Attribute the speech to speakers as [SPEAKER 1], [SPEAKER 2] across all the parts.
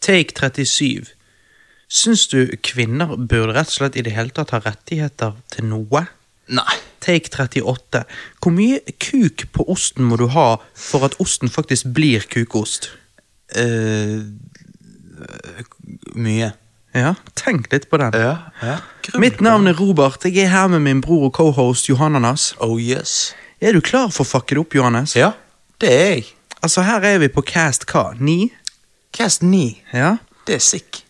[SPEAKER 1] Take 37. Syns du kvinner burde rett og slett i det hele tatt ha rettigheter til noe?
[SPEAKER 2] Nei.
[SPEAKER 1] Take 38. Hvor mye kuk på osten må du ha for at osten faktisk blir kukost?
[SPEAKER 2] Eh, mye.
[SPEAKER 1] Ja, tenk litt på den.
[SPEAKER 2] Ja, ja.
[SPEAKER 1] Mitt navn er Robert. Jeg er her med min bror og cohost Johananas.
[SPEAKER 2] Oh yes.
[SPEAKER 1] Er du klar for å fucke det opp, Johannes?
[SPEAKER 2] Ja, det er jeg.
[SPEAKER 1] Altså, her er vi på cast hva? Ni?
[SPEAKER 2] Cast 9.
[SPEAKER 1] Ja.
[SPEAKER 2] Det er sick.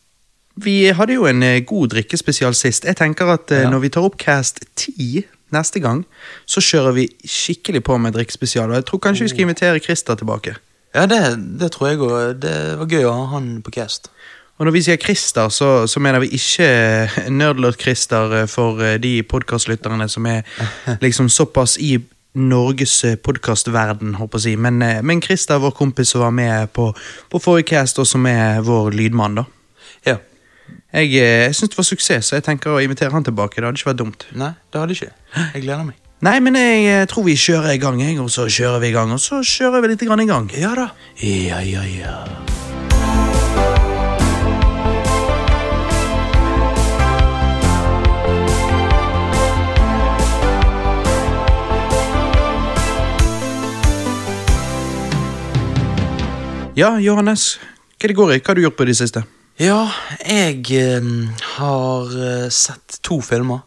[SPEAKER 1] Vi hadde jo en eh, god drikkespesial sist. Jeg tenker at eh, når vi tar opp Cast 10 neste gang, så kjører vi skikkelig på med drikkespesial. Og jeg tror kanskje vi skal invitere Christer tilbake.
[SPEAKER 2] Ja, det, det tror jeg òg. Det var gøy å ha han på cast.
[SPEAKER 1] Og når vi sier Christer, så, så mener vi ikke eh, Nerdlert-Christer eh, for eh, de podkastlytterne som er liksom såpass i Norges eh, podcastverden, håper jeg å si. Men, eh, men Christer, vår kompis som var med på, på forrige cast, og som er vår lydmann, da.
[SPEAKER 2] Ja.
[SPEAKER 1] Jeg, eh, jeg syns det var suksess, så jeg tenker å invitere han tilbake. Det hadde ikke vært dumt.
[SPEAKER 2] Nei, det hadde ikke. Jeg gleder meg.
[SPEAKER 1] Nei, men jeg eh, tror vi kjører i gang, jeg, og så kjører vi i gang, og så kjører vi litt grann i gang. Ja da.
[SPEAKER 2] Ja, ja, ja.
[SPEAKER 1] Ja, Johannes, hva er det går i? Hva har du gjort på det siste?
[SPEAKER 2] Ja, jeg eh, har eh, sett to filmer.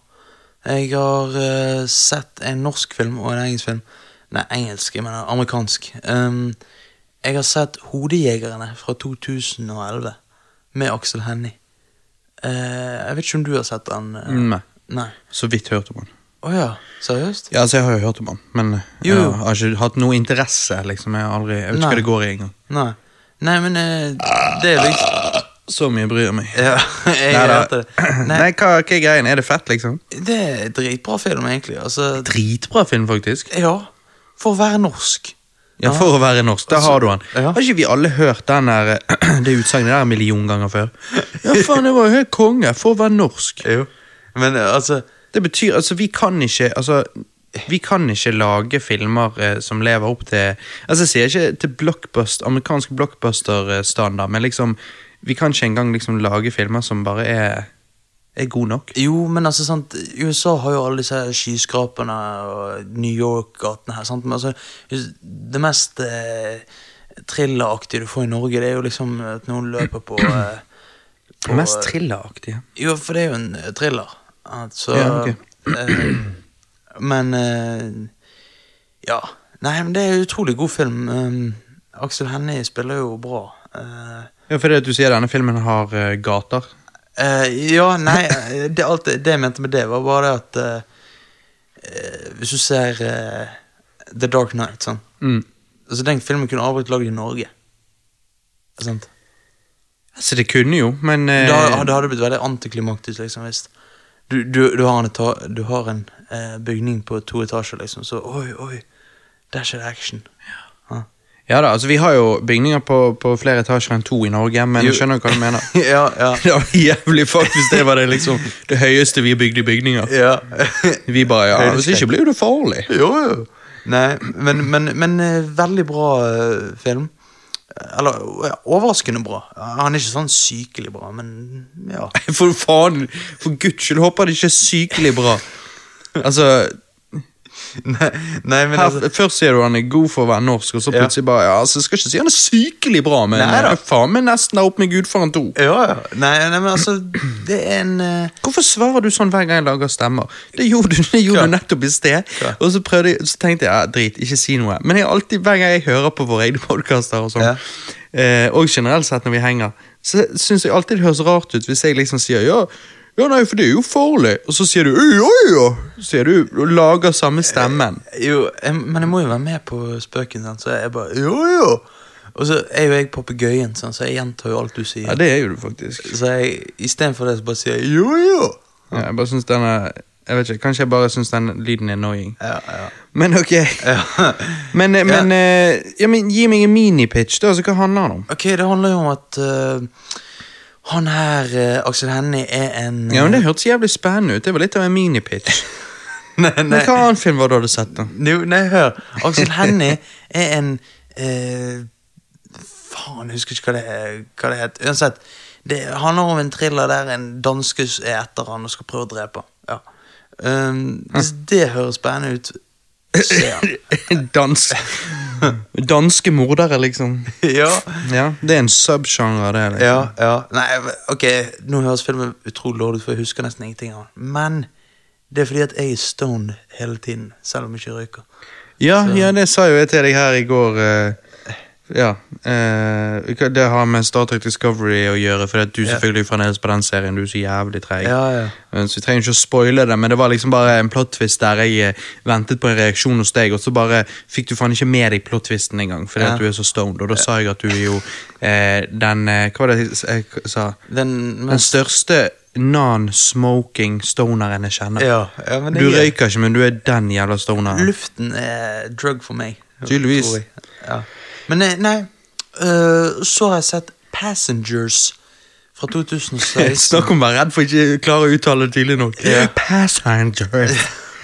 [SPEAKER 2] Jeg har eh, sett en norsk film og en engelsk film. Nei, engelsk, jeg mener amerikansk. Um, jeg har sett Hodejegerne fra 2011 med Aksel Hennie. Eh, jeg vet ikke om du har sett den? eh?
[SPEAKER 1] Nei.
[SPEAKER 2] Nei.
[SPEAKER 1] Mm, Så vidt hørt om han.
[SPEAKER 2] Å ja, seriøst?
[SPEAKER 1] Ja, altså, jeg har jo hørt om han, men
[SPEAKER 2] Jo,
[SPEAKER 1] jeg
[SPEAKER 2] jo.
[SPEAKER 1] har ikke hatt noe interesse, liksom. Jeg, har aldri, jeg vet ikke
[SPEAKER 2] Nei.
[SPEAKER 1] hva det går i engang.
[SPEAKER 2] Nei. Nei, men eh, det er liksom
[SPEAKER 1] Så mye bryr jeg meg.
[SPEAKER 2] Ja, jeg
[SPEAKER 1] Neida.
[SPEAKER 2] hørte det.
[SPEAKER 1] Nei, hva, hva er greien? Er det fett, liksom?
[SPEAKER 2] Det er dritbra film, egentlig. Altså,
[SPEAKER 1] Dritbra film, faktisk.
[SPEAKER 2] ja. For å være norsk.
[SPEAKER 1] Ja, Altså, For å være norsk. Der har du han.
[SPEAKER 2] Ja.
[SPEAKER 1] Har ikke vi alle hørt den der, det utsagnet der en million ganger før? Ja, faen, det var jo helt konge. For å være norsk.
[SPEAKER 2] Jo. Men eh, altså
[SPEAKER 1] Det betyr, altså vi kan ikke altså, vi kan ikke lage filmer eh, som lever opp til altså Jeg sier ikke til blockbuster, amerikansk blockbuster-standard, men liksom vi kan ikke engang liksom lage filmer som bare er, er gode nok.
[SPEAKER 2] Jo, men altså, sant USA har jo alle disse her skyskraperne og New York-gatene her, sant. Men altså, det mest eh, thrilleraktige du får i Norge, det er jo liksom at noen løper på, eh, på
[SPEAKER 1] Mest thrilleraktige.
[SPEAKER 2] Jo, for det er jo en eh, thriller. Altså
[SPEAKER 1] Ja, ok.
[SPEAKER 2] eh, Men eh, Ja. Nei, men det er en utrolig god film. Um, Aksel Hennie spiller jo bra. Eh,
[SPEAKER 1] Ja, fordi at du sier denne filmen har eh, gater.
[SPEAKER 2] Eh, ja, nei, eh, det, alt, det jeg mente med det, var bare det at eh, eh, Hvis du ser eh, The Dark Knight, sånn
[SPEAKER 1] Mm.
[SPEAKER 2] altså, Den filmen kunne aldri blitt lagd i Norge. Sant?
[SPEAKER 1] Altså, det kunne jo, men eh,
[SPEAKER 2] Det hadde, det hadde blitt veldig antiklimaktisk. liksom, hvis du, du, du har en, eta- du har en eh, bygning på to etasjer, liksom, så oi, oi, der skjer det action. Ja.
[SPEAKER 1] Ja da, altså vi har jo bygninger på, på flere etasjer enn to i Norge, men jeg
[SPEAKER 2] Jo.
[SPEAKER 1] skjønner jo hva du mener.
[SPEAKER 2] ja, ja,
[SPEAKER 1] Det var jævlig faktisk, det var det liksom det høyeste vi bygde i bygninger.
[SPEAKER 2] ja.
[SPEAKER 1] Vi bare, ja,
[SPEAKER 2] Høydeskrekk.
[SPEAKER 1] hvis ikke blir jo det farlig.
[SPEAKER 2] Jo, jo. Nei, men, men, men eh, veldig bra eh, film. Eller ja, overraskende bra. Han er ikke sånn sykelig bra, men ja.
[SPEAKER 1] For faen, for guds skyld, håper det ikke er sykelig bra. Altså,
[SPEAKER 2] Nei, nei men
[SPEAKER 1] her,
[SPEAKER 2] altså,
[SPEAKER 1] Først sier du han er god for å være norsk, og så
[SPEAKER 2] Ja.
[SPEAKER 1] plutselig bare ja, altså, Jeg skal ikke si han er sykelig bra, men
[SPEAKER 2] Nei da.
[SPEAKER 1] jeg er faen meg nesten der oppe med Gudfaren 2.
[SPEAKER 2] ja, ja. Nei, nei, men altså, det er en eh,
[SPEAKER 1] Hvorfor svarer du sånn hver gang jeg lager stemmer? Det gjorde du, det gjorde
[SPEAKER 2] Hva?
[SPEAKER 1] du nettopp i sted.
[SPEAKER 2] Hva?
[SPEAKER 1] Og så, prøvde, jeg- så tenkte jeg ja, drit, ikke si noe. Men jeg alltid, hver gang jeg hører på våre egne podkaster, og sånn, eh, og generelt sett når vi henger, så syns jeg alltid det høres rart ut hvis jeg liksom sier ja. Ja, nei, for det er jo farlig. Og så sier du «Øy, øy, øy», Så sier du og lager samme stemmen.
[SPEAKER 2] Jo, jeg, men jeg må jo være med på spøken, sant, så jeg bare Jo, jo! Og så er jo jeg papegøyen, sant, så jeg gjentar jo alt du sier.
[SPEAKER 1] Ja, det er jo du faktisk.
[SPEAKER 2] Så jeg istedenfor det så bare sier jeg jo, jo!
[SPEAKER 1] Ja, jeg bare synes den er Jeg vet ikke, Kanskje jeg bare syns den lyden er annoying.
[SPEAKER 2] Ja, ja.
[SPEAKER 1] Men ok. Men, eh, men, eh, ja, men gi meg en minipitch, da. Altså, hva handler den om?
[SPEAKER 2] Ok, det handler jo om at eh, han her, eh, Aksel Hennie, er en
[SPEAKER 1] Ja, men Det hørtes jævlig spennende ut. Det var litt av en minipitch.
[SPEAKER 2] Nei, nei,
[SPEAKER 1] Men hva annen film var det du hadde sett? da?
[SPEAKER 2] Jo, nei, hør. Aksel Hennie er en eh, faen, jeg husker ikke hva det, hva det het. Uansett, det handler om en thriller der en danskus er etter han og skal prøve å drepe. Ja. Ehm, hvis
[SPEAKER 1] Hm.
[SPEAKER 2] det høres spennende ut, se den.
[SPEAKER 1] Dansk Danske mordere, liksom.
[SPEAKER 2] ja.
[SPEAKER 1] Ja, Det er en subsjanger, det. Liksom.
[SPEAKER 2] Ja, ja. Nei, ok, nå høres filmen utrolig dårlig ut, for jeg husker nesten ingenting av den. Men det er fordi at jeg er stoned hele tiden, selv om jeg ikke røyker.
[SPEAKER 1] Ja, ja, det sa jo jeg til deg her i går. eh, ja. eh, hva- det har med Star Trek Discovery å gjøre, for at du
[SPEAKER 2] Ja.
[SPEAKER 1] selvfølgelig fremdeles på den serien. Du er så jævlig treig.
[SPEAKER 2] Ja, ja.
[SPEAKER 1] Eh, Så vi trenger ikke å spoile det, men det var liksom bare en plot-twist der jeg eh, ventet på en reaksjon hos deg, og så bare fikk du faen ikke med deg plot-twisten engang, fordi
[SPEAKER 2] Ja.
[SPEAKER 1] at du er så stoned. Og da sa jeg at du er jo eh, den eh, Hva var det jeg s- jeg sa?
[SPEAKER 2] Den,
[SPEAKER 1] Den største non-smoking stoneren jeg kjenner.
[SPEAKER 2] ja, ja, men
[SPEAKER 1] Du
[SPEAKER 2] jeg-
[SPEAKER 1] røyker ikke, men du er den jævla stoneren.
[SPEAKER 2] Luften er drug for meg.
[SPEAKER 1] Tydeligvis.
[SPEAKER 2] tror jeg. Ja. Men eh, nei, øh, så har jeg sett Passengers fra 2016.
[SPEAKER 1] Snakk om å være redd for ikke klare å uttale det tydelig nok.
[SPEAKER 2] Ja.
[SPEAKER 1] Passengers.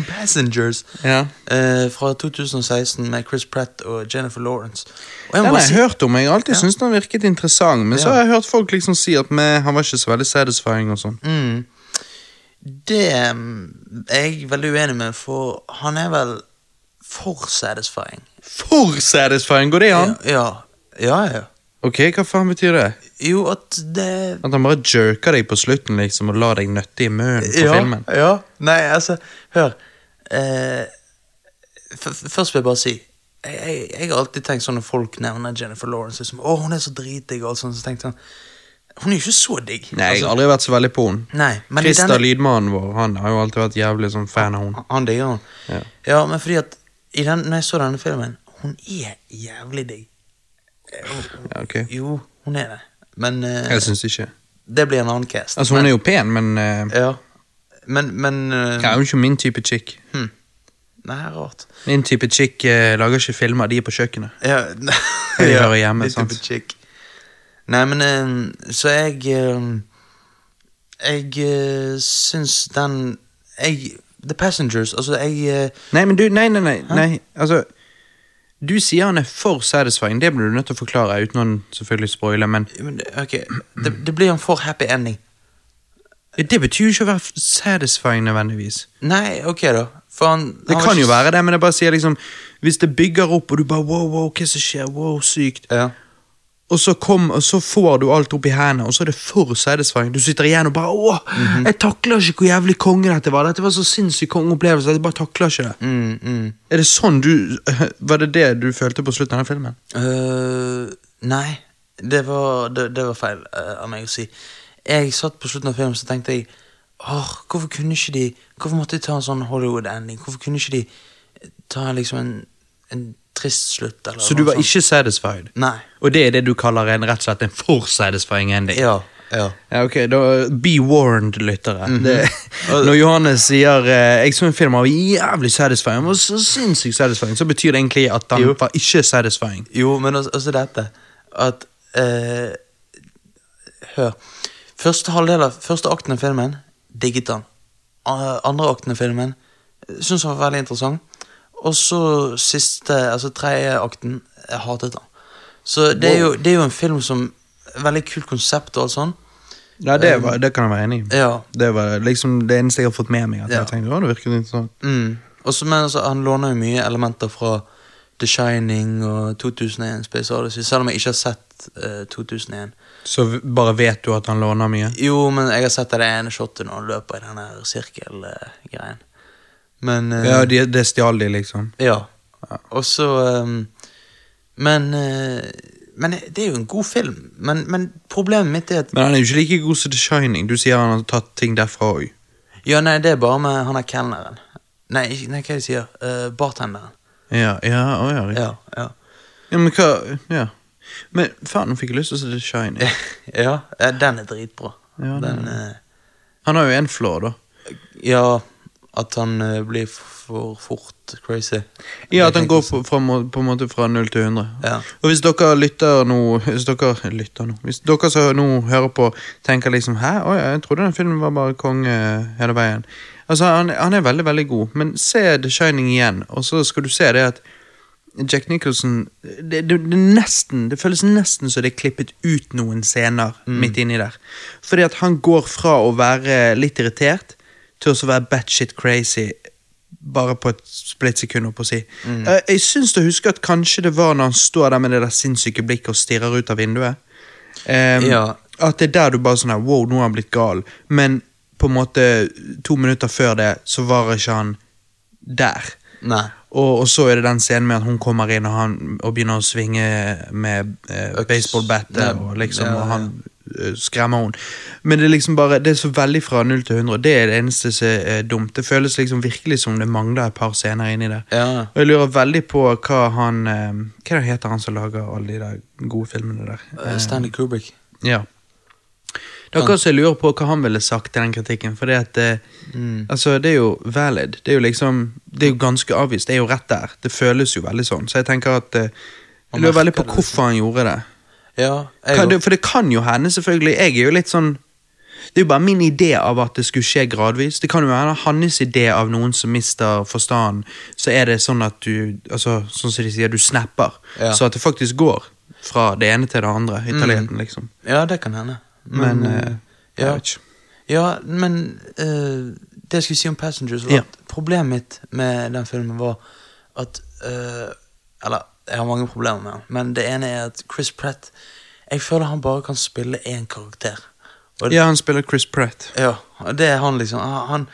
[SPEAKER 2] Passengers
[SPEAKER 1] Ja.
[SPEAKER 2] eh, fra 2016 med Chris Pratt og Jennifer Lawrence. Og jeg
[SPEAKER 1] Den
[SPEAKER 2] må
[SPEAKER 1] har
[SPEAKER 2] bare si,
[SPEAKER 1] jeg hørt om, jeg har alltid syntes den virket interessant, men så
[SPEAKER 2] Ja.
[SPEAKER 1] har jeg hørt folk liksom si at med, han var ikke så veldig satisfying og sånn.
[SPEAKER 2] mm, det mm, er jeg veldig uenig med, for han er vel for satisfying.
[SPEAKER 1] For satisfying, går det an?
[SPEAKER 2] Ja, ja, ja.
[SPEAKER 1] Ok, hva faen betyr det?
[SPEAKER 2] Jo, at det
[SPEAKER 1] At han bare jerker deg på slutten liksom, og lar deg nøtte i munnen på
[SPEAKER 2] ja,
[SPEAKER 1] filmen?
[SPEAKER 2] Ja, nei, altså, hør eh, f- f- Først vil jeg bare si jeg, jeg, jeg har alltid tenkt sånn når folk nevner Jennifer Lawrence liksom, Å, hun er så dritdigg og alt sånt, så tenkte jeg sånn Hun er jo ikke så digg.
[SPEAKER 1] Nei, jeg
[SPEAKER 2] altså,
[SPEAKER 1] har aldri vært så veldig på henne.
[SPEAKER 2] nei men i
[SPEAKER 1] Christer,
[SPEAKER 2] denne,
[SPEAKER 1] lydmannen vår, han har jo alltid vært jævlig sånn fan av henne.
[SPEAKER 2] han digger hun.
[SPEAKER 1] Ja.
[SPEAKER 2] Ja. men fordi at i den, Når jeg så denne filmen Hun er jævlig digg. Eh, hun-
[SPEAKER 1] Ja, ok.
[SPEAKER 2] Jo, hun er det. Men eh,
[SPEAKER 1] Jeg syns ikke.
[SPEAKER 2] det blir en annen cast.
[SPEAKER 1] Altså, hun er jo pen, men eh,
[SPEAKER 2] Ja. Men, men eh,
[SPEAKER 1] jeg er jo ikke min type chick.
[SPEAKER 2] Nei, rart.
[SPEAKER 1] Min type chick eh, lager ikke filmer, de er på kjøkkenet.
[SPEAKER 2] Ja, ne-
[SPEAKER 1] Jeg hører hjemme,
[SPEAKER 2] litt
[SPEAKER 1] sant?
[SPEAKER 2] på chick. Nei, men eh, Så jeg eh, Jeg eh, syns den jeg, The Passengers Altså, jeg eh,
[SPEAKER 1] Nei, men du, nei, nei, nei, nei altså Du sier han er for satisfying, det blir du nødt til å forklare uten å selvfølgelig spoile, men
[SPEAKER 2] men det- Ok, det, det blir en for happy ending.
[SPEAKER 1] det betyr jo ikke å være satisfying nødvendigvis.
[SPEAKER 2] Nei, ok, da. For han
[SPEAKER 1] Det
[SPEAKER 2] han var
[SPEAKER 1] kan jo
[SPEAKER 2] ikke-
[SPEAKER 1] være det, men jeg bare sier liksom Hvis det bygger opp, og du bare wow, wow, hva som skjer, wow, sykt,
[SPEAKER 2] Ja.
[SPEAKER 1] og så, kom, og så får du alt opp i hendene, og så er det for satisfying. Du sitter igjen og bare åh,
[SPEAKER 2] Mhm.
[SPEAKER 1] jeg takler ikke hvor jævlig konge dette var. Dette var så sinnssyk kongeopplevelse, jeg bare takler ikke det.
[SPEAKER 2] Mm, mm.
[SPEAKER 1] Er det sånn du Var det det du følte på slutten av den filmen?
[SPEAKER 2] Eh, nei, det var, det, det var feil eh, av meg å si. Jeg satt på slutten av filmen så tenkte jeg Åh, hvorfor kunne ikke de Hvorfor måtte de ta en sånn Hollywood-ending? Hvorfor kunne ikke de ta liksom en, en trist slutt? Eller
[SPEAKER 1] Så du var
[SPEAKER 2] noe sånt?
[SPEAKER 1] ikke satisfied?
[SPEAKER 2] Nei.
[SPEAKER 1] Og det er det du kaller en rett og slett en for satisfying ending?
[SPEAKER 2] Ja. ja. Mhm.
[SPEAKER 1] Ja, ok, da Be warned, lyttere. Det- Når Johannes sier eh, 'jeg så en film av jævlig satisfying', han var så sinnssykt satisfying, så betyr det egentlig at han
[SPEAKER 2] Jo.
[SPEAKER 1] var ikke satisfying.
[SPEAKER 2] Jo, men også, også dette At eh, Hør Første halvdel av Første akten av filmen Digget han A- Andre akten av filmen eh, Synes han var veldig interessant Og så siste Altså tredje akten Jeg hatet han Så det er, jo, det er jo en film som Veldig kult konsept og alt sånn
[SPEAKER 1] Ja,
[SPEAKER 2] Ehm.
[SPEAKER 1] det, var, det kan jeg være enig i.
[SPEAKER 2] Ja
[SPEAKER 1] Det var liksom det eneste jeg har fått med meg. At
[SPEAKER 2] Ja.
[SPEAKER 1] jeg tenkte, å, det sånn.» virket interessant
[SPEAKER 2] mm. Og så men altså, han låner jo mye elementer fra The Shining og 2001 Space Odyssey Selv om jeg ikke har sett eh, 2001
[SPEAKER 1] Så v- bare vet du at han låner mye?
[SPEAKER 2] Jo, men jeg har sett det ene shotet når han løper i den her sirkelgreien. Men eh,
[SPEAKER 1] Ja, de- Det stjal de, liksom.
[SPEAKER 2] ja. Og så eh, Men eh, Men det er jo en god film. Men, men problemet mitt er at
[SPEAKER 1] Men han er jo ikke like god som The Shining. Du sier han har tatt ting derfra òg.
[SPEAKER 2] Ja, nei, det er bare med han er kelneren. Nei, ikke- nei, hva er det jeg sier Eh, Bartenderen.
[SPEAKER 1] Ja, ja, å, ja, riktig.
[SPEAKER 2] Ja. Ja.
[SPEAKER 1] Ja, men hva Ja. Men faen, nå fikk jeg lyst til å se The Shining.
[SPEAKER 2] ja eh, den er dritbra.
[SPEAKER 1] Ja, den
[SPEAKER 2] den eh,
[SPEAKER 1] Han har jo en flaw, da.
[SPEAKER 2] Ja, at han eh, blir for fort crazy.
[SPEAKER 1] Ja, at han går på, fra, må- på en måte fra 0 til 100.
[SPEAKER 2] Ja.
[SPEAKER 1] Og hvis dere lytter nå Hvis dere lytter nå Hvis dere som nå hører på, tenker liksom Hæ, Oi, jeg trodde den filmen var bare konge eh, hele veien. Altså, han, han er veldig, veldig god, men se The Shining igjen, og så skal du se det at Jack Nicholson det, det, det, er nesten, det føles nesten som det er klippet ut noen scener midt inni der. Fordi at han går fra å være litt irritert til også å være batshit crazy bare på et splittsekund. holdt på å si. Eh, Jeg syns å huske at kanskje det var når han står der med det der sinnssyke blikket og stirrer ut av vinduet. Ehm,
[SPEAKER 2] Ja.
[SPEAKER 1] At det er der du bare sånn her, Wow, nå har han blitt gal. Men på en måte to minutter før det, så var ikke han der.
[SPEAKER 2] Nei.
[SPEAKER 1] Og, og så er det den scenen med at hun kommer inn og, han, og begynner å svinge med eh,
[SPEAKER 2] Øks.
[SPEAKER 1] baseballbattet,
[SPEAKER 2] Nei,
[SPEAKER 1] og, liksom,
[SPEAKER 2] ja,
[SPEAKER 1] og han eh, skremmer henne. Men det er liksom bare, det er så veldig fra 0 til 100. Det er det eneste som er dumt. Det føles liksom virkelig som det mangler et par scener inni det.
[SPEAKER 2] Ja.
[SPEAKER 1] Og jeg lurer veldig på hva han eh, Hva er det heter han som lager alle de der gode filmene der?
[SPEAKER 2] Eh, Stanley Kubrick.
[SPEAKER 1] Ja. Det er akkurat som jeg lurer på hva han ville sagt til den kritikken. For det, at, eh, altså, det er jo valid. Det er jo liksom Det er jo ganske avvist. Det er jo rett der. Det føles jo veldig sånn. Så jeg tenker at eh,
[SPEAKER 2] Man
[SPEAKER 1] Jeg lurer veldig
[SPEAKER 2] merker
[SPEAKER 1] på
[SPEAKER 2] det,
[SPEAKER 1] hvorfor han gjorde det.
[SPEAKER 2] Ja,
[SPEAKER 1] Hva,
[SPEAKER 2] jeg
[SPEAKER 1] det. For det kan jo hende, selvfølgelig. Jeg er jo litt sånn det er jo bare min idé av at det skulle skje gradvis. Det kan jo være hans idé av noen som mister forstanden. Så er det sånn at du altså, sånn som de sier, du snapper.
[SPEAKER 2] Ja. Mm.
[SPEAKER 1] Så at det faktisk går fra det ene til det andre. Italieneren, liksom.
[SPEAKER 2] Ja, det kan hende.
[SPEAKER 1] Men,
[SPEAKER 2] eh,
[SPEAKER 1] eh,
[SPEAKER 2] ja.
[SPEAKER 1] jeg vet ikke.
[SPEAKER 2] Ja, men eh, det jeg skulle si om Passengers var
[SPEAKER 1] Ja.
[SPEAKER 2] at Problemet mitt med den filmen var at eh, Eller, jeg har mange problemer med den, men det ene er at Chris Pratt Jeg føler han bare kan spille én karakter. Og,
[SPEAKER 1] Ja, han spiller Chris Pratt.
[SPEAKER 2] ja, og det er han, liksom. Han, han-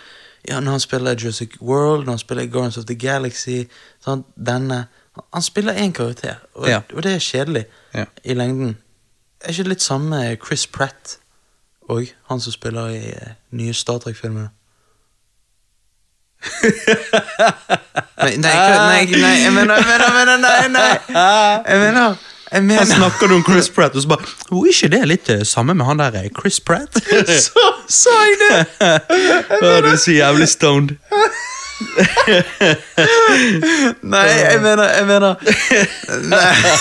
[SPEAKER 2] ja, når han spiller Jurassic World, når han spiller Guardians of the Galaxy sant, Denne Han spiller én karakter, og,
[SPEAKER 1] Ja.
[SPEAKER 2] og det er kjedelig
[SPEAKER 1] Ja.
[SPEAKER 2] i lengden. Er ikke det litt samme med Chris Pratt og han som spiller i eh, nye Star Trek-filmene? nei, nei, ikke, nei, ikke- nei, jeg mener, jeg mener, jeg mener nei, nei. Jeg mener, jeg
[SPEAKER 1] Her
[SPEAKER 2] mener
[SPEAKER 1] snakker du om Chris Pratt, og så bare Å, er ikke det litt eh, samme med han der eh, Chris Pratt?
[SPEAKER 2] Så sa jeg det!
[SPEAKER 1] Å, du er så jævlig stoned.
[SPEAKER 2] Nei, jeg mener, jeg mener Nei.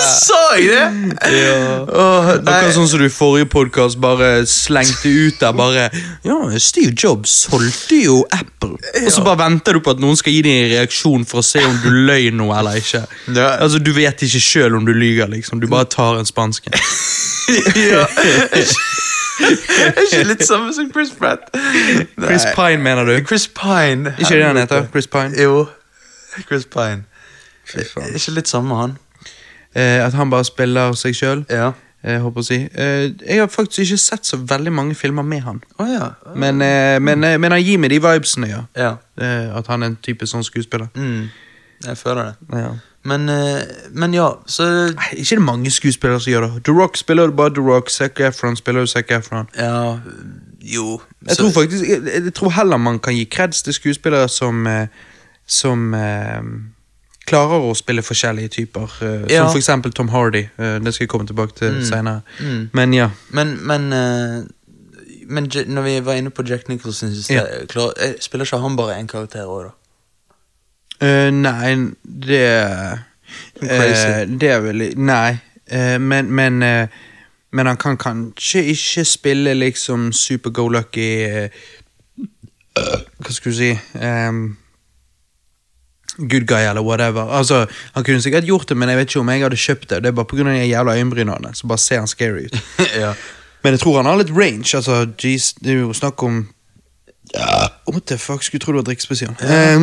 [SPEAKER 2] Sa jeg det? Åh, nei.
[SPEAKER 1] Akkurat sånn som du i forrige podkast bare slengte ut der bare Ja, Steve Jobs solgte jo Apple. Og så bare venter du på at noen skal gi deg en reaksjon for å se om du løy noe eller ikke.
[SPEAKER 2] Ja.
[SPEAKER 1] Altså, Du vet ikke sjøl om du lyver, liksom. Du bare tar en spansk en.
[SPEAKER 2] ja. Er ikke litt samme som Chris Pratt? Nei.
[SPEAKER 1] Chris Pine, mener du?
[SPEAKER 2] Chris Pine.
[SPEAKER 1] Ikke det han heter? Chris Pine?
[SPEAKER 2] Jo. Chris Pine.
[SPEAKER 1] Fy faen.
[SPEAKER 2] Er ikke litt samme han?
[SPEAKER 1] Eh, at han bare spiller seg sjøl.
[SPEAKER 2] Ja.
[SPEAKER 1] Jeg håper å si. Eh, Jeg har faktisk ikke sett så veldig mange filmer med han.
[SPEAKER 2] Å ja.
[SPEAKER 1] Men,
[SPEAKER 2] Ah.
[SPEAKER 1] eh, men, eh, men han gir meg de vibesene, ja.
[SPEAKER 2] Ja.
[SPEAKER 1] Eh, At han er en type sånn skuespiller.
[SPEAKER 2] Mm. Jeg føler det.
[SPEAKER 1] Ja.
[SPEAKER 2] Men, eh, men ja, så
[SPEAKER 1] Nei, Ikke det er mange skuespillere som gjør det. The Rock spiller jo bare The Rock. Zac Efron spiller jo Zac Efron.
[SPEAKER 2] Ja, jo.
[SPEAKER 1] Jeg
[SPEAKER 2] så-
[SPEAKER 1] tror faktisk jeg, jeg tror heller man kan gi kreds til skuespillere som eh, Som eh, klarer å spille forskjellige typer. eh,
[SPEAKER 2] Ja.
[SPEAKER 1] Som for eksempel Tom Hardy. eh, Det skal jeg komme tilbake til senere.
[SPEAKER 2] Mm.
[SPEAKER 1] Men ja.
[SPEAKER 2] Men, men, eh, men Ja- når vi var inne på Jack Nicholson synes jeg, klar, eh, Spiller ikke han bare en karakter òg, da?
[SPEAKER 1] Eh, nei, det
[SPEAKER 2] Crazy.
[SPEAKER 1] eh, Det er vel Nei, eh, men men, eh, men han kan kanskje ikke spille liksom super go lucky eh, Hva skal du si ehm, Good guy eller whatever. Altså, Han kunne sikkert gjort det, men jeg vet ikke om jeg hadde kjøpt det. Det er bare pga. de jævla øyenbrynene. Så bare ser han scary ut.
[SPEAKER 2] ja.
[SPEAKER 1] Men jeg tror han har litt range. Altså, geez, det er jo snakk om What the fuck, skulle tro det var drikkespesial. Eh,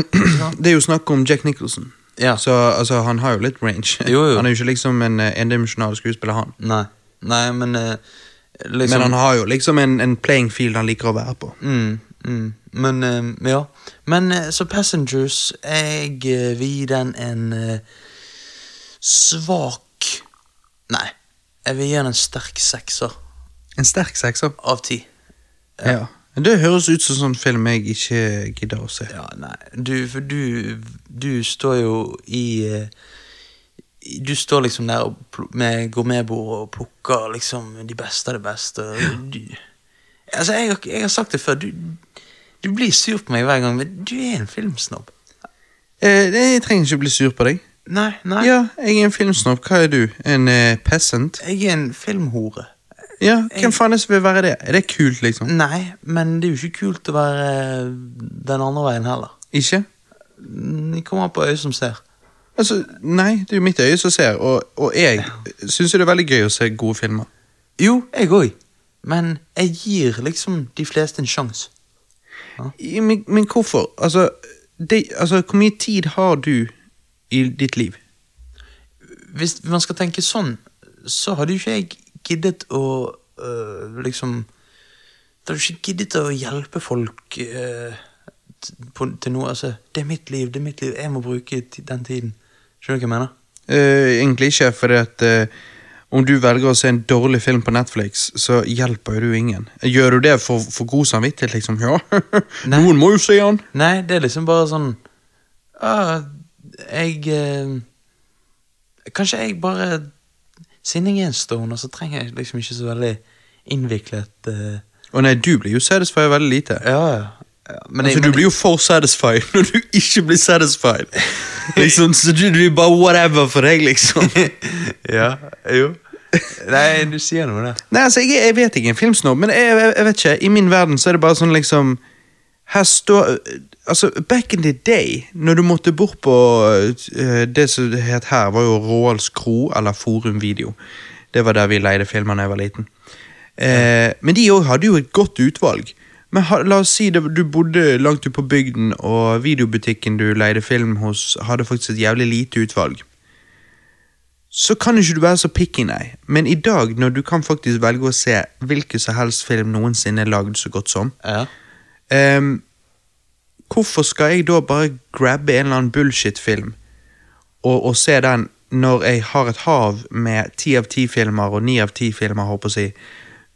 [SPEAKER 1] det er jo snakk om Jack Nicholson.
[SPEAKER 2] ja.
[SPEAKER 1] Så altså, han har jo litt range.
[SPEAKER 2] Jo, jo.
[SPEAKER 1] Han er jo ikke liksom en eh, endimensjonal skuespiller, han.
[SPEAKER 2] Nei. Nei, men eh, liksom
[SPEAKER 1] Men han har jo liksom en, en playing field han liker å være på.
[SPEAKER 2] mm, mm, Men eh, ja. Men eh, så Passengers Jeg eh, vil gi den en eh, svak Nei. Jeg vil gi den en sterk sekser
[SPEAKER 1] En sterk sekser.
[SPEAKER 2] av ti.
[SPEAKER 1] Ja. Det høres ut som sånn film jeg ikke gidder å se.
[SPEAKER 2] Ja, nei Du, for du, du står jo i eh, Du står liksom der og pl- med gourmetbord og plukker liksom de beste av det beste. og Du, altså, jeg, har- jeg har sagt det før, du, du blir sur på meg hver gang, men du er en filmsnobb.
[SPEAKER 1] Eh, jeg trenger ikke bli sur på deg.
[SPEAKER 2] Nei, nei.
[SPEAKER 1] Ja, jeg er en filmsnobb. Hva er du? En eh, peasant?
[SPEAKER 2] Jeg er en filmhore.
[SPEAKER 1] Ja, hvem faen er det som vil være det? Er det kult, liksom?
[SPEAKER 2] Nei, men det er jo ikke kult å være eh, den andre veien heller.
[SPEAKER 1] Ikke?
[SPEAKER 2] Mm, Det kommer an på øyet som ser.
[SPEAKER 1] Altså, Altså, nei, det er jo mitt øye som ser, og, og jeg syns jo det er veldig gøy å se gode filmer.
[SPEAKER 2] Jo, jeg òg. Men jeg gir liksom de fleste en sjanse.
[SPEAKER 1] I- Men, men hvorfor? Altså, det, altså, hvor mye tid har du i ditt liv?
[SPEAKER 2] Hvis man skal tenke sånn, så hadde jo ikke jeg giddet å øh, liksom Da hadde jeg ikke giddet å hjelpe folk øh, t- på, til noe. Altså, det er mitt liv, det er mitt liv, jeg må bruke ti- den tiden. Skjønner du hva jeg mener?
[SPEAKER 1] Eh, egentlig ikke, fordi at eh, om du velger å se en dårlig film på Netflix, så hjelper jo du ingen. Gjør du det for, for god samvittighet, liksom? Ja,
[SPEAKER 2] Nei.
[SPEAKER 1] noen må jo se den!
[SPEAKER 2] Nei, det er liksom bare sånn ah, Jeg øh, Kanskje jeg bare Siden jeg er en stoner, så trenger jeg liksom ikke så veldig innviklet øh,
[SPEAKER 1] Å nei, du blir jo satisfied veldig lite.
[SPEAKER 2] Ja, ja. Men jeg-
[SPEAKER 1] Altså, du
[SPEAKER 2] men-
[SPEAKER 1] blir jo for satisfied når du ikke blir satisfied. Liksom, så du, du er bare whatever for deg, liksom.
[SPEAKER 2] Ja, jo. Nei, du sier noe der.
[SPEAKER 1] Nei, altså, jeg, jeg vet ikke en filmsnobb, men jeg, jeg, jeg vet ikke. I min verden så er det bare sånn liksom Her står Altså, back in the day, når du måtte bort på eh, Det som det het her, var jo Roalds Kro eller Forum Video. Det var der vi leide filmer da jeg var liten. Eh, men de òg hadde jo et godt utvalg. Men ha, la oss si det, du bodde langt ute på bygden, og videobutikken du leide film hos, hadde faktisk et jævlig lite utvalg så kan ikke du være så picky, nei. Men i dag, når du kan faktisk velge å se hvilken som helst film noensinne er lagd så godt som,
[SPEAKER 2] Ja.
[SPEAKER 1] ehm, hvorfor skal jeg da bare grabbe en eller annen bullshit-film og, og se den når jeg har et hav med ti av ti filmer og ni av ti filmer, håper jeg å si,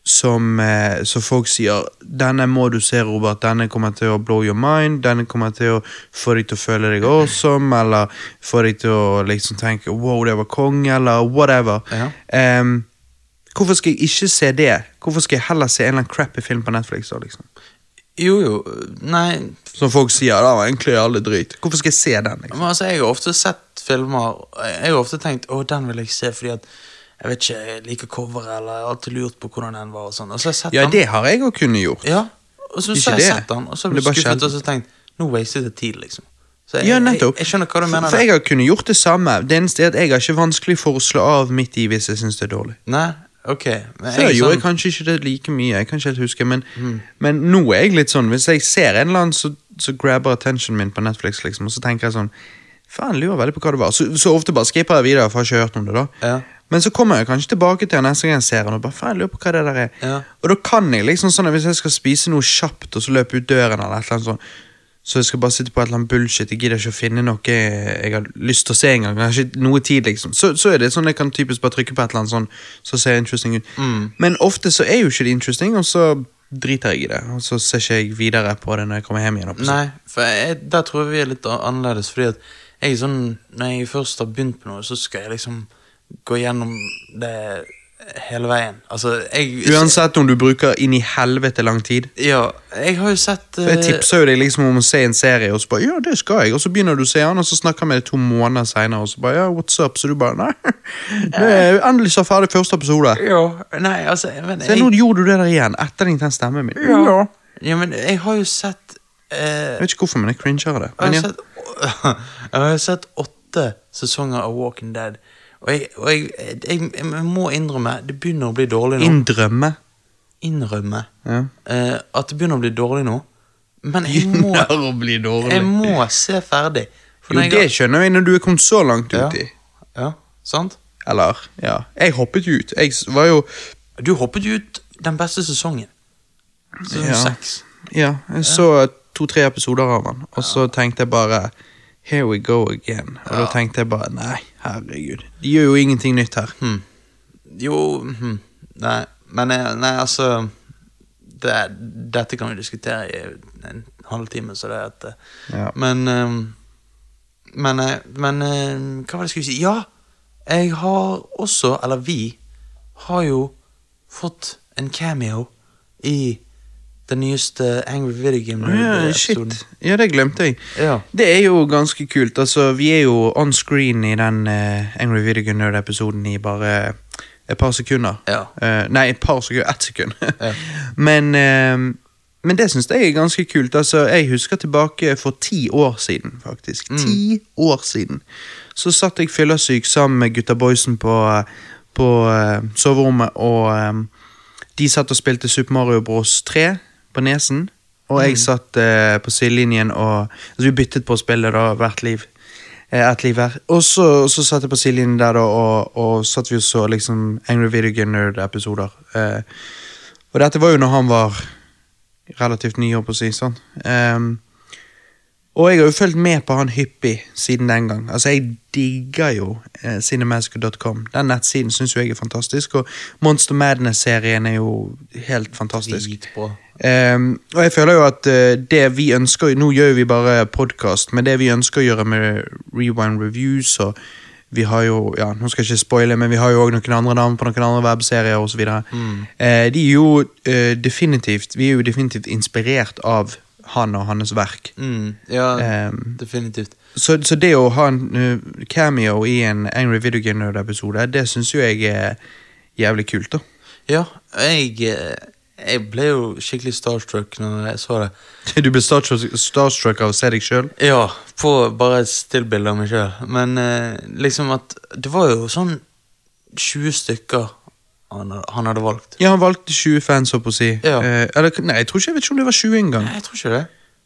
[SPEAKER 1] som eh, så folk sier 'Denne må du se, Robert. Denne kommer til å blow your mind.' 'Denne kommer til å få deg til å føle deg awesome', eller få deg til å liksom tenke 'wow, det var konge', eller whatever.
[SPEAKER 2] Ja.
[SPEAKER 1] Ehm, hvorfor skal jeg ikke se det? Hvorfor skal jeg heller se en eller annen crappy film på Netflix? da, liksom?
[SPEAKER 2] Jo, jo. Nei,
[SPEAKER 1] Som folk sier, da var egentlig alle drit. Hvorfor skal jeg se den? liksom?
[SPEAKER 2] men altså, jeg har ofte sett filmer Jeg har ofte tenkt å, den vil jeg se fordi at jeg vet ikke, jeg liker coveret, eller jeg har alltid lurt på hvordan den var. og sånn. Og så har jeg sett
[SPEAKER 1] Ja,
[SPEAKER 2] den.
[SPEAKER 1] det har jeg jo kunnet gjort.
[SPEAKER 2] Ja, og så, så
[SPEAKER 1] Ikke
[SPEAKER 2] har jeg
[SPEAKER 1] det.
[SPEAKER 2] sett den, og så
[SPEAKER 1] Men
[SPEAKER 2] ble
[SPEAKER 1] det er
[SPEAKER 2] jeg
[SPEAKER 1] bare
[SPEAKER 2] skuffet
[SPEAKER 1] sjelden.
[SPEAKER 2] og så tenkt Nå wastet jeg tid, liksom. Så jeg,
[SPEAKER 1] Ja,
[SPEAKER 2] jeg,
[SPEAKER 1] nettopp.
[SPEAKER 2] jeg skjønner hva du
[SPEAKER 1] For,
[SPEAKER 2] mener.
[SPEAKER 1] for
[SPEAKER 2] der.
[SPEAKER 1] jeg har kunnet gjort det samme. Det eneste er at jeg har ikke vanskelig for å slå av midt i hvis jeg syns det er dårlig.
[SPEAKER 2] Nei, ok. Men
[SPEAKER 1] Før
[SPEAKER 2] er
[SPEAKER 1] gjorde
[SPEAKER 2] sånn- Mm.
[SPEAKER 1] jeg kanskje ikke det like mye, jeg kan ikke helt huske, men, men nå er jeg litt sånn Hvis jeg ser en eller annen, så, så grabber attentionen min på Netflix, liksom, og så tenker jeg sånn Faen, lurer veldig på hva det var. Så, så ofte bare skipper jeg videre, for jeg har ikke hørt om det, da.
[SPEAKER 2] Ja.
[SPEAKER 1] Men så kommer jeg kanskje tilbake til den neste gang jeg ser den, og bare faen, jeg lurer på hva det der er.
[SPEAKER 2] Ja.
[SPEAKER 1] Og da kan jeg liksom sånn at hvis jeg skal spise noe kjapt, og så løpe ut døren eller et eller annet sånn, så jeg skal bare sitte på et eller annet bullshit, jeg gidder ikke å finne noe jeg har lyst til å se en gang, jeg har ikke noe tid liksom, så, så er det sånn jeg kan typisk bare trykke på et eller annet sånn, så ser det interesting ut.
[SPEAKER 2] Mm.
[SPEAKER 1] Men ofte så er jo ikke det interesting, og så driter jeg i det, og så ser ikke jeg videre på det når jeg kommer hjem igjen. opp. sånn.
[SPEAKER 2] Nei, for jeg, der tror jeg vi er litt a- annerledes. Fordi at jeg er sånn, når jeg først har begynt på noe, så skal jeg liksom gå gjennom det hele veien. Altså, jeg
[SPEAKER 1] Uansett om du bruker inn i helvete lang tid,
[SPEAKER 2] Ja, jeg har jo sett
[SPEAKER 1] For Jeg
[SPEAKER 2] eh,
[SPEAKER 1] tipser jo deg liksom om å se en serie, og så bare ja, det skal jeg. Og så begynner du å se den, og så snakker vi to måneder senere, og så bare ja, what's up? Så du bare nei. Nå er jeg endelig så ferdig første episode.
[SPEAKER 2] Ja, nei, altså men
[SPEAKER 1] Se,
[SPEAKER 2] jeg,
[SPEAKER 1] nå gjorde du det der igjen, etterlignet den stemmen min.
[SPEAKER 2] Ja.
[SPEAKER 1] Ja.
[SPEAKER 2] ja, men jeg har jo sett eh,
[SPEAKER 1] Jeg vet ikke hvorfor, men jeg cringer av det.
[SPEAKER 2] Jeg
[SPEAKER 1] Men ja.
[SPEAKER 2] har sett, jeg har sett åtte sesonger av Walking Dead. Og jeg, og jeg, jeg, jeg må innrømme, det begynner å bli dårlig nå.
[SPEAKER 1] Inndrømme.
[SPEAKER 2] innrømme
[SPEAKER 1] Ja.
[SPEAKER 2] eh, at det begynner å bli dårlig nå. Men jeg må,
[SPEAKER 1] å bli dårlig.
[SPEAKER 2] jeg må se ferdig. For
[SPEAKER 1] Jo,
[SPEAKER 2] når
[SPEAKER 1] det
[SPEAKER 2] jeg-
[SPEAKER 1] skjønner jeg når du er kommet så langt
[SPEAKER 2] Ja.
[SPEAKER 1] uti.
[SPEAKER 2] Ja, sant?
[SPEAKER 1] Eller, ja. Jeg hoppet jo ut. Jeg s- var jo
[SPEAKER 2] Du hoppet jo ut den beste sesongen. Sesong
[SPEAKER 1] Ja.
[SPEAKER 2] seks.
[SPEAKER 1] Ja, jeg så to-tre episoder av han, og så tenkte jeg bare Here we go again. Og da tenkte jeg bare nei, herregud. De gjør jo ingenting nytt her.
[SPEAKER 2] Jo hm, Nei, men eh, nei, altså det, Dette kan vi diskutere i en halvtime, så det er at eh,
[SPEAKER 1] Ja.
[SPEAKER 2] Men eh, Men, eh, men eh, Hva var det jeg skulle si? Ja! Jeg har også, eller vi, har jo fått en cameo i den nyeste Angry Video Game
[SPEAKER 1] Ja,
[SPEAKER 2] Nerd-episoden.
[SPEAKER 1] shit. Ja, det glemte jeg.
[SPEAKER 2] Ja.
[SPEAKER 1] Det er jo ganske kult. Altså, vi er jo on screen i den eh, Angry Video Game Nerd-episoden i bare et par sekunder.
[SPEAKER 2] Ja.
[SPEAKER 1] Eh, nei, et par sekunder. Ett sekund.
[SPEAKER 2] Ja.
[SPEAKER 1] Men, eh, men det syns jeg er ganske kult. Altså, jeg husker tilbake for ti år siden, faktisk. Ti år siden. Så satt jeg fyllesyk sammen med gutta boysen på, eh, på eh, soverommet, og eh, de satt og spilte Super Mario Bros. 3 på nesen. Og jeg satt eh, på sidelinjen og altså, Vi byttet på å spille da, hvert liv. Eh, ett liv hver. Og så, så satt jeg på sidelinjen der, da, og, og satt vi og så liksom Angry Video Game Nerd-episoder. Eh, og dette var jo når han var relativt ny, holdt på å si. Sånn. Ehm, og jeg har jo fulgt med på han hyppig siden den gang. Altså, Jeg digger jo eh, cinemasker.com. Den nettsiden syns jo jeg er fantastisk, og Monster Madness-serien er jo helt fantastisk.
[SPEAKER 2] Dritbra.
[SPEAKER 1] Ehm, og jeg føler jo at eh, det vi ønsker Nå gjør jo vi bare podkast, men det vi ønsker å gjøre med Rewind Reviews og vi har jo, ja, nå skal jeg ikke spoile, men vi har jo også noen andre navn på noen andre webserier osv. Mm. Eh, de er jo eh, definitivt Vi er jo definitivt inspirert av han og hans verk.
[SPEAKER 2] Mm, ja,
[SPEAKER 1] Ehm.
[SPEAKER 2] definitivt.
[SPEAKER 1] Så, så det å ha en eh, cameo i en Angry Video Game Nerd-episode, det syns jo jeg er jævlig kult, da.
[SPEAKER 2] Ja, jeg, eh, jeg ble jo skikkelig starstruck når jeg så det.
[SPEAKER 1] Du ble starstruck, starstruck av å se deg sjøl?
[SPEAKER 2] Ja, på bare et stillbilde av meg sjøl. Men eh, liksom at Det var jo sånn 20 stykker han, han hadde valgt.
[SPEAKER 1] Ja, han valgte 20 fans, holdt på å si.
[SPEAKER 2] Ja.
[SPEAKER 1] Eh, eller, nei, jeg tror ikke jeg vet ikke om det var 20 engang.
[SPEAKER 2] Nei, jeg tror ikke det.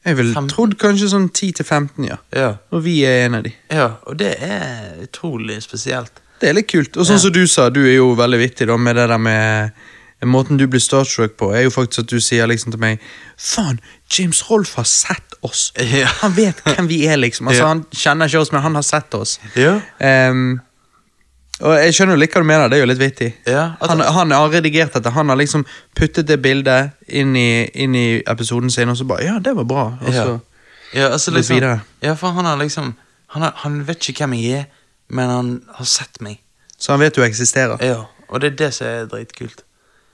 [SPEAKER 1] Jeg ville
[SPEAKER 2] Fem-
[SPEAKER 1] trodd kanskje sånn 10-15, ja.
[SPEAKER 2] Ja,
[SPEAKER 1] Og vi er en av de.
[SPEAKER 2] ja, og det er utrolig spesielt.
[SPEAKER 1] Det er litt kult. Og sånn
[SPEAKER 2] Ja.
[SPEAKER 1] som du sa, du er jo veldig vittig da, med det der med Måten du blir starstruck på, er jo faktisk at du sier liksom til meg Faen, James Rolf har sett oss!
[SPEAKER 2] Ja.
[SPEAKER 1] Han vet hvem vi er, liksom. Altså,
[SPEAKER 2] Ja.
[SPEAKER 1] Han kjenner ikke oss, men han har sett oss.
[SPEAKER 2] Ja.
[SPEAKER 1] Ehm, og jeg skjønner jo litt hva du mener, det er jo litt vittig.
[SPEAKER 2] Ja, at-
[SPEAKER 1] han, han har redigert dette, han har liksom puttet det bildet inn i, inn i episoden sin, og så bare Ja, det var bra. Og så,
[SPEAKER 2] ja. ja, altså
[SPEAKER 1] Gå
[SPEAKER 2] liksom,
[SPEAKER 1] videre.
[SPEAKER 2] ja, for han har liksom han, har, han vet ikke hvem jeg er, men han har sett meg.
[SPEAKER 1] så han vet du eksisterer.
[SPEAKER 2] Ja, Og det er det som er dritkult.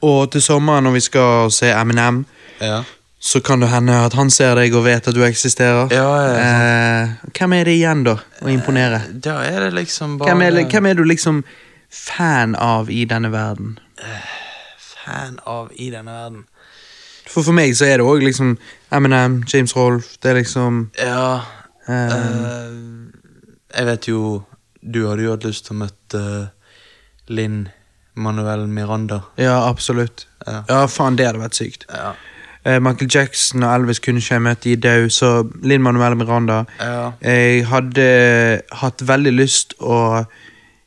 [SPEAKER 1] Og til sommeren, når vi skal se Eminem,
[SPEAKER 2] Ja.
[SPEAKER 1] så kan det hende at han ser deg og vet at du eksisterer.
[SPEAKER 2] Ja, ja,
[SPEAKER 1] eh, hvem er det igjen, da, å imponere?
[SPEAKER 2] Da er det liksom bare
[SPEAKER 1] Hvem er, hvem er du liksom fan av i denne verden?
[SPEAKER 2] fan av i denne verden.
[SPEAKER 1] For for meg så er det òg liksom Eminem, James Rolf, det er liksom
[SPEAKER 2] Ja
[SPEAKER 1] eh,
[SPEAKER 2] eh, Jeg vet jo Du hadde jo hatt lyst til å møte eh, Linn Manuel Miranda.
[SPEAKER 1] Ja, absolutt.
[SPEAKER 2] Ja.
[SPEAKER 1] Ja, faen, det hadde vært sykt.
[SPEAKER 2] Ja.
[SPEAKER 1] Eh, Michael Jackson og Elvis kunne ikke jeg møte i død, så Linn Manuel Miranda
[SPEAKER 2] Ja.
[SPEAKER 1] Jeg hadde eh, hatt veldig lyst å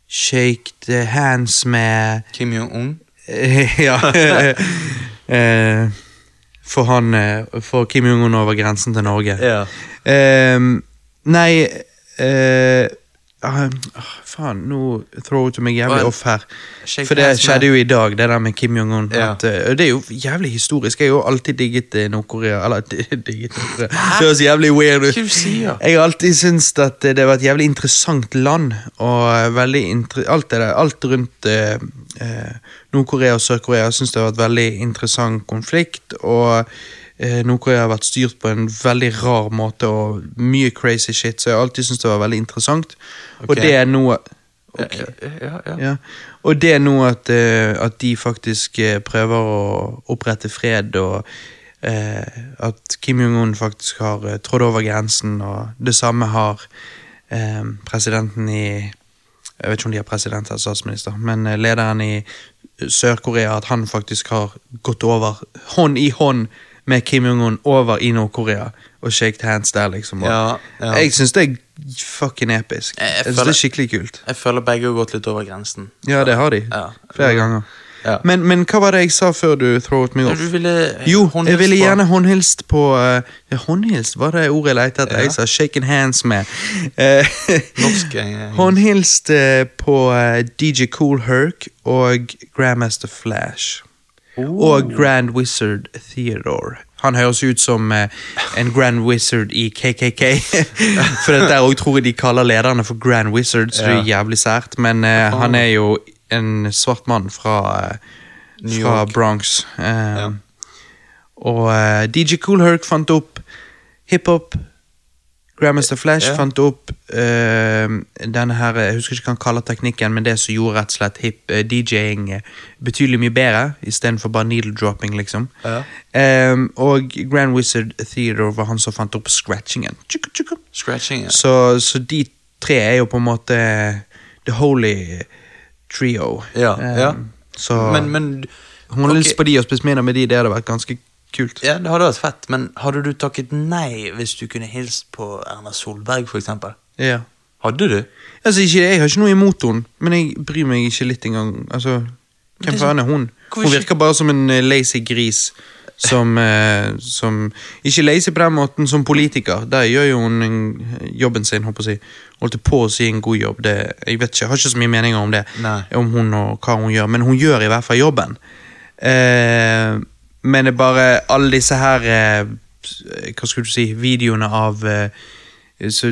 [SPEAKER 1] shake the hands med
[SPEAKER 2] Kim Jong-un.
[SPEAKER 1] Eh, Ja eh, For han eh, For Kim Jong-un over grensen til Norge.
[SPEAKER 2] Ja.
[SPEAKER 1] Ehm, nei eh, ah, ah, Faen, nå throw du meg jævlig
[SPEAKER 2] Og-
[SPEAKER 1] off her.
[SPEAKER 2] Shake
[SPEAKER 1] For det
[SPEAKER 2] hands med-
[SPEAKER 1] skjedde jo i dag, det der med Kim Jong-un.
[SPEAKER 2] Ja.
[SPEAKER 1] at, eh, Det er jo jævlig historisk. Jeg har jo alltid digget eh, Nord-Korea. Eller digget Nord-Korea. Det høres jævlig weird
[SPEAKER 2] Hva er det du
[SPEAKER 1] ut.
[SPEAKER 2] sier?
[SPEAKER 1] Jeg har alltid syntes at eh, det var et jævlig interessant land, og eh, veldig inter alt, det der, alt rundt eh, eh, Nord-Korea og Sør-Korea syns det har vært veldig interessant konflikt, og eh, Nord-Korea har vært styrt på en veldig rar måte og mye crazy shit, så jeg har alltid syntes det var veldig interessant, og
[SPEAKER 2] Ok. Eh,
[SPEAKER 1] det er noe Ok.
[SPEAKER 2] Ja, ja, ja.
[SPEAKER 1] Ja. Og det er nå at, eh, at de faktisk eh, prøver å opprette fred, og eh, at Kim Jong-un faktisk har eh, trådt over grensen, og det samme har eh, presidenten i Jeg vet ikke om de har president eller statsminister, men eh, lederen i Sør-Korea at han faktisk har gått over, hånd i hånd med Kim Jong-un, over i Nord-Korea og shaket hands der, liksom. Og
[SPEAKER 2] Ja, ja.
[SPEAKER 1] Jeg syns det er fucking episk.
[SPEAKER 2] Jeg- jeg
[SPEAKER 1] Jeg, synes
[SPEAKER 2] føler-
[SPEAKER 1] det er skikkelig kult.
[SPEAKER 2] Jeg føler begge har gått litt over grensen.
[SPEAKER 1] Ja, det har de.
[SPEAKER 2] Ja.
[SPEAKER 1] Flere ganger.
[SPEAKER 2] Mm. Ja.
[SPEAKER 1] Men, men hva var det jeg sa før du throwet meg
[SPEAKER 2] Men
[SPEAKER 1] off?
[SPEAKER 2] du ville
[SPEAKER 1] Jo,
[SPEAKER 2] håndhilse
[SPEAKER 1] jeg ville
[SPEAKER 2] på-
[SPEAKER 1] gjerne håndhilst på eh, ja, Håndhilst var det ordet jeg lette etter.
[SPEAKER 2] Ja.
[SPEAKER 1] Jeg sa 'shaken hands' med. Eh,
[SPEAKER 2] Norsk eh,
[SPEAKER 1] håndhilst eh, på eh, DJ Cool Herc og Grandmaster Flash. Og Grand Wizard Theodore. Han høres ut som eh, en Grand Wizard i KKK. for det der òg tror jeg de kaller lederne for Grand Wizard, så det er jævlig sært. Men eh, han er jo en svart mann fra, eh,
[SPEAKER 2] New
[SPEAKER 1] fra
[SPEAKER 2] York.
[SPEAKER 1] Bronx. Eh, Og eh, DJ Cool Herc fant opp hiphop, Grammars The Flash
[SPEAKER 2] Ja.
[SPEAKER 1] fant opp eh, denne her, jeg husker ikke hva han kaller teknikken, men det som gjorde rett og slett hip eh, DJing eh, betydelig mye bedre, istedenfor bare needle dropping, liksom.
[SPEAKER 2] Ja.
[SPEAKER 1] Eh, og Grand Wizard Theodore var han som fant opp scratchingen. Tjukk, tjukk, tjukk.
[SPEAKER 2] Scratching, ja.
[SPEAKER 1] Så, så de tre er jo på en måte the holy trio.
[SPEAKER 2] Ja,
[SPEAKER 1] Eh,
[SPEAKER 2] ja.
[SPEAKER 1] Så
[SPEAKER 2] Men, men
[SPEAKER 1] hun har
[SPEAKER 2] ok,
[SPEAKER 1] lyst på de og spist middag med de, det hadde vært ganske kult.
[SPEAKER 2] Ja, det hadde vært fett, men hadde du takket nei hvis du kunne hilst på Erna Solberg, for eksempel?
[SPEAKER 1] Ja.
[SPEAKER 2] Hadde du?
[SPEAKER 1] Altså, ikke, jeg har ikke noe imot hun, men jeg bryr meg ikke litt engang. Altså,
[SPEAKER 2] det
[SPEAKER 1] hvem
[SPEAKER 2] er sånn-
[SPEAKER 1] faen er hun?
[SPEAKER 2] Hvorfor
[SPEAKER 1] Hun
[SPEAKER 2] ikke-
[SPEAKER 1] virker bare som en eh, lazy gris. Som, eh, som Ikke lazy på den måten som politiker. Der gjør jo hun en- jobben sin, holdt på å si. Holdt på å si en god jobb. Det, jeg vet ikke, jeg har ikke så mye meninger om det.
[SPEAKER 2] Nei.
[SPEAKER 1] Om hun og hva hun gjør, men hun gjør i hvert fall jobben. Eh, men det er bare alle disse her eh, Hva skulle du si Videoene av eh, så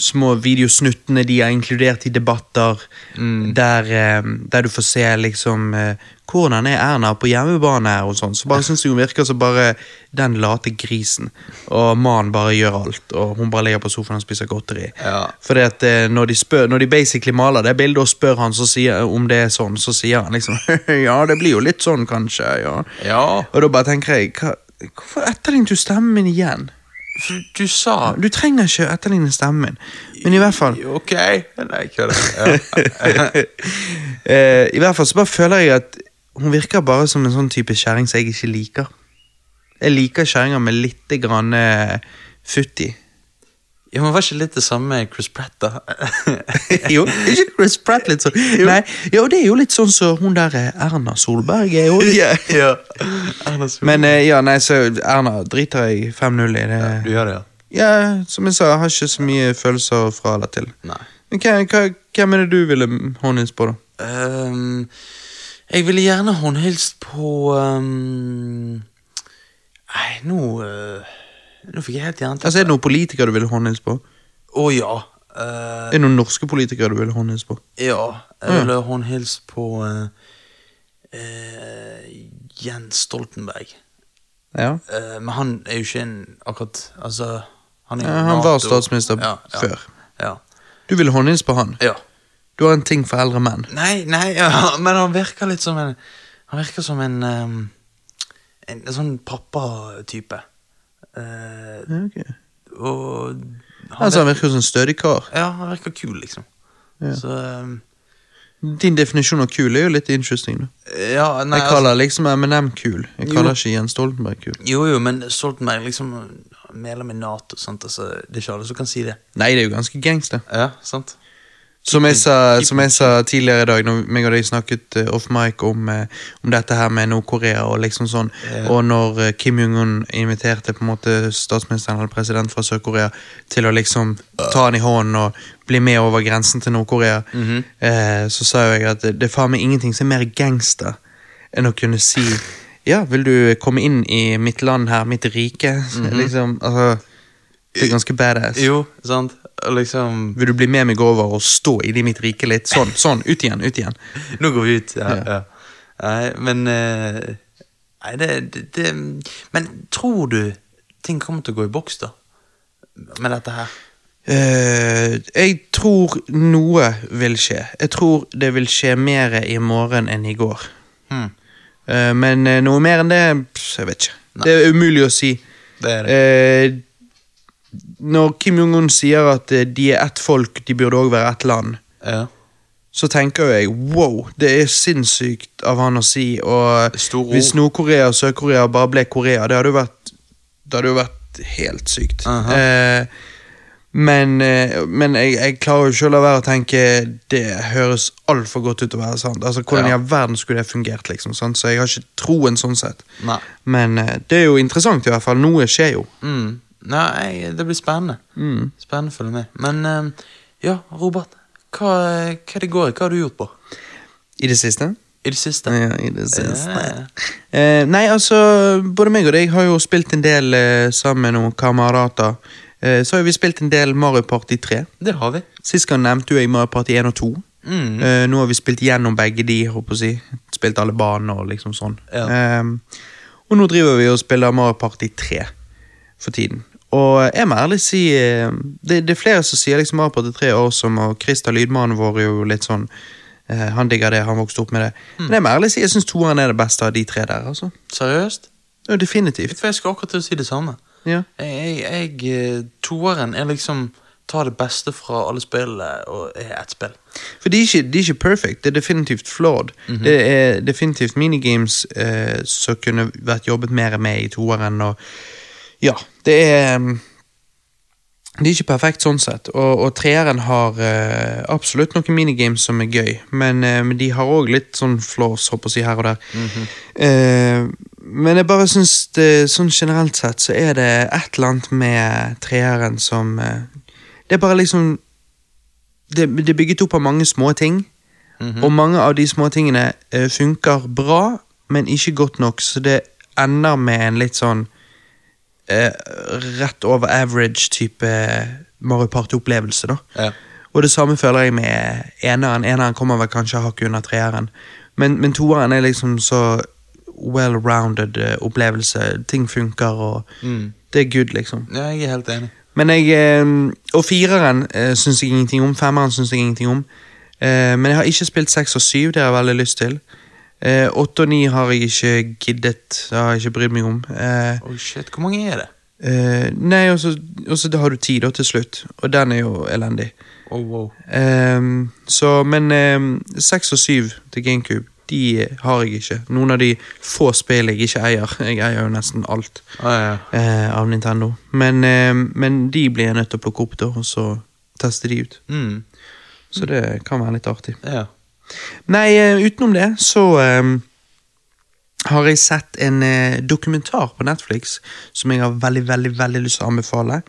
[SPEAKER 1] små videosnuttene de har inkludert i debatter, der, eh, der du får se liksom eh, hvordan er Erna på hjemmebane og sånn. Så bare syns jeg hun virker som bare den late grisen. Og mannen bare gjør alt, og hun bare ligger på sofaen og spiser godteri.
[SPEAKER 2] Ja.
[SPEAKER 1] Fordi at eh, når de, spør, når de basically maler det bildet og spør han så sier, om det er sånn, så sier han liksom Ja, det blir jo litt sånn, kanskje. Ja.
[SPEAKER 2] Ja.
[SPEAKER 1] Og da bare tenker jeg hva, Hvorfor etterlignet du stemmen min igjen?
[SPEAKER 2] For du sa
[SPEAKER 1] Du trenger ikke å etterligne stemmen min, men i hvert fall
[SPEAKER 2] Ok. Nei, kødder. Ja.
[SPEAKER 1] eh, I hvert fall så bare føler jeg at hun virker bare som en sånn type kjerring som jeg ikke liker. Jeg liker kjerringer med litt grann eh, futt i.
[SPEAKER 2] ja, men var ikke litt det samme med Chris Pratt, da?
[SPEAKER 1] jo, ikke Chris Pratt litt sånn? Nei, jo, det er jo litt sånn som hun der eh, Erna Solberg er jo.
[SPEAKER 2] ja. Erna Solberg.
[SPEAKER 1] Men eh, ja, nei, så Erna driter jeg 5-0 i det.
[SPEAKER 2] Du gjør det, ja?
[SPEAKER 1] Ja, som jeg sa, jeg har ikke så mye følelser fra eller til.
[SPEAKER 2] Nei.
[SPEAKER 1] Men hva- hva- hvem er det du ville håndhils på, da?
[SPEAKER 2] Ehm, jeg ville gjerne håndhilst på ehm, Nei, nå eh, Nå fikk jeg helt jernteppe.
[SPEAKER 1] Altså, Er det noen politikere du ville håndhils på?
[SPEAKER 2] Å ja. eh,
[SPEAKER 1] Er det noen norske politikere du ville håndhils på?
[SPEAKER 2] Ja,
[SPEAKER 1] Å, ja.
[SPEAKER 2] jeg ville håndhilst på eh, eh, Jens Stoltenberg.
[SPEAKER 1] Ja.
[SPEAKER 2] Eh, men han er jo ikke en akkurat Altså, han er jo
[SPEAKER 1] Ja, Eh, han var
[SPEAKER 2] NATO.
[SPEAKER 1] statsminister før.
[SPEAKER 2] Ja.
[SPEAKER 1] Du ville håndhils på han.
[SPEAKER 2] ja.
[SPEAKER 1] Du har en ting for eldre menn.
[SPEAKER 2] Nei, nei, ja, men han virker litt som en Han virker som en ehm, En, en sånn pappa-type. Eh, og han
[SPEAKER 1] Altså, han virker som en stødig kar.
[SPEAKER 2] vir- Ja, han virker kul, liksom.
[SPEAKER 1] Ja.
[SPEAKER 2] Så ehm,
[SPEAKER 1] Din definisjon av kul er jo litt interesting. Da.
[SPEAKER 2] Ja, nei altså-
[SPEAKER 1] Jeg kaller liksom M&M kul. Jeg
[SPEAKER 2] Jo.
[SPEAKER 1] kaller ikke Jens Stoltenberg kul.
[SPEAKER 2] Jo, jo, men Stoltenberg er liksom medlem i Nato. sant? Altså, det er ikke alle som kan si det.
[SPEAKER 1] Nei, det er jo ganske gangster.
[SPEAKER 2] Ja, sant?
[SPEAKER 1] Som jeg sa, som jeg sa tidligere i dag, når meg og deg snakket eh, off mic om, eh, om dette her med Nord-Korea og liksom sånn,
[SPEAKER 2] Ja.
[SPEAKER 1] og når eh, Kim Jong-un inviterte på en måte statsministeren eller president fra Sør-Korea til å liksom ta han i hånden og bli med over grensen til Nord-Korea,
[SPEAKER 2] Mhm.
[SPEAKER 1] eh, så sa jo jeg at det det er faen meg ingenting som er mer gangster enn å kunne si ja, vil du komme inn i mitt land her, mitt rike? Liksom, altså, det er ganske badass.
[SPEAKER 2] Mhm. Jo, sant? Og liksom
[SPEAKER 1] Vil du bli med meg over og stå inni mitt rike litt? Sånn, sånn, ut igjen, ut igjen.
[SPEAKER 2] Nå går vi ut. Ja,
[SPEAKER 1] Ja.
[SPEAKER 2] ja. Nei, men eh, Nei, det, det, det Men tror du ting kommer til å gå i boks, da? Med dette her?
[SPEAKER 1] Eh, jeg tror noe vil skje. Jeg tror det vil skje mer i morgen enn i går.
[SPEAKER 2] Hmm.
[SPEAKER 1] Eh, men eh, noe mer enn det pff, Jeg vet ikke.
[SPEAKER 2] Nei.
[SPEAKER 1] Det er umulig å si.
[SPEAKER 2] Det er det.
[SPEAKER 1] Eh, når Kim Jong-un sier at eh, de er ett folk, de burde òg være ett land,
[SPEAKER 2] Ja.
[SPEAKER 1] så tenker jo jeg wow, det er sinnssykt av han å si. Og
[SPEAKER 2] Store ord.
[SPEAKER 1] hvis Nord-Korea og Sør-Korea bare ble Korea, det hadde jo vært, det hadde jo vært helt sykt.
[SPEAKER 2] Aha.
[SPEAKER 1] eh, men eh, men jeg, jeg klarer jo ikke å la være å tenke det høres altfor godt ut til å være sant. Altså, Hvordan i
[SPEAKER 2] Ja.
[SPEAKER 1] all verden skulle det fungert? liksom, sant? Så jeg har ikke troen sånn sett.
[SPEAKER 2] Nei.
[SPEAKER 1] Men eh, det er jo interessant, i hvert fall. Noe skjer jo.
[SPEAKER 2] Mm. Nei, det blir spennende.
[SPEAKER 1] Mm.
[SPEAKER 2] Spennende å følge med. Men eh, ja, Robert. Hva, hva er det går i? Hva har du gjort på
[SPEAKER 1] I det siste?
[SPEAKER 2] i det siste?
[SPEAKER 1] Ja, i det siste.
[SPEAKER 2] Eh,
[SPEAKER 1] Eh, nei, altså, både meg og deg har jo spilt en del eh, sammen med noen kamerater. Eh, så har vi spilt en del Mario Party 3.
[SPEAKER 2] det har vi.
[SPEAKER 1] Sist gang nevnte jo jeg Mario Party 1 og 2.
[SPEAKER 2] Mm.
[SPEAKER 1] Eh, nå har vi spilt gjennom begge de, håper jeg å si. Spilt alle banene og liksom sånn.
[SPEAKER 2] Ja.
[SPEAKER 1] Eh, og nå driver vi og spiller Mario Party 3 for tiden. Og jeg må ærlig si eh, Det, det er flere som sier liksom Mario Party 3 år som og Christer Lydmannen vår er jo litt sånn eh, Han digger det, han vokste opp med det.
[SPEAKER 2] Mm.
[SPEAKER 1] Men jeg må ærlig si jeg syns toeren er det beste av de tre der. altså
[SPEAKER 2] Seriøst?
[SPEAKER 1] ja, Definitivt.
[SPEAKER 2] For jeg skulle akkurat til å si det samme.
[SPEAKER 1] Ja.
[SPEAKER 2] Jeg, jeg, jeg eh, Toeren er liksom Ta det beste fra alle spillene og er ett spill.
[SPEAKER 1] For de er, ikke, de er ikke perfect, det er definitivt flawed. Det er definitivt minigames eh, som kunne vært jobbet mer med i toeren. Og, ja, det er mm, Det er ikke perfekt sånn sett, og, og treeren har eh, absolutt noen minigames som er gøy, men, eh, men de har òg litt sånn flaws, håper jeg å si, her og der. eh, men jeg bare syns det, sånn generelt sett så er det et eller annet med treeren som eh, Det er bare liksom det, det er bygget opp av mange små ting,
[SPEAKER 2] Mhm.
[SPEAKER 1] og mange av de små tingene eh, funker bra, men ikke godt nok, så det ender med en litt sånn eh, rett over average-type Mario Party-opplevelse, da.
[SPEAKER 2] Ja.
[SPEAKER 1] Og det samme føler jeg med eneren. Eneren kommer vel kanskje hakket under treeren, men, men toeren er liksom så well-rounded eh, opplevelse. Ting funker, og
[SPEAKER 2] Mm.
[SPEAKER 1] det er good, liksom.
[SPEAKER 2] ja, jeg er helt enig.
[SPEAKER 1] Men jeg eh, Og fireren eh, syns jeg ingenting om. Femmeren syns jeg ingenting om. Eh, men jeg har ikke spilt seks og syv, det har jeg veldig lyst til. Eh, Åtte og ni har jeg ikke giddet. Det har jeg ikke brydd meg om. Eh,
[SPEAKER 2] Oh shit, Hvor mange er det?
[SPEAKER 1] eh, nei, og så og så da har du ti, da, til slutt. Og den er jo elendig.
[SPEAKER 2] Oh, wow.
[SPEAKER 1] Ehm, så, men ehm, seks og syv til GameCube, de har jeg ikke. Noen av de få spill jeg ikke eier. Jeg eier jo nesten alt
[SPEAKER 2] Ah, ja.
[SPEAKER 1] eh, av Nintendo. Men, ehm, men de blir jeg nødt til å plukke opp, da, og så teste de ut.
[SPEAKER 2] Mm.
[SPEAKER 1] Så det kan være litt artig.
[SPEAKER 2] ja.
[SPEAKER 1] Nei, eh, utenom det så ehm, har jeg sett en eh, dokumentar på Netflix som jeg har veldig, veldig, veldig lyst til å anbefale.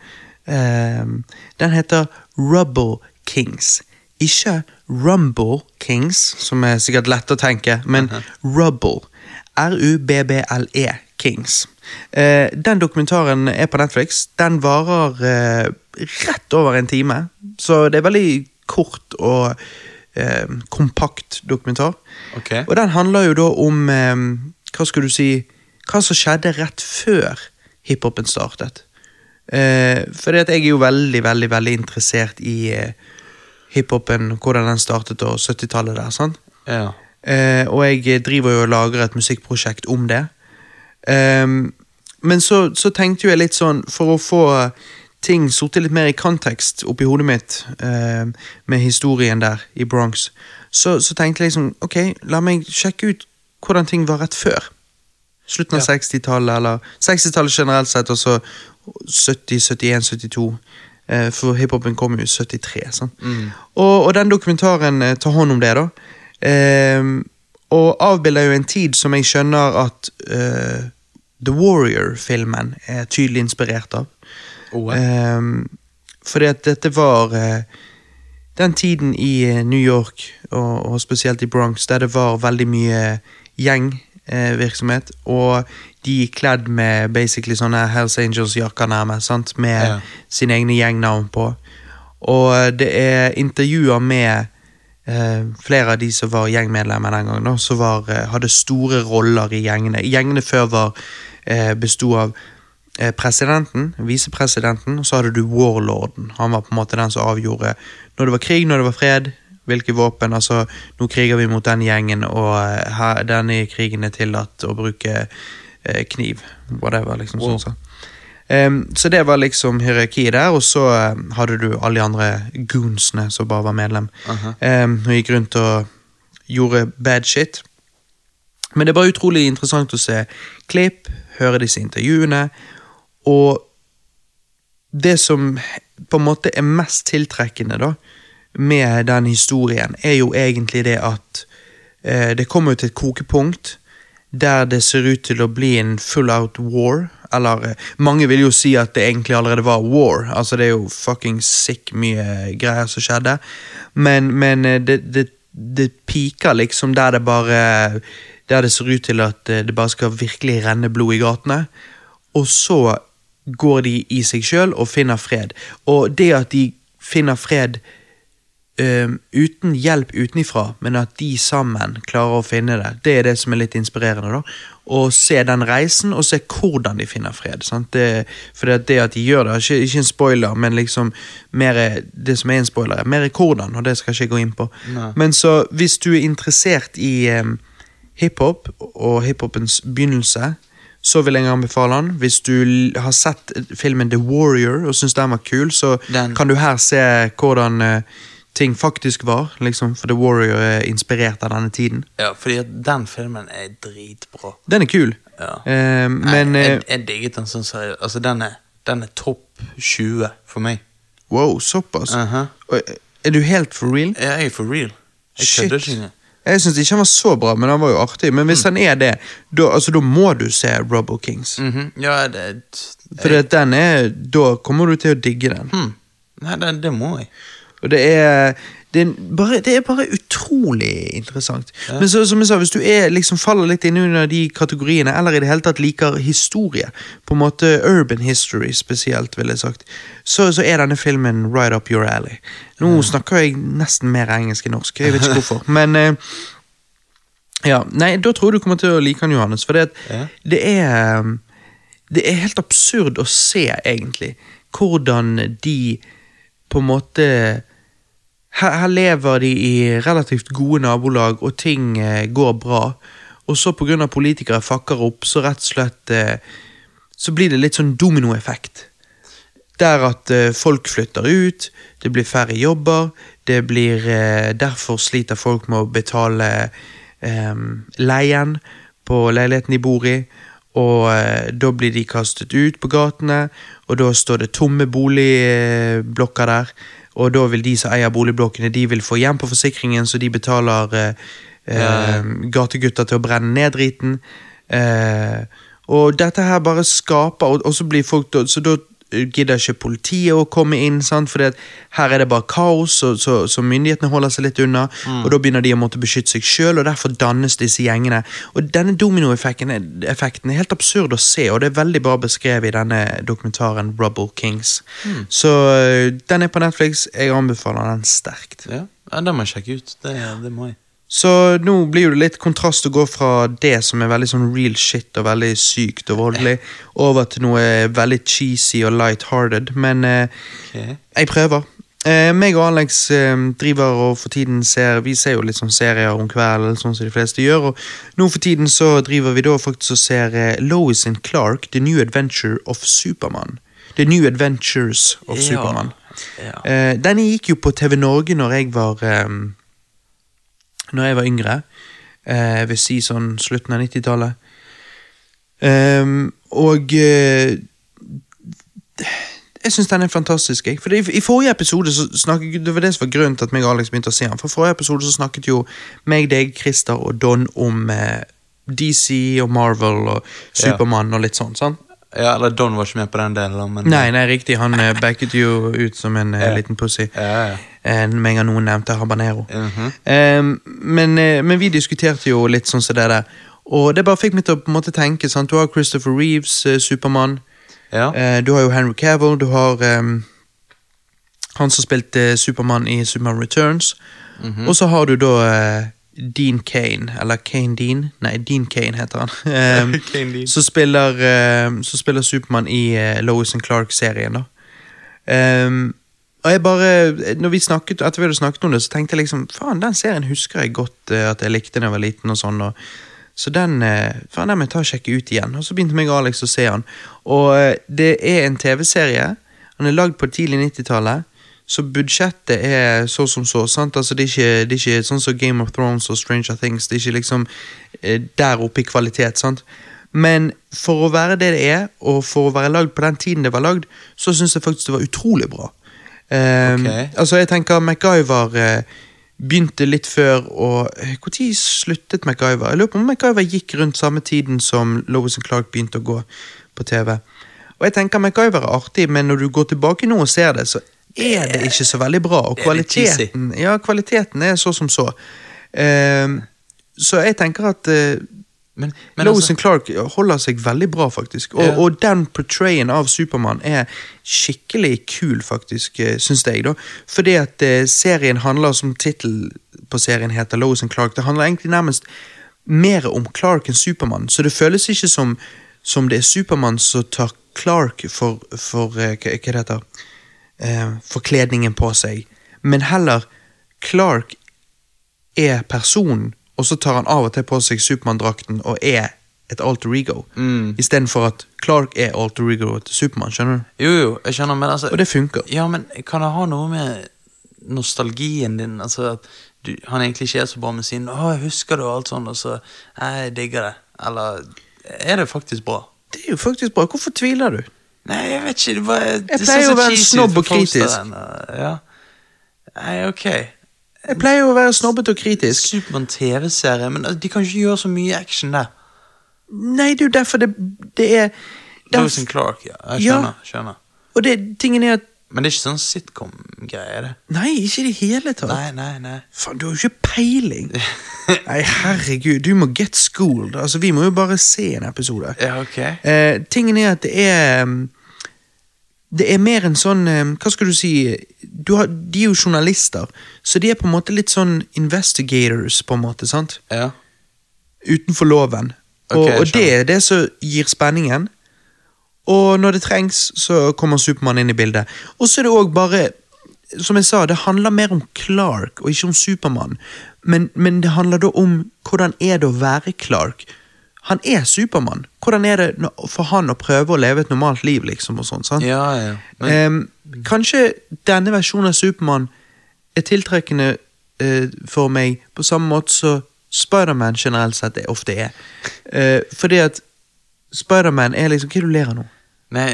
[SPEAKER 1] Ehm, den heter Rubble Kings. Ikke Rumble Kings, som er sikkert lett å tenke, men Rubble. R-u-b-b-l-e E Kings. Eh, den dokumentaren er på Netflix. Den varer eh, rett over en time, så det er veldig kort og eh, kompakt dokumentar.
[SPEAKER 2] Ok.
[SPEAKER 1] Og den handler jo da om eh, Hva skal du si Hva som skjedde rett før hiphopen startet. Eh, fordi at jeg er jo veldig, veldig veldig interessert i eh, hiphopen, hvordan den startet, og 70-tallet der. sant?
[SPEAKER 2] Ja.
[SPEAKER 1] Eh, og jeg driver jo og lager et musikkprosjekt om det. Ehm, men så, så tenkte jo jeg litt sånn, for å få ting sorte litt mer i kontekst oppi hodet mitt, ehm, med historien der i Bronx, så, så tenkte jeg liksom ok, la meg sjekke ut hvordan ting var rett før. Slutten av
[SPEAKER 2] Ja.
[SPEAKER 1] 60-tallet, eller 60-tallet generelt sett, og så 70, 71, 72. eh, For hiphopen kom jo i 73. sant?
[SPEAKER 2] Mm.
[SPEAKER 1] Og, og den dokumentaren eh, tar hånd om det, da. Ehm, og avbilder jo en tid som jeg skjønner at eh, The Warrior-filmen er tydelig inspirert av.
[SPEAKER 2] Oh, ja.
[SPEAKER 1] Um, fordi at dette var eh, den tiden i eh, New York, og, og spesielt i Bronx, der det var veldig mye gjengvirksomhet. og de gikk kledd med basically sånne Hells Angels-jakker nærmest, sant? med
[SPEAKER 2] Ja.
[SPEAKER 1] sine egne gjengnavn på. Og eh, det er intervjuer med eh, flere av de som var gjengmedlemmer den gangen, da, som var, eh, hadde store roller i gjengene. Gjengene før var, eh, besto av eh, presidenten, visepresidenten, og så hadde du warlorden. Han var på en måte den som avgjorde når det var krig, når det var fred, hvilke våpen. Altså, nå kriger vi mot den gjengen, og eh, her, denne krigen er tillatt å bruke eh, kniv. Whatever, liksom.
[SPEAKER 2] Wow.
[SPEAKER 1] Sånn, sånn. Ehm, så det var liksom hierarkiet der, og så eh, hadde du alle de andre goonsene som bare var medlem.
[SPEAKER 2] Aha.
[SPEAKER 1] Ehm, og gikk rundt og gjorde bad shit. Men det er bare utrolig interessant å se klipp, høre disse intervjuene, og det som på en måte er mest tiltrekkende da, med den historien, er jo egentlig det at eh, det kommer jo til et kokepunkt der det ser ut til å bli en full-out war. Eller eh, mange vil jo si at det egentlig allerede var war. Altså Det er jo fucking sick mye greier som skjedde. Men, men eh, det, det, det piker liksom der det bare Der det ser ut til at eh, det bare skal virkelig renne blod i gatene. Og så går de i seg sjøl og finner fred. Og det at de finner fred øhm, Ehm, uten hjelp utenifra, men at de sammen klarer å finne det, det er det som er litt inspirerende. da. og se den reisen, og se hvordan de finner fred. Sant? Det, for det, det at de gjør det, er ikke, ikke en spoiler, men liksom mer, det som er en spoiler, er mer hvordan, og det skal ikke jeg gå inn på.
[SPEAKER 2] Nei.
[SPEAKER 1] Men så hvis du er interessert i ehm, em, hiphop og hiphopens begynnelse, så vil jeg anbefale den. Hvis du l- har sett filmen The Warrior og syns den var kul, så
[SPEAKER 2] Den-
[SPEAKER 1] kan du her se hvordan eh, ting faktisk var. Liksom, for The Warrior er inspirert av denne tiden.
[SPEAKER 2] Ja, fordi at den filmen er dritbra.
[SPEAKER 1] Den er kul.
[SPEAKER 2] Ja.
[SPEAKER 1] Eh, men
[SPEAKER 2] Nei,
[SPEAKER 1] eh,
[SPEAKER 2] jeg, jeg digget den sånn seriøst. Altså, den er, den er topp 20 for meg.
[SPEAKER 1] wow, såpass.
[SPEAKER 2] Aha.
[SPEAKER 1] Oi, Er du helt for real?
[SPEAKER 2] Jeg er for real. Jeg
[SPEAKER 1] Shit.
[SPEAKER 2] kødder ikke engang.
[SPEAKER 1] Jeg syns ikke han var så bra, men han var jo artig. Men
[SPEAKER 2] Mm.
[SPEAKER 1] hvis han er det, da, altså, da må du se Rubble Kings.
[SPEAKER 2] Mhm, Ja, det
[SPEAKER 1] For
[SPEAKER 2] jeg,
[SPEAKER 1] at den er, da kommer du til å digge den.
[SPEAKER 2] hmm. Nei, det, det må jeg.
[SPEAKER 1] Og det er, det er, bare, det er bare utrolig interessant. Men så, som jeg sa, hvis du er, liksom, faller litt inn under de kategoriene, eller i det hele tatt liker historie, på en måte urban history spesielt, vil jeg sagt, så, så er denne filmen right up your alley. Nå snakker jeg nesten mer engelsk enn norsk, jeg vet ikke hvorfor. Men eh, ja, nei, da tror jeg du kommer til å like han, Johannes. For det,
[SPEAKER 2] Ja.
[SPEAKER 1] det er um, Det er helt absurd å se, egentlig, hvordan de på en måte her, her lever de i relativt gode nabolag, og ting eh, går bra. Og så pga. politikere fucker opp, så rett og slett eh, Så blir det litt sånn dominoeffekt. Der at eh, folk flytter ut, det blir færre jobber, det blir eh, Derfor sliter folk med å betale eh, leien på leiligheten de bor i. Og eh, da blir de kastet ut på gatene, og da står det tomme boligblokker der. Og da vil de som eier boligblokkene, de vil få hjem på forsikringen, så de betaler eh, eh, gategutter til å brenne ned driten. Eh, og dette her bare skaper Og, og så blir folk da- Så da gidder ikke politiet å komme inn, sant? for her er det bare kaos, og, så, så myndighetene holder seg litt unna. Og da begynner de å måtte beskytte seg sjøl, og derfor dannes disse gjengene. Og denne dominoeffekten er- effekten er helt absurd å se, og det er veldig bra beskrevet i denne dokumentaren Rubble Kings. Så øh, den er på Netflix. Jeg anbefaler den sterkt.
[SPEAKER 2] Ja, ja Den må jeg sjekke ut. Det, det må jeg.
[SPEAKER 1] Så nå blir jo det litt kontrast å gå fra det som er veldig sånn real shit og veldig sykt og voldelig, over til noe veldig cheesy og light-hearted, men eh,
[SPEAKER 2] Ok.
[SPEAKER 1] jeg prøver. Eh, meg og Alex eh, driver og for tiden ser Vi ser jo litt sånn serier om kvelden, sånn som de fleste gjør, og nå for tiden så driver vi da faktisk og ser eh, Lois and Clark, The New Adventure of Superman. The New Adventures of
[SPEAKER 2] Ja.
[SPEAKER 1] Superman.
[SPEAKER 2] Ja.
[SPEAKER 1] Eh, denne gikk jo på TV Norge når jeg var eh, Når jeg var yngre. Eh, jeg vil si sånn slutten av 90-tallet. Ehm, og eh, jeg syns den er fantastisk. Jeg. For i, I forrige episode så snakket, Det var det som var grunnen til at meg og Alex begynte å se den. For i forrige episode så snakket jo meg, deg, Christer og Don om eh, DC og Marvel og Supermann og litt sånn. sant?
[SPEAKER 2] ja, eller Don var ikke med på den delen, da, men
[SPEAKER 1] Nei, nei, riktig. Han eh, backet jo ut som en eh,
[SPEAKER 2] Ja.
[SPEAKER 1] liten pussy.
[SPEAKER 2] Ja, ja.
[SPEAKER 1] Eh, Med en gang noen nevnte habanero.
[SPEAKER 2] Mhm.
[SPEAKER 1] Eh, men, eh, men vi diskuterte jo litt sånn som det der. Og det bare fikk meg til å på en måte tenke. sant? Du har Christopher Reeves, eh, Supermann.
[SPEAKER 2] Ja.
[SPEAKER 1] Eh, Du har jo Henry Cavill. Du har eh, han som spilte eh, Supermann i Supermann Returns.
[SPEAKER 2] mhm.
[SPEAKER 1] Og så har du da eh, Dean Kane, eller Kane Dean. Nei, Dean Kane heter han. Eh,
[SPEAKER 2] Kane Dean.
[SPEAKER 1] Så spiller, eh, så spiller Supermann i eh, Lois and Clark-serien, da. Ehm, og jeg bare, eh, når vi snakket, Etter vi hadde snakket om det, så tenkte jeg liksom Faen, den serien husker jeg godt eh, at jeg likte da jeg var liten. og sånn og, Så den eh, faen, den må jeg ta og sjekke ut igjen. Og så begynte meg og Alex å se han. Og eh, det er en TV-serie. Han er lagd på tidlig 90-tallet. Så budsjettet er så som så. sant? Altså Det er ikke, det er ikke sånn som Game of Thrones og Stranger Things. Det er ikke liksom eh, der oppe i kvalitet. sant? Men for å være det det er, og for å være lagd på den tiden det var lagd, så syns jeg faktisk det var utrolig bra. Ehm,
[SPEAKER 2] Ok.
[SPEAKER 1] Altså, jeg tenker MacGyver eh, begynte litt før, og eh, når sluttet MacGyver? Jeg lurer på om MacGyver gikk rundt samme tiden som Lois and Clark begynte å gå på TV. Og jeg tenker MacGyver er artig, men når du går tilbake nå og ser det, så er det ikke så veldig bra. Og
[SPEAKER 2] Det er litt cheesy.
[SPEAKER 1] kvaliteten, ja, kvaliteten er så som så. Ehm, så jeg tenker at eh,
[SPEAKER 2] Men, men
[SPEAKER 1] men Lois
[SPEAKER 2] altså,
[SPEAKER 1] and Clark holder seg veldig bra, faktisk. Og,
[SPEAKER 2] Ja.
[SPEAKER 1] og den portrayen av Supermann er skikkelig kul, faktisk, eh, syns jeg. da. Fordi at eh, serien handler, som tittelen på serien heter, Lois and Clark, det handler egentlig nærmest mer om Clark enn Supermann, så det føles ikke som, som det er Supermann som tar Clark for, for eh, hva, hva det heter eh, forkledningen på seg, men heller Clark er personen, og så tar han av og til på seg Supermann-drakten og er et alter ego,
[SPEAKER 2] Mm.
[SPEAKER 1] istedenfor at Clark er alter ego til Supermann, skjønner du?
[SPEAKER 2] Jo, jo, jeg skjønner, men altså
[SPEAKER 1] Og det funker.
[SPEAKER 2] Ja, men kan det ha noe med nostalgien din Altså at du, han egentlig ikke er så bra med sin 'Å, jeg husker det', og alt sånt, og så 'Nei, jeg digger det'. Eller er det faktisk bra?
[SPEAKER 1] Det er jo faktisk bra. Hvorfor tviler du?
[SPEAKER 2] Nei, jeg vet ikke. Det bare, det ser
[SPEAKER 1] pleier
[SPEAKER 2] så
[SPEAKER 1] å være en
[SPEAKER 2] cheesy ut
[SPEAKER 1] snobb
[SPEAKER 2] på
[SPEAKER 1] og kritisk.
[SPEAKER 2] posteren, og- Ja. Nei, ok.
[SPEAKER 1] Jeg pleier jo å være snobbete og kritisk.
[SPEAKER 2] Supermann TV-serie, men altså, de kan ikke gjøre så mye action der.
[SPEAKER 1] Nei, det er jo derfor det, det er
[SPEAKER 2] Lewis
[SPEAKER 1] derf,
[SPEAKER 2] and Clark, ja. Jeg
[SPEAKER 1] Ja.
[SPEAKER 2] skjønner. skjønner.
[SPEAKER 1] Og det, tingen er at
[SPEAKER 2] Men det er ikke sånn sitcom-greie, er det?
[SPEAKER 1] Nei, ikke i det hele tatt.
[SPEAKER 2] Nei, nei, nei.
[SPEAKER 1] Faen, du har jo ikke peiling. Nei, herregud, du må get schooled. Altså, vi må jo bare se en episode.
[SPEAKER 2] Ja, ok.
[SPEAKER 1] Eh, tingen er at det er mm, Det er mer en sånn eh, Hva skal du si du har, De er jo journalister, så de er på en måte litt sånn investigators, på en måte. sant?
[SPEAKER 2] Ja.
[SPEAKER 1] Utenfor loven.
[SPEAKER 2] Ok,
[SPEAKER 1] og
[SPEAKER 2] jeg
[SPEAKER 1] og det er det som gir spenningen. Og når det trengs, så kommer Supermann inn i bildet. Og så er det òg bare Som jeg sa, det handler mer om Clark og ikke om Supermann. Men, men det handler da om hvordan er det å være Clark. Han er Supermann. Hvordan er det nå- for han å prøve å leve et normalt liv, liksom? og sånt, sant?
[SPEAKER 2] Ja, ja. Men,
[SPEAKER 1] Ehm, kanskje denne versjonen av Supermann er tiltrekkende eh, for meg på samme måte som Spiderman generelt sett er- ofte er. Eh, fordi at Spiderman er liksom Hva er det du ler av nå?
[SPEAKER 2] Nei,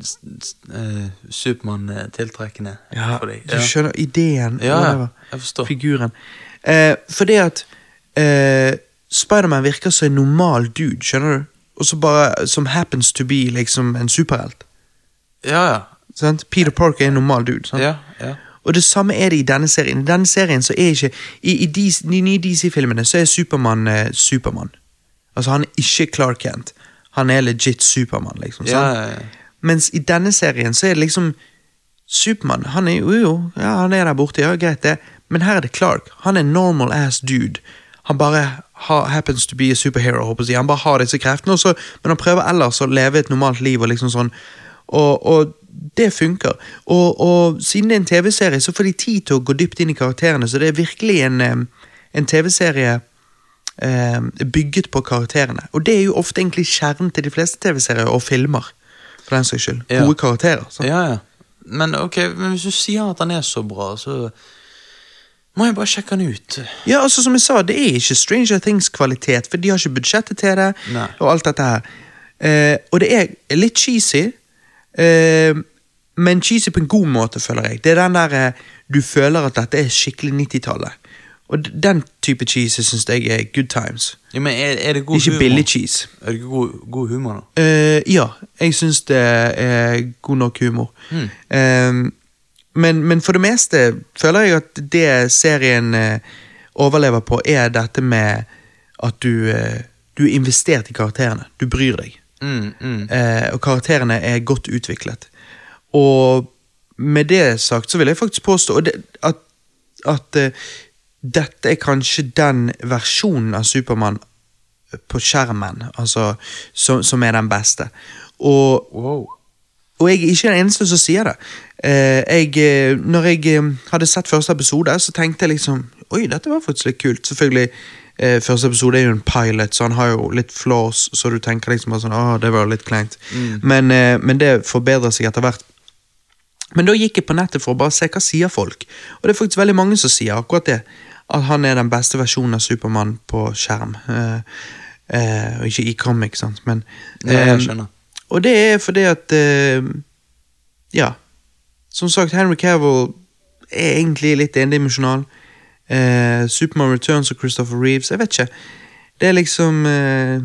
[SPEAKER 2] s- s- eh, Supermann er tiltrekkende for deg.
[SPEAKER 1] Du skjønner ideen?
[SPEAKER 2] Ja,
[SPEAKER 1] whatever.
[SPEAKER 2] ja, jeg forstår.
[SPEAKER 1] Figuren. Eh, fordi at eh, Spiderman virker som en normal dude, skjønner du? Og så bare Som happens to be liksom en superhelt.
[SPEAKER 2] Ja, ja.
[SPEAKER 1] Sant? Peter Parker er en normal dude. Sant?
[SPEAKER 2] ja, ja.
[SPEAKER 1] Og det samme er det i denne serien. I denne serien så er ikke I, i de, de nye DC-filmene så er Supermann eh, Supermann. Altså, han er ikke Clark Kent. Han er legit Supermann, liksom.
[SPEAKER 2] ja,
[SPEAKER 1] sant?
[SPEAKER 2] ja, ja.
[SPEAKER 1] Mens i denne serien så er det liksom Supermann, han er jo, jo ja, han er der borte, ja, greit det. Men her er det Clark. Han er normal ass dude. Han bare ha, happens to be a superhero, håper jeg. å si. Han bare har disse kreftene, og så, men han prøver ellers å leve et normalt liv. Og liksom sånn. Og, og det funker. Og, og siden det er en TV-serie, så får de tid til å gå dypt inn i karakterene, så det er virkelig en, em, en TV-serie eh, bygget på karakterene. Og det er jo ofte egentlig kjernen til de fleste TV-serier og filmer. For den saks skyld.
[SPEAKER 2] Ja.
[SPEAKER 1] Gode karakterer. Sant?
[SPEAKER 2] ja, ja. Men ok, men hvis du sier at han er så bra, så må jeg bare sjekke han ut.
[SPEAKER 1] Ja, altså som jeg sa, det er ikke Stranger Things kvalitet, for de har ikke budsjettet til det,
[SPEAKER 2] Nei.
[SPEAKER 1] og alt dette her. Eh, og det er litt cheesy, eh, men cheesy på en god måte, føler jeg. Det er den der eh, du føler at dette er skikkelig 90-tallet. Og d- den type cheesy syns jeg er good times.
[SPEAKER 2] Ja, men er, er det god
[SPEAKER 1] Ikke
[SPEAKER 2] humor?
[SPEAKER 1] billig cheese.
[SPEAKER 2] Er det god, god humor nå?
[SPEAKER 1] Eh, ja, jeg syns det er god nok humor. Eh, men, men for det meste føler jeg at det serien eh, overlever på, er dette med at du, eh, du er investert i karakterene. Du bryr deg.
[SPEAKER 2] Mm, mm.
[SPEAKER 1] Eh, og karakterene er godt utviklet. Og med det sagt så vil jeg faktisk påstå og det, at, at eh, dette er kanskje den versjonen av Supermann på skjermen altså, som, som er den beste. Og
[SPEAKER 2] Wow.
[SPEAKER 1] og jeg er ikke den eneste som sier det. Eh, jeg, eh, når jeg eh, hadde sett første episode, så tenkte jeg liksom Oi, dette var faktisk litt kult. Selvfølgelig, eh, første episode er jo en pilot, så han har jo litt flaws, så du tenker liksom bare sånn Å, det var litt kleint. Men, eh, men det forbedrer seg etter hvert. Men da gikk jeg på nettet for å bare se hva sier folk. Og det er faktisk veldig mange som sier akkurat det. At han er den beste versjonen av Supermann på skjerm. Eh, eh, og ikke i comic, sant, men
[SPEAKER 2] Ja,
[SPEAKER 1] eh,
[SPEAKER 2] jeg skjønner.
[SPEAKER 1] og det er fordi at eh, Ja. Som sagt, Henry Cavill er egentlig litt endimensjonal. Eh, Superman Returns og Christopher Reeves Jeg vet ikke. Det er liksom eh,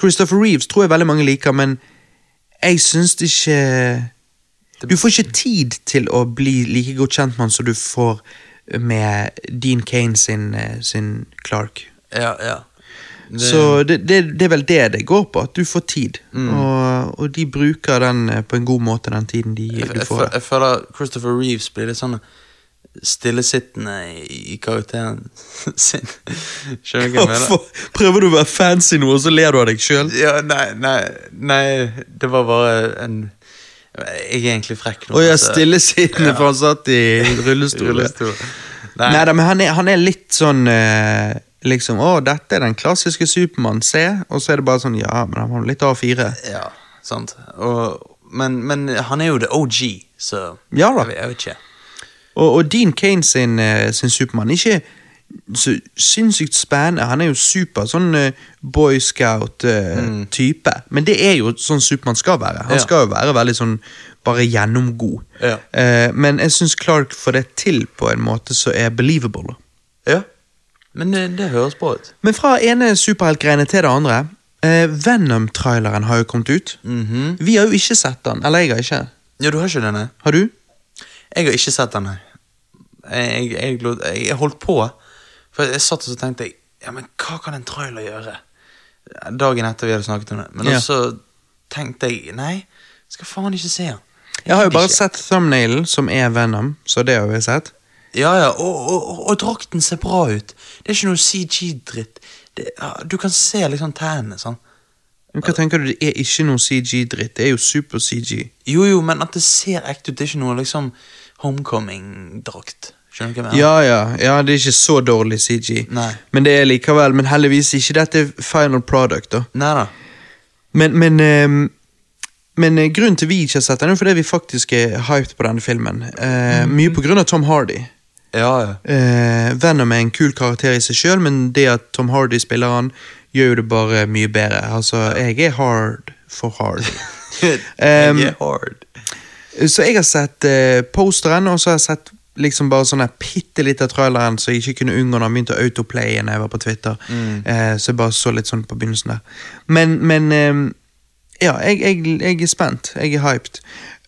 [SPEAKER 1] Christopher Reeves tror jeg veldig mange liker, men jeg syns det ikke Du får ikke tid til å bli like godt kjent med han som du får med Dean Kane sin, eh, sin Clark.
[SPEAKER 2] Ja, ja. Det, Mm.
[SPEAKER 1] Så det, det, det er vel det det går på, at du får tid. Og, og de bruker den eh, på en god måte, den tiden de,
[SPEAKER 2] jeg,
[SPEAKER 1] du
[SPEAKER 2] jeg,
[SPEAKER 1] får.
[SPEAKER 2] føl- jeg føler Christopher Reeves blir litt sånn stillesittende i i karakteren sin. Skjønner du hva jeg mener?
[SPEAKER 1] Hvorfor prøver du å være fancy nå, og så ler du av deg sjøl?
[SPEAKER 2] Ja, nei, nei, nei, det var bare en Jeg er egentlig frekk nå.
[SPEAKER 1] Å ja,
[SPEAKER 2] altså.
[SPEAKER 1] stillesittende, for han satt i rullestol.
[SPEAKER 2] Rullestol. Nei,
[SPEAKER 1] Nei, da, men han er, han er litt sånn eh, liksom, Å, dette er den klassiske Supermann, se. Og så er det bare sånn Ja, men han var jo litt A4.
[SPEAKER 2] ja, sant. Og, men, men han er jo the OG, så
[SPEAKER 1] Ja da.
[SPEAKER 2] Jeg, vet- jeg vet ikke.
[SPEAKER 1] Og, og Dean Kane sin, eh, sin Supermann ikke så sinnssykt spennende. Han er jo super sånn eh, boy Mm. scout-type. Men det er jo sånn Supermann skal være. Han
[SPEAKER 2] Ja.
[SPEAKER 1] skal jo være veldig sånn bare gjennomgod.
[SPEAKER 2] Ja.
[SPEAKER 1] Eh, men jeg syns Clark får det til på en måte som er believable.
[SPEAKER 2] Ja. Men det, det høres bra ut.
[SPEAKER 1] Men fra ene superheltgreiene til det andre. Eh, Venom-traileren har jo kommet ut. Vi har jo ikke sett den. Eller jeg har ikke.
[SPEAKER 2] Ja, du har ikke denne?
[SPEAKER 1] Har du?
[SPEAKER 2] Jeg har ikke sett den, nei. Jeg, jeg, jeg, jeg holdt på, for jeg satt og så tenkte jeg, ja, men hva kan en trailer gjøre? Dagen etter vi hadde snakket om det. Men
[SPEAKER 1] Ja.
[SPEAKER 2] så tenkte jeg, nei, skal faen ikke se den.
[SPEAKER 1] Jeg har jo bare
[SPEAKER 2] Ikke.
[SPEAKER 1] sett thumbnailen, som er Venom. Så det har jeg sett.
[SPEAKER 2] Ja, ja, og, og, og, og drakten ser bra ut. Det er ikke noe CG-dritt. Det- ja, Du kan se liksom tennene, sånn.
[SPEAKER 1] Men hva tenker du, det er ikke noe CG-dritt. Det er jo super-CG.
[SPEAKER 2] Jo, jo, men at det ser ekte ut, det er ikke noe liksom homecoming-drakt. Skjønner du hva jeg mener?
[SPEAKER 1] Ja, ja, ja, det er ikke så dårlig CG.
[SPEAKER 2] Nei.
[SPEAKER 1] Men det er likevel, men heldigvis ikke dette er final product, da.
[SPEAKER 2] Nei da.
[SPEAKER 1] Men, men, ehm, men eh, grunnen til vi ikke har sett den, er jo fordi vi faktisk er hyped på denne filmen. Eh, Mye på grunn av Tom Hardy.
[SPEAKER 2] Ja, ja.
[SPEAKER 1] Eh, Venom er en kul karakter i seg sjøl, men det at Tom Hardy spiller han, gjør jo det bare mye bedre. Altså, jeg er hard for hard. Ehm,
[SPEAKER 2] Jeg er hard.
[SPEAKER 1] Så jeg har sett eh, posteren, og så har jeg sett liksom bare sånn bitte litt av traileren som jeg ikke kunne unngå når han begynte å autoplaye når jeg var på Twitter. Eh, så jeg bare så litt sånn på begynnelsen der. Men, men eh, Ja, jeg, jeg, jeg er spent. Jeg er hyped.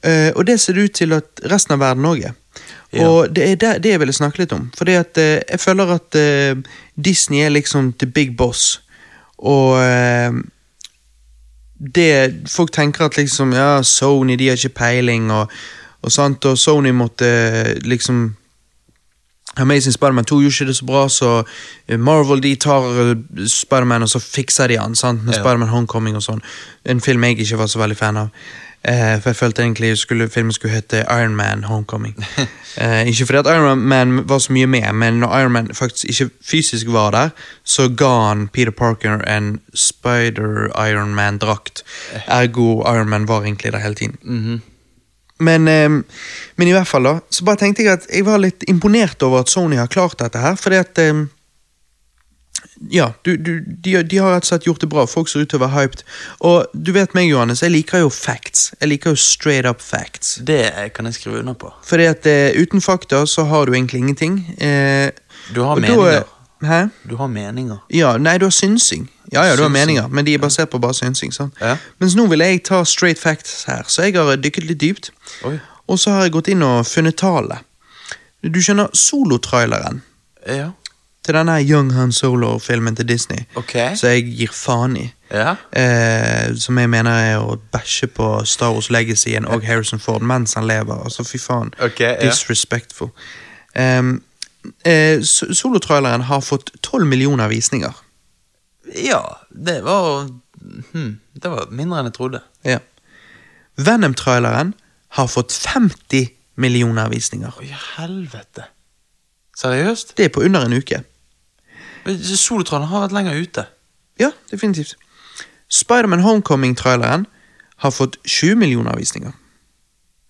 [SPEAKER 1] Eh, og det ser det ut til at resten av verden òg er.
[SPEAKER 2] Ja.
[SPEAKER 1] Og det er det, det jeg ville snakke litt om. Fordi at eh, jeg føler at eh, Disney er liksom the big boss. Og eh, det Folk tenker at liksom, ja, Sony de har ikke peiling, og, og, sant, og Sony måtte eh, liksom Amazing Spiderman 2 gjorde ikke det så bra, så eh, Marvel de tar eh, Spiderman og så fikser de han sant, med
[SPEAKER 2] Ja.
[SPEAKER 1] Spiderman Homecoming og sånn. En film jeg ikke var så veldig fan av. Eh, for jeg følte egentlig skulle, filmen skulle hete Iron Man Homecoming. eh, ikke fordi at Iron Man var så mye med, men når Iron Man faktisk ikke fysisk var der, så ga han Peter Parker en Spider-Iron Man-drakt. Ergo Iron Man var egentlig der hele tiden.
[SPEAKER 2] Mm-hmm.
[SPEAKER 1] Men, eh, men i hvert fall da, så bare tenkte jeg at jeg var litt imponert over at Sony har klart dette her, fordi at eh, ja, du, du, de, de har rett og slett gjort det bra. Folk ser ut til å være hyped. Og du vet meg, Johannes, jeg liker jo facts. Jeg liker jo straight up facts.
[SPEAKER 2] Det kan jeg skrive under på.
[SPEAKER 1] Fordi at eh, uten fakta så har du egentlig ingenting. Eh,
[SPEAKER 2] Du har
[SPEAKER 1] og da-
[SPEAKER 2] meninger.
[SPEAKER 1] Hæ?
[SPEAKER 2] Du har meninger.
[SPEAKER 1] Ja, nei, du har synsing. Ja, ja, du har
[SPEAKER 2] Synsing.
[SPEAKER 1] meninger, men de er basert på bare synsing. sant?
[SPEAKER 2] Ja.
[SPEAKER 1] Mens nå vil jeg ta straight facts her, så jeg har dykket litt dypt.
[SPEAKER 2] Oi.
[SPEAKER 1] Og så har jeg gått inn og funnet tallet. Du skjønner, solotraileren
[SPEAKER 2] Ja.
[SPEAKER 1] til denne her Young Han Solo-filmen til Disney,
[SPEAKER 2] Ok.
[SPEAKER 1] som jeg gir faen i,
[SPEAKER 2] Ja.
[SPEAKER 1] eh, som jeg mener er å bæsje på Star Wars Legacyen og Harrison Ford mens han lever. Altså, fy faen.
[SPEAKER 2] Ok, ja.
[SPEAKER 1] Disrespectful. Em, eh, so- solotraileren har fått 12 millioner visninger.
[SPEAKER 2] ja, det var hm, Det var mindre enn jeg trodde.
[SPEAKER 1] Ja. Venom-traileren har fått 50 millioner visninger.
[SPEAKER 2] Å, i helvete. Seriøst?
[SPEAKER 1] Det er på under en uke.
[SPEAKER 2] Men Solotrollen har vært lenger ute.
[SPEAKER 1] Ja, definitivt. Spiderman Homecoming-traileren har fått 20 millioner visninger.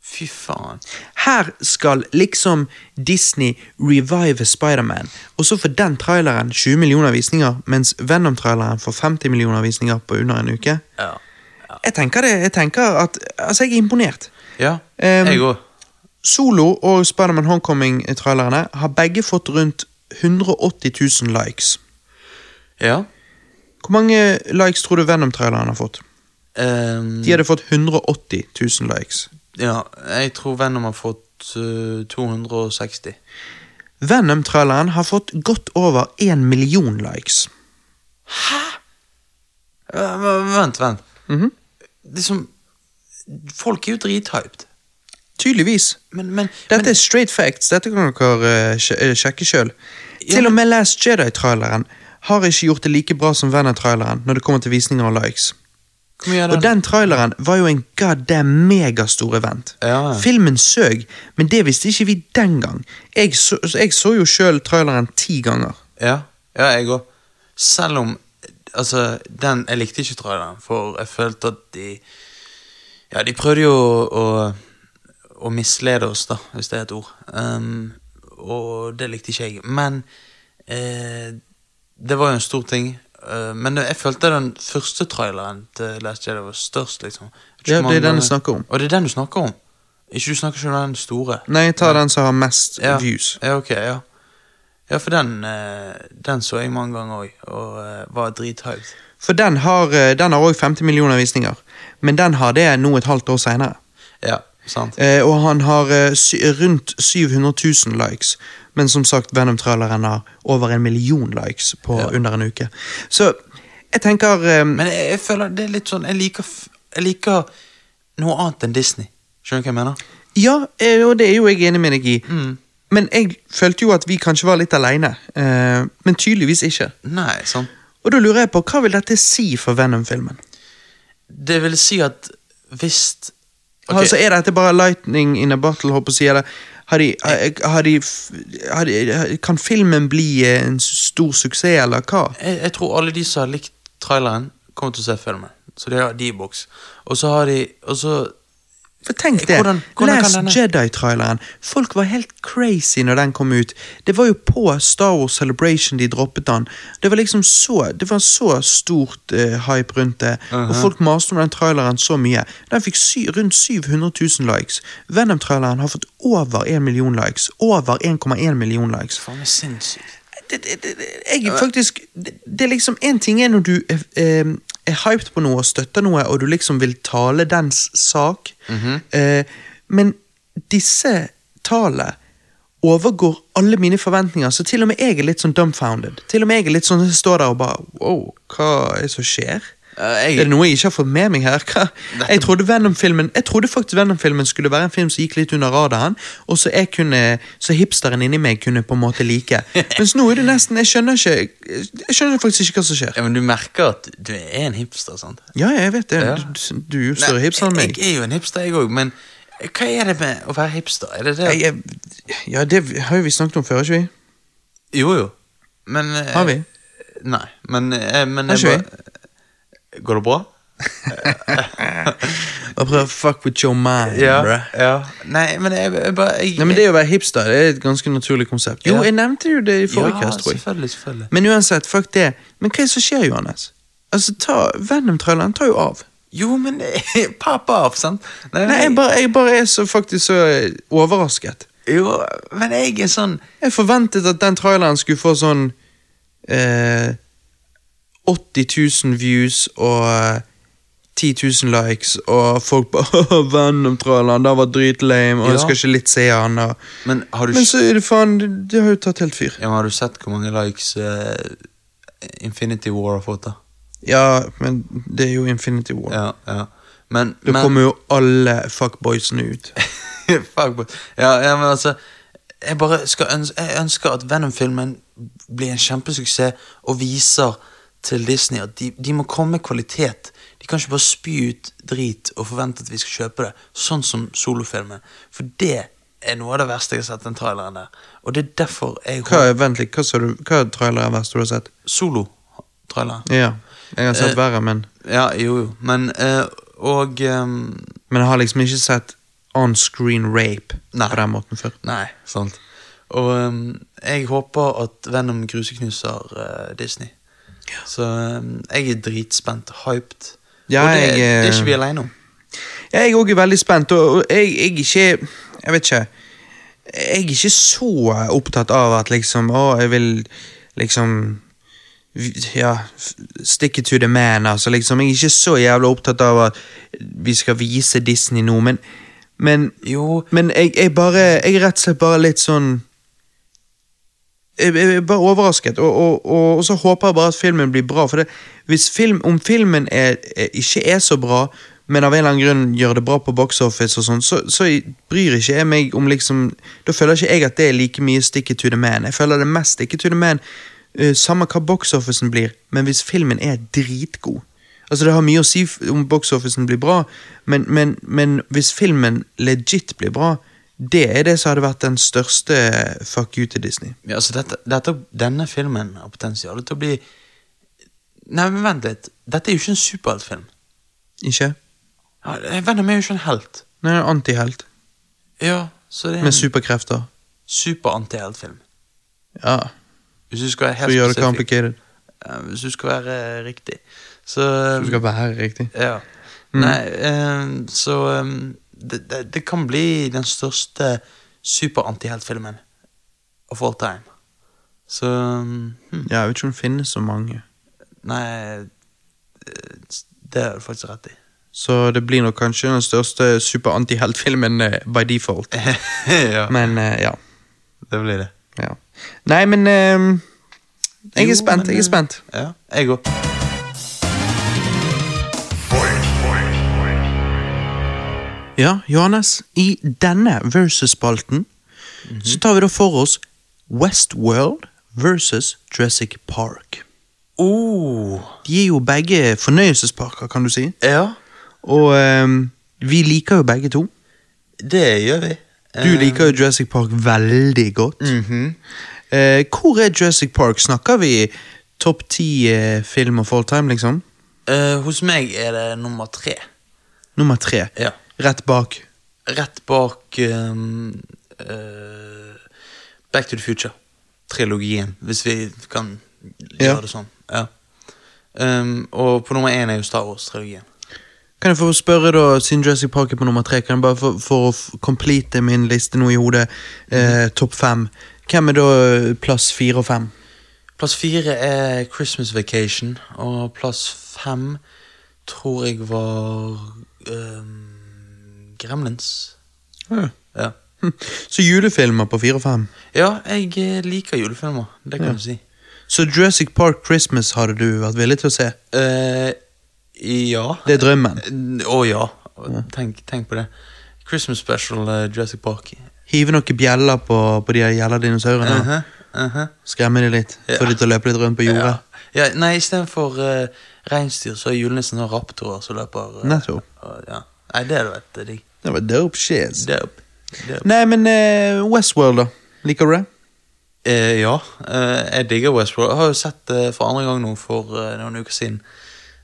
[SPEAKER 2] Fy faen.
[SPEAKER 1] Her skal liksom Disney revive Spiderman, og så får den traileren 20 millioner visninger, mens Venom-traileren får 50 millioner visninger på under en uke.
[SPEAKER 2] Ja.
[SPEAKER 1] Jeg tenker det, jeg tenker at Altså, jeg er imponert.
[SPEAKER 2] ja.
[SPEAKER 1] Em,
[SPEAKER 2] jeg òg.
[SPEAKER 1] Solo og Spiderman Homecoming-trailerne har begge fått rundt 180 000 likes.
[SPEAKER 2] Ja.
[SPEAKER 1] Hvor mange likes tror du Venom-traileren har fått?
[SPEAKER 2] Em,
[SPEAKER 1] De hadde fått 180 000 likes.
[SPEAKER 2] ja. Jeg tror Venom har fått eh, 260.
[SPEAKER 1] Venom-traileren har fått godt over én million likes.
[SPEAKER 2] Eh, v- Vent, vent.
[SPEAKER 1] Mhm.
[SPEAKER 2] Liksom Folk er jo drithyped.
[SPEAKER 1] Tydeligvis.
[SPEAKER 2] Men, men,
[SPEAKER 1] Dette
[SPEAKER 2] men
[SPEAKER 1] er straight facts. Dette kan dere eh, sj- eh, sjekke sjøl.
[SPEAKER 2] Ja,
[SPEAKER 1] Til og med Last Jedi-traileren har ikke gjort det like bra som Venner-traileren når det kommer til visninger og likes.
[SPEAKER 2] hvor mye er
[SPEAKER 1] Og
[SPEAKER 2] det?
[SPEAKER 1] den traileren var jo en goddamn megastor event.
[SPEAKER 2] Ja, ja.
[SPEAKER 1] Filmen søg, men det visste ikke vi den gang. Jeg så, jeg så jo sjøl traileren ti ganger.
[SPEAKER 2] Ja, ja jeg òg. Selv om Altså, den Jeg likte ikke traileren, for jeg følte at de Ja, de prøvde jo å, å, å mislede oss, da, hvis det er et ord. Ehm, og det likte ikke jeg. Men eh, det var jo en stor ting. Eh, men jeg følte den første traileren til Last Jedi var størst, liksom. Jeg tror
[SPEAKER 1] Ja, det
[SPEAKER 2] ikke
[SPEAKER 1] er
[SPEAKER 2] mange
[SPEAKER 1] den jeg
[SPEAKER 2] ganger-
[SPEAKER 1] snakker om.
[SPEAKER 2] Og det er den du snakker om? Ikke du snakker ikke om den store?
[SPEAKER 1] Nei, ta den som har mest
[SPEAKER 2] ja.
[SPEAKER 1] views.
[SPEAKER 2] Ja, ok, ja. Ja, for den, eh, den så jeg mange ganger òg, og eh, var drithyped.
[SPEAKER 1] For den har eh, den har òg 50 millioner visninger, men den har det nå et halvt år seinere.
[SPEAKER 2] Ja, sant.
[SPEAKER 1] Eh, og han har eh, sy rundt 700 000 likes. Men som sagt, Venom-traileren har over en million likes på
[SPEAKER 2] Ja.
[SPEAKER 1] under en uke. Så jeg tenker eh,
[SPEAKER 2] Men jeg, jeg føler det er litt sånn Jeg liker, f- jeg liker noe annet enn Disney. Skjønner du hva jeg mener?
[SPEAKER 1] Ja, eh, og det er jo jeg enig med deg i.
[SPEAKER 2] Mm.
[SPEAKER 1] Men jeg følte jo at vi kanskje var litt aleine. Eh, men tydeligvis ikke.
[SPEAKER 2] Nei, sant.
[SPEAKER 1] Og da lurer jeg på, hva vil dette si for Venom-filmen?
[SPEAKER 2] Det vil si at hvis Ok,
[SPEAKER 1] Altså, Er dette bare lightning in a bottle, håper jeg å si? Eller har de, har- har de, f- har de, kan filmen bli eh, en stor suksess, eller hva?
[SPEAKER 2] jeg, jeg tror alle de som har likt traileren, kommer til å se filmen. Så de har de i boks. Og så har de Og så
[SPEAKER 1] For tenk det,
[SPEAKER 2] Eh, Hvordan- hvordan kan
[SPEAKER 1] Last
[SPEAKER 2] denne-
[SPEAKER 1] Jedi-traileren. Folk var helt crazy når den kom ut. Det var jo på Star Wars Celebration de droppet den. Det var liksom så Det var så stort eh, hype rundt det, og
[SPEAKER 2] Uh-huh.
[SPEAKER 1] folk maste om den traileren så mye. Den fikk sy rundt 700 000 likes. Venom-traileren har fått over 1 million likes. Over 1,1 million likes.
[SPEAKER 2] Faen meg sinnssykt.
[SPEAKER 1] det, det, det, jeg er faktisk det, det er liksom En ting er når du er, eh, er hyped på noe og støtter noe, og du liksom vil tale dens sak, eh, men disse tallene overgår alle mine forventninger, så til og med jeg er litt sånn dumbfounded. Til og med jeg er litt sånn jeg står der og bare Wow, hva er det som skjer?
[SPEAKER 2] Eh, jeg-
[SPEAKER 1] Er det noe jeg ikke har fått med meg her? Hva? Jeg trodde Venom-filmen Jeg trodde faktisk Venom-filmen skulle være en film som gikk litt under radaren, og så jeg kunne Så hipsteren inni meg kunne på en måte like. Mens nå er det nesten Jeg skjønner ikke Jeg skjønner faktisk ikke hva som skjer.
[SPEAKER 2] Ja, men du merker at du er en hipster, sant?
[SPEAKER 1] Ja, jeg vet det.
[SPEAKER 2] Ja.
[SPEAKER 1] Du, du er jo større hipster enn
[SPEAKER 2] Nei,
[SPEAKER 1] meg.
[SPEAKER 2] Jeg er jo en hipster, jeg òg, men hva er det med å være hipster? Er det det?
[SPEAKER 1] Jeg, jeg, ja, det har jo vi snakket om før, ikke vi?
[SPEAKER 2] Jo, jo. Men eh,
[SPEAKER 1] Har vi?
[SPEAKER 2] Nei, men, eh, men
[SPEAKER 1] Har
[SPEAKER 2] jeg
[SPEAKER 1] ikke
[SPEAKER 2] bare Går det bra?
[SPEAKER 1] Og prøv å fuck with your mind, bruh.
[SPEAKER 2] ja. Nei, men jeg, jeg bare jeg,
[SPEAKER 1] Nei, men Det å være hipster det er et ganske naturlig konsept. Jo,
[SPEAKER 2] Ja.
[SPEAKER 1] jeg nevnte jo det i forrige
[SPEAKER 2] Ja,
[SPEAKER 1] cast, tror jeg.
[SPEAKER 2] selvfølgelig, selvfølgelig.
[SPEAKER 1] Men uansett, fuck det. Men hva er det som skjer, Johannes? Altså, ta, Venom-traileren tar jo av.
[SPEAKER 2] Jo, men eh, Pop off, sant?
[SPEAKER 1] Nei, jeg bare, jeg bare er så faktisk så eh, overrasket.
[SPEAKER 2] Jo, men jeg er sånn
[SPEAKER 1] Jeg forventet at den traileren skulle få sånn eh, 80 000 views og eh, 10 000 likes, og folk bare «Åh, Venom-traileren, den var dritlame, og jeg
[SPEAKER 2] Ja.
[SPEAKER 1] skal ikke litt se han, og
[SPEAKER 2] Men har du,
[SPEAKER 1] Men så er det faen Det det har jo tatt helt fyr.
[SPEAKER 2] ja, men har du sett hvor mange likes eh, Infinity War har fått, da?
[SPEAKER 1] Ja, men det er jo Infinity War.
[SPEAKER 2] Ja, ja. Men,
[SPEAKER 1] Da
[SPEAKER 2] men
[SPEAKER 1] kommer jo alle fuckboysene ut.
[SPEAKER 2] Fuckboy. Ja, ja, men altså Jeg bare skal øns jeg ønsker at Venom-filmen blir en kjempesuksess og viser til Disney at de, de må komme med kvalitet. De kan ikke bare spy ut drit og forvente at vi skal kjøpe det, sånn som solofilmen. For det er noe av det verste jeg har sett den traileren der. Og det er derfor jeg
[SPEAKER 1] Hva, vent litt, hva, sa du, hva trailer er verst du har sett?
[SPEAKER 2] Solo-traileren.
[SPEAKER 1] Ja, jeg har sett
[SPEAKER 2] Eh,
[SPEAKER 1] verre, men,
[SPEAKER 2] Ja, jo, jo. Men eh, Og ehm,
[SPEAKER 1] men jeg har liksom ikke sett on screen rape
[SPEAKER 2] Nei.
[SPEAKER 1] på den måten før.
[SPEAKER 2] Nei, sant. Og ehm, jeg håper at Venom gruseknuser eh, Disney. Så ehm, jeg er dritspent, hyped.
[SPEAKER 1] Ja,
[SPEAKER 2] og det,
[SPEAKER 1] jeg, eh,
[SPEAKER 2] det er ikke vi alene om.
[SPEAKER 1] Jeg er også veldig spent, og og jeg, jeg er ikke Jeg vet ikke. Jeg er ikke så opptatt av at liksom Å, jeg vil liksom ja, f- stick it to the man, altså. liksom, Jeg er ikke så jævla opptatt av at vi skal vise Disney nå, men, men
[SPEAKER 2] Jo,
[SPEAKER 1] Men jeg, jeg bare Jeg er rett og slett bare litt sånn jeg, jeg er bare overrasket, og, og, og, og så håper jeg bare at filmen blir bra. For det, hvis film, om filmen er, er, ikke er så bra, men av en eller annen grunn gjør det bra på box office, og sånn, så, så jeg bryr ikke jeg meg om liksom Da føler ikke jeg at det er like mye stick it to the man. Jeg føler det er mest stick it to the man, eh, samme hva box officen blir, men hvis filmen er dritgod Altså Det har mye å si f- om box officen blir bra, men, men, men hvis filmen legit blir bra, det er det som hadde vært den største fuck you til Disney.
[SPEAKER 2] Ja, altså dette, dette, denne filmen har potensial til å bli Nei, men vent litt. Dette er jo ikke en superheltfilm.
[SPEAKER 1] Ikke?
[SPEAKER 2] Ja, Venom er jo ikke en helt.
[SPEAKER 1] Nei, en antihelt
[SPEAKER 2] Ja, så det er
[SPEAKER 1] med
[SPEAKER 2] en
[SPEAKER 1] superkrefter.
[SPEAKER 2] superantiheltfilm.
[SPEAKER 1] Ja,
[SPEAKER 2] Hvis du skal
[SPEAKER 1] for
[SPEAKER 2] være
[SPEAKER 1] å
[SPEAKER 2] helt Mm.
[SPEAKER 1] gjøre det
[SPEAKER 2] spesifikk.
[SPEAKER 1] complicated.
[SPEAKER 2] Ja, Hvis du skal være eh, riktig. Så um,
[SPEAKER 1] Du skal være riktig. Mm.
[SPEAKER 2] Ja. Nei, eh, så eh, det, det, det kan bli den største superantiheltfilmen of all time. Så hm,
[SPEAKER 1] Ja, jeg vet ikke om det finnes så mange.
[SPEAKER 2] Nei, eh, det har du faktisk rett i.
[SPEAKER 1] Så det blir nok kanskje den største superantiheltfilmen eh, by default.
[SPEAKER 2] ja,
[SPEAKER 1] Men eh, ja.
[SPEAKER 2] det blir det.
[SPEAKER 1] ja. Nei, men eh, Jeg
[SPEAKER 2] Jo,
[SPEAKER 1] er spent.
[SPEAKER 2] men,
[SPEAKER 1] Jeg
[SPEAKER 2] eh,
[SPEAKER 1] er spent.
[SPEAKER 2] Ja, jeg òg.
[SPEAKER 1] Ja, Johannes. I denne versus-spalten
[SPEAKER 2] Mhm.
[SPEAKER 1] så tar vi da for oss Westworld versus Jurassic Park.
[SPEAKER 2] Oh,
[SPEAKER 1] De er jo begge fornøyelsesparker, kan du si.
[SPEAKER 2] ja,
[SPEAKER 1] Og eh, vi liker jo begge to.
[SPEAKER 2] det gjør vi. Ehm,
[SPEAKER 1] Du liker jo Jurassic Park veldig godt.
[SPEAKER 2] Mm. Mhm.
[SPEAKER 1] Eh, hvor er Jurassic Park? Snakker vi topp ti eh, film of all time, liksom?
[SPEAKER 2] Eh, hos meg er det nummer tre.
[SPEAKER 1] Nummer tre.
[SPEAKER 2] Ja.
[SPEAKER 1] Rett bak.
[SPEAKER 2] Rett bak ehm, eh, Back to the Future-trilogien, hvis vi kan gjøre
[SPEAKER 1] Ja.
[SPEAKER 2] det sånn. Ja. Ehm, og på nummer én er jo Star Wars-trilogien.
[SPEAKER 1] Kan jeg få spørre, da, siden Jurassic Park er på nummer tre, kan jeg bare for, for å f- complete min liste nå i hodet, eh, topp fem. Hvem er da eh, plass fire og fem?
[SPEAKER 2] Plass fire er Christmas Vacation, og plass fem tror jeg var ehm, Gremlins. Ja.
[SPEAKER 1] Hm. Så julefilmer på fire og fem.
[SPEAKER 2] ja, jeg eh, liker julefilmer. Det kan
[SPEAKER 1] Ja.
[SPEAKER 2] du si.
[SPEAKER 1] Så Jurassic Park Christmas hadde du vært villig til å se?
[SPEAKER 2] Eh, ja.
[SPEAKER 1] Det er drømmen.
[SPEAKER 2] Å ja. Tenk, tenk på det. Christmas special uh, Jurassic Park.
[SPEAKER 1] Hive noen bjeller på, på de jævla dinosaurene.
[SPEAKER 2] Mhm, mhm.
[SPEAKER 1] Skremme dem litt. Få
[SPEAKER 2] Ja.
[SPEAKER 1] dem til å løpe litt rundt på jordet.
[SPEAKER 2] ja. ja, nei, istedenfor uh, reinsdyr, så er julenissen og raptorer som løper. eh,
[SPEAKER 1] Nettopp.
[SPEAKER 2] og- ja. Nei, det hadde vært eh, digg.
[SPEAKER 1] Det var dope shit.
[SPEAKER 2] Dope. Dope.
[SPEAKER 1] Nei, men eh, Westworld, da. Liker du det?
[SPEAKER 2] Eh, ja, eh, jeg digger Westworld. Jeg har jo sett det for andre gang nå for eh, noen uker siden.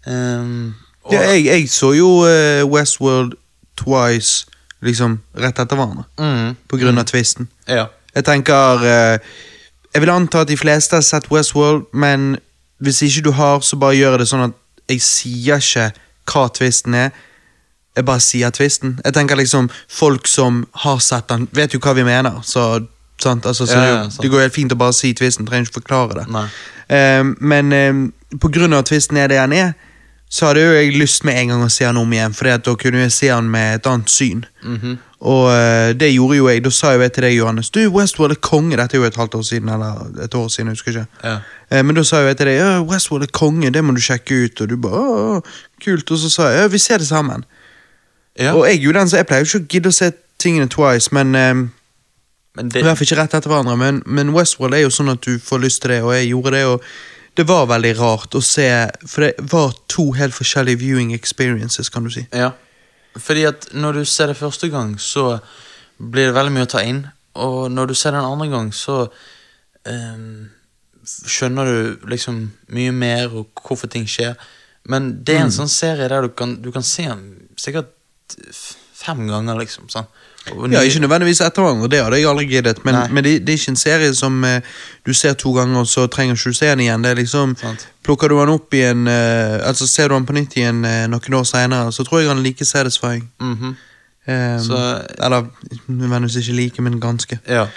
[SPEAKER 2] Ehm, og,
[SPEAKER 1] Ja, jeg, jeg så jo eh, Westworld twice liksom rett etter hverandre.
[SPEAKER 2] Mhm,
[SPEAKER 1] På grunn av tvisten.
[SPEAKER 2] ja.
[SPEAKER 1] Jeg tenker eh, Jeg vil anta at de fleste har sett Westworld, men hvis ikke du har, så bare gjør jeg det sånn at jeg sier ikke hva tvisten er. Jeg bare sier tvisten. Jeg tenker liksom Folk som har sett den, vet jo hva vi mener. Så, sant? Altså, så
[SPEAKER 2] Ja,
[SPEAKER 1] det,
[SPEAKER 2] ja,
[SPEAKER 1] er jo-
[SPEAKER 2] sant.
[SPEAKER 1] det går helt fint å bare si tvisten. Trenger ikke forklare det.
[SPEAKER 2] Nei.
[SPEAKER 1] Ehm, men ehm, på grunn av at tvisten er det han er, så hadde jo jeg lyst med en gang å se han om igjen, for da kunne jeg se han med et annet syn.
[SPEAKER 2] Mhm.
[SPEAKER 1] Og eh, det gjorde jo jeg. Da sa jo jeg til deg, Johannes, du, Westworld er konge. Dette er jo et halvt år siden, eller et år siden, jeg husker ikke.
[SPEAKER 2] Ja.
[SPEAKER 1] Eh, Men da sa jo jeg til deg «Ja, Westworld er konge, det må du sjekke ut. Og du bare «Åh, kult. Og så sa jeg ja, vi ser det sammen.
[SPEAKER 2] ja.
[SPEAKER 1] Og jeg er jo den, så jeg pleier jo ikke å gidde å se tingene twice, men ehm,
[SPEAKER 2] Men
[SPEAKER 1] i hvert
[SPEAKER 2] det,
[SPEAKER 1] fall ikke rett etter hverandre, men, men Westworld er jo sånn at du får lyst til det, og jeg gjorde det, og det var veldig rart å se, for det var to helt forskjellige viewing experiences, kan du si.
[SPEAKER 2] Ja. Fordi at når du ser det første gang, så blir det veldig mye å ta inn. Og når du ser den andre gang, så ehm, skjønner du liksom mye mer og hvorfor ting skjer. Men det er
[SPEAKER 1] Mm.
[SPEAKER 2] en sånn serie der du kan, du kan se den sikkert f- fem ganger, liksom. Sånn. Og
[SPEAKER 1] Ja,
[SPEAKER 2] ny-
[SPEAKER 1] ikke nødvendigvis etter hverandre, det hadde jeg aldri giddet, men,
[SPEAKER 2] Nei.
[SPEAKER 1] men det, det er ikke en serie som eh, du ser to ganger, og så trenger ikke du se den igjen. Det er liksom,
[SPEAKER 2] Sant.
[SPEAKER 1] plukker du den opp i en, eh, altså ser du den på nytt igjen eh, noen år senere, så tror jeg han er like satisfying.
[SPEAKER 2] Mhm.
[SPEAKER 1] Um,
[SPEAKER 2] Så-
[SPEAKER 1] Eller, nødvendigvis ikke like, men ganske.
[SPEAKER 2] ja.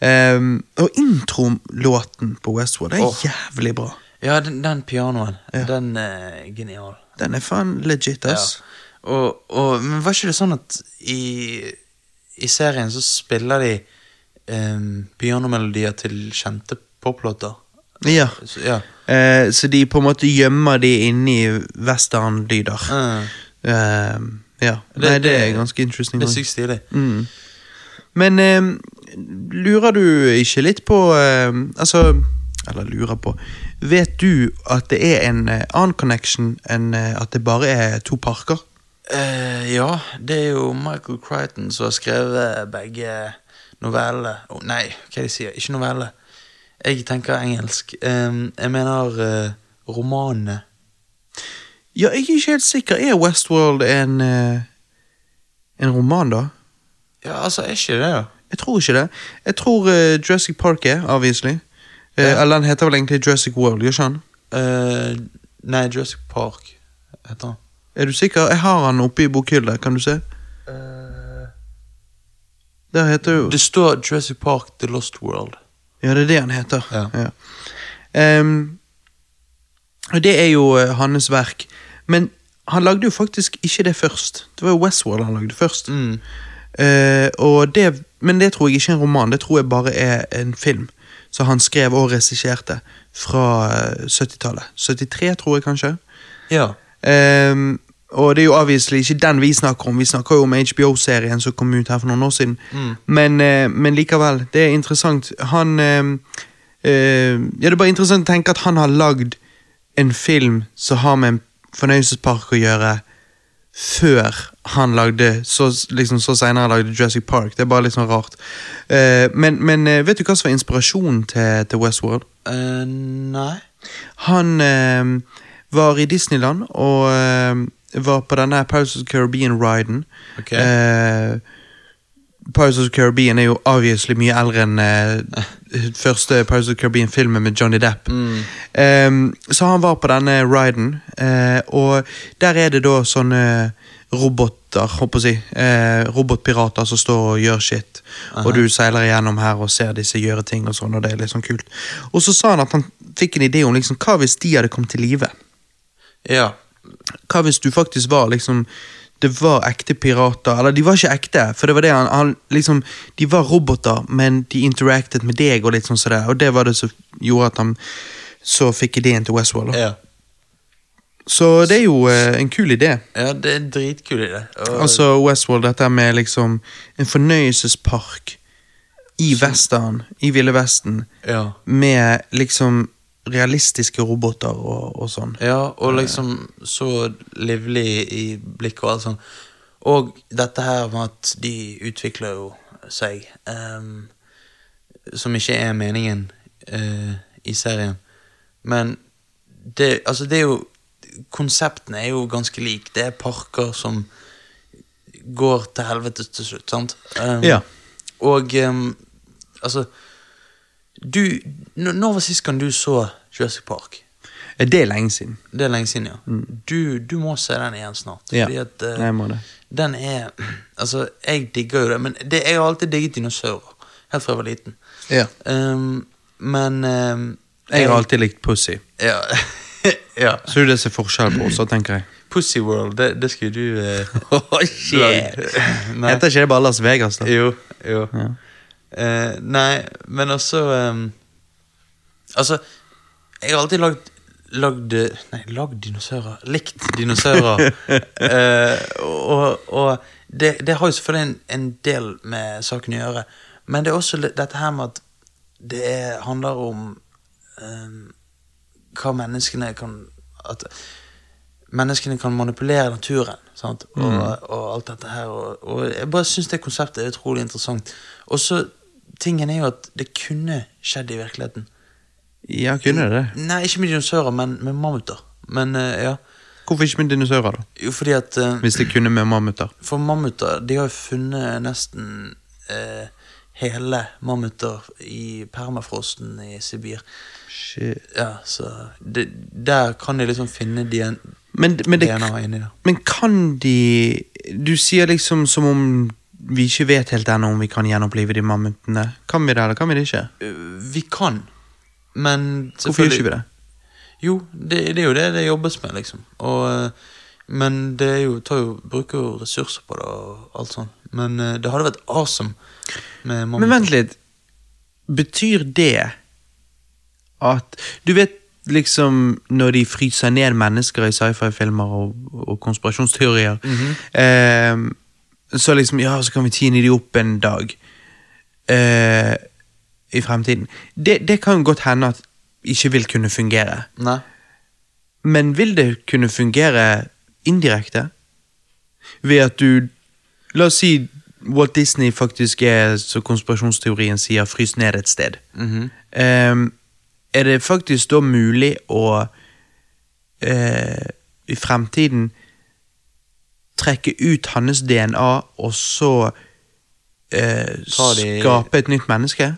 [SPEAKER 1] Um, og intro-låten på Westworld er
[SPEAKER 2] Åh.
[SPEAKER 1] jævlig bra.
[SPEAKER 2] ja, den, den pianoen, den er genial.
[SPEAKER 1] Den er faen legit, ass.
[SPEAKER 2] Ja. Og, og, men var ikke det sånn at i, i serien så spiller de um, pianomelodier til kjente poplåter?
[SPEAKER 1] Ja.
[SPEAKER 2] Så, ja.
[SPEAKER 1] Eh, så de på en måte gjemmer de inni westernlyder.
[SPEAKER 2] Mm.
[SPEAKER 1] Eh, ja. Nei, det er ganske interesting.
[SPEAKER 2] Det er
[SPEAKER 1] også.
[SPEAKER 2] sykt stilig.
[SPEAKER 1] Mm. Men eh, lurer du ikke litt på eh, Altså Eller lurer på Vet du at det er en eh, annen connection enn eh, at det bare er to parker?
[SPEAKER 2] Eh, ja, det er jo Michael Crichton som har skrevet begge novellene Å, Nei, hva er det de sier? Ikke novellene. Jeg tenker engelsk. Em, jeg mener eh, romanene.
[SPEAKER 1] Ja, jeg er ikke helt sikker. Er Westworld en eh, En roman, da?
[SPEAKER 2] Ja, altså, er ikke det, da?
[SPEAKER 1] Jeg tror ikke det. Jeg tror eh, Jurassic Park er, obviously. Eh,
[SPEAKER 2] Ja.
[SPEAKER 1] Eller den heter vel egentlig Jurassic World, gjør ikke han?
[SPEAKER 2] Eh, nei, Jurassic Park heter han.
[SPEAKER 1] Er du sikker? Jeg har han oppe i bokhylla, kan du se. Eh. Der heter jo
[SPEAKER 2] Det står Jurassic Park The Lost World.
[SPEAKER 1] Ja, det er det han heter.
[SPEAKER 2] Ja.
[SPEAKER 1] Ja. Ehm, og det er jo eh, hans verk. Men han lagde jo faktisk ikke det først. Det var jo Westworld han lagde først.
[SPEAKER 2] Mm.
[SPEAKER 1] Eh, og det, men det tror jeg ikke er en roman, det tror jeg bare er en film. Så han skrev og regisserte fra eh, 70-tallet. 73, tror jeg kanskje.
[SPEAKER 2] Ja.
[SPEAKER 1] Ehm, og det er jo obviously ikke den vi snakker om. Vi snakker jo om HBO-serien som kom ut her for noen år siden.
[SPEAKER 2] Mm.
[SPEAKER 1] Men, eh, men likevel, det er interessant. Han ehm, eh, Ja, det er bare interessant å tenke at han har lagd en film som har med en fornøyelsespark å gjøre, før han lagde Så, liksom, så senere lagde Jurassic Park. Det er bare litt sånn rart. Eh, men men eh, vet du hva som var inspirasjonen til, til Westworld?
[SPEAKER 2] Eh, nei.
[SPEAKER 1] Han eh, var i Disneyland og eh, var på denne Pirates of the Caribbean-riden.
[SPEAKER 2] Ok.
[SPEAKER 1] Eh, Pirates of the Caribbean er jo obviously mye eldre enn eh, første Pirates of the Caribbean-filmen med Johnny Depp.
[SPEAKER 2] Mm.
[SPEAKER 1] Eh, så han var på denne riden, eh, og der er det da sånne roboter, håper jeg å si. Eh, robotpirater som står og gjør shit.
[SPEAKER 2] Aha.
[SPEAKER 1] Og du seiler igjennom her og ser disse gjøre ting og sånn, og det er litt sånn kult. Og så sa han at han fikk en idé om liksom, hva hvis de hadde kommet til live?
[SPEAKER 2] Ja.
[SPEAKER 1] hva hvis du faktisk var liksom det var ekte pirater, eller de var ikke ekte, for det var det han, han liksom, de var roboter, men de interacted med deg og litt sånn som det, og det var det som gjorde at han så fikk ideen til Westworld. da.
[SPEAKER 2] ja.
[SPEAKER 1] Så det er jo eh, en kul idé.
[SPEAKER 2] Ja, det er en dritkul idé. Og-
[SPEAKER 1] Altså Westworld, dette med liksom en fornøyelsespark i Vestern, i Ville Vesten,
[SPEAKER 2] ja.
[SPEAKER 1] med liksom realistiske roboter og, og sånn.
[SPEAKER 2] Ja, og liksom så livlig i blikket og alt sånn. Og dette her med at de utvikler jo seg, ehm, som ikke er meningen eh, i serien. Men det, altså det er jo Konseptene er jo ganske like. Det er parker som går til helvete til slutt, sant? Ehm,
[SPEAKER 1] Ja.
[SPEAKER 2] Og ehm, altså Du n- Når var sist gang du så Jurassic Park?
[SPEAKER 1] Det er lenge siden.
[SPEAKER 2] Det er lenge siden, ja. Du, du må se den igjen snart.
[SPEAKER 1] Mm. Ja,
[SPEAKER 2] Fordi at eh,
[SPEAKER 1] jeg må det.
[SPEAKER 2] den er Altså, jeg digger jo det, men det, jeg har alltid digget dinosaurer. Helt fra jeg var liten.
[SPEAKER 1] Ja.
[SPEAKER 2] Ehm, men ehm,
[SPEAKER 1] Jeg har alltid likt pussy.
[SPEAKER 2] Ja. ja.
[SPEAKER 1] Så det er det som er forskjell på oss, da, tenker jeg.
[SPEAKER 2] Pussy World, det, det skulle du eh,
[SPEAKER 1] Oh,
[SPEAKER 2] lagd. Nei.
[SPEAKER 1] Heter ikke det bare Las Vegas, da?
[SPEAKER 2] Jo, jo.
[SPEAKER 1] Ja.
[SPEAKER 2] Eh, nei, men også ehm, Altså, jeg har alltid lagd Lagd Nei, lagd dinosaurer. Likt dinosaurer. Eh, og og det, det har jo selvfølgelig en, en del med saken å gjøre, men det er også litt dette her med at det er, handler om ehm, hva menneskene kan At menneskene kan manipulere naturen. Sant?
[SPEAKER 1] Mm.
[SPEAKER 2] Og, og alt dette her. Og, og jeg bare syns det konseptet er utrolig interessant. Og så tingen er jo at det kunne skjedd i virkeligheten.
[SPEAKER 1] Ja, kunne det det?
[SPEAKER 2] Nei, ikke med dinosaurer, men med mammuter. Men eh, ja,
[SPEAKER 1] Hvorfor ikke med dinosaurer, da?
[SPEAKER 2] jo fordi at eh,
[SPEAKER 1] Hvis det kunne med mammuter.
[SPEAKER 2] For mammuter, de har jo funnet nesten eh, hele mammuter i permafrosten i Sibir.
[SPEAKER 1] Shit.
[SPEAKER 2] Ja, så det, Der kan de liksom finne DNA,
[SPEAKER 1] Men, men, det,
[SPEAKER 2] DNA inni der.
[SPEAKER 1] men kan de Du sier liksom som om vi ikke vet helt ennå om vi kan gjenopplive de mammutene. Kan vi det, eller kan vi det ikke?
[SPEAKER 2] Eh, Vi kan, men
[SPEAKER 1] Hvorfor gjør ikke vi det?
[SPEAKER 2] Jo, det, det er jo det det jobbes med, liksom. Og, eh, men det er jo, tar jo, bruker jo ressurser på det og alt sånn. Men eh, det hadde vært awesome med mammuter.
[SPEAKER 1] Men vent litt. Betyr det at Du vet liksom når de fryser ned mennesker i sci-fi-filmer og, og konspirasjonsteorier. eh, så liksom Ja, så kan vi tine de opp en dag. Eh, I fremtiden. Det, det kan godt hende at ikke vil kunne fungere.
[SPEAKER 2] Nei.
[SPEAKER 1] Men vil det kunne fungere indirekte? Ved at du La oss si Walt Disney faktisk er, som konspirasjonsteorien sier, fryst ned et sted.
[SPEAKER 2] Mhm.
[SPEAKER 1] Ehm, er det faktisk da mulig å eh, i fremtiden trekke ut hans DNA og så eh,
[SPEAKER 2] Ta de-
[SPEAKER 1] skape et nytt menneske?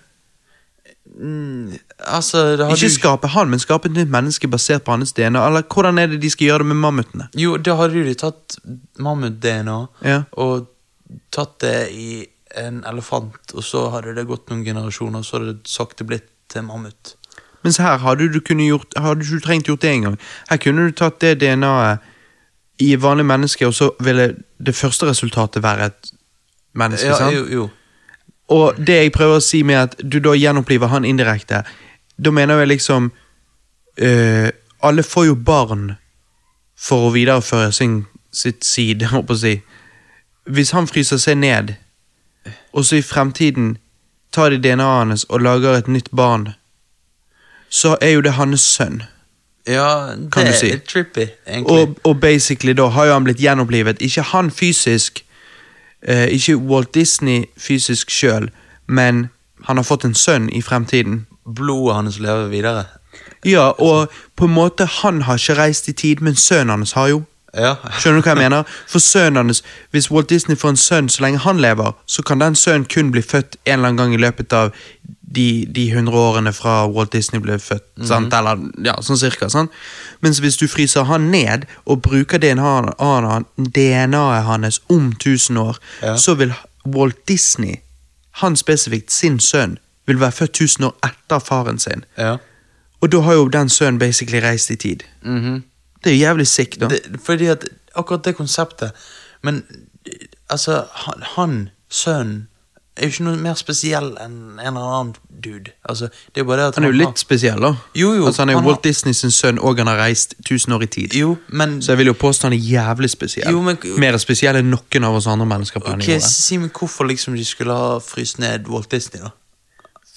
[SPEAKER 2] Mm, altså, det har
[SPEAKER 1] Ikke
[SPEAKER 2] du
[SPEAKER 1] skape han, men skape et nytt menneske basert på hans DNA. Eller hvordan er det de skal gjøre det med mammutene?
[SPEAKER 2] Jo, da hadde du tatt mammut-DNA
[SPEAKER 1] Ja.
[SPEAKER 2] og tatt det i en elefant, og så hadde det gått noen generasjoner, og så hadde det sakte blitt til mammut.
[SPEAKER 1] Mens her hadde du, kunne gjort, hadde du ikke trengt gjort det engang. Her kunne du tatt det DNA-et i vanlige mennesker, og så ville det første resultatet være et menneske.
[SPEAKER 2] Ja,
[SPEAKER 1] sant?
[SPEAKER 2] jo, jo.
[SPEAKER 1] Og det jeg prøver å si med at du da gjenoppliver han indirekte, da mener jeg liksom eh, Alle får jo barn for å videreføre sin, sitt side, holdt på å si. Hvis han fryser seg ned, og så i fremtiden tar de DNA-et hans og lager et nytt barn, så er jo det hans sønn.
[SPEAKER 2] Ja, det
[SPEAKER 1] Kan du si.
[SPEAKER 2] er trippy, egentlig.
[SPEAKER 1] Og, og basically da har jo han blitt gjenopplivet. Ikke han fysisk, eh, ikke Walt Disney fysisk sjøl, men han har fått en sønn i fremtiden.
[SPEAKER 2] Blodet hans lever videre.
[SPEAKER 1] Ja, og på en måte, han har ikke reist i tid, men sønnen hans har jo.
[SPEAKER 2] Ja.
[SPEAKER 1] Skjønner du hva jeg mener? For sønnen hans, Hvis Walt Disney får en sønn så lenge han lever, så kan den sønnen kun bli født en eller annen gang i løpet av de, de 100 årene fra Walt Disney ble født. sant? Eller ja, sånn cirka. sant? Mens hvis du fryser han ned og bruker DNA-et han- DNA-et hans om 1000 år,
[SPEAKER 2] Ja.
[SPEAKER 1] så vil Walt Disney, han spesifikt sin sønn, vil være født 1000 år etter faren sin.
[SPEAKER 2] ja.
[SPEAKER 1] Og da har jo den sønnen basically reist i tid.
[SPEAKER 2] Mhm.
[SPEAKER 1] Det er jo jævlig sick, da.
[SPEAKER 2] det, fordi at akkurat det konseptet Men altså, han, han sønnen, er jo ikke noe mer spesiell enn en eller annen dude. Altså, det er bare det at
[SPEAKER 1] Han er jo
[SPEAKER 2] har-
[SPEAKER 1] litt spesiell, da.
[SPEAKER 2] Jo, jo,
[SPEAKER 1] altså, han er jo
[SPEAKER 2] han
[SPEAKER 1] Walt Disney sin sønn, og han har reist 1000 år i tid.
[SPEAKER 2] Jo, men
[SPEAKER 1] Så jeg vil jo påstå han er jævlig spesiell.
[SPEAKER 2] Jo, men-
[SPEAKER 1] Mer spesiell enn noen av oss andre mennesker. på
[SPEAKER 2] ok,
[SPEAKER 1] denne jorda.
[SPEAKER 2] Si meg hvorfor liksom de skulle ha fryst ned Walt Disney, da.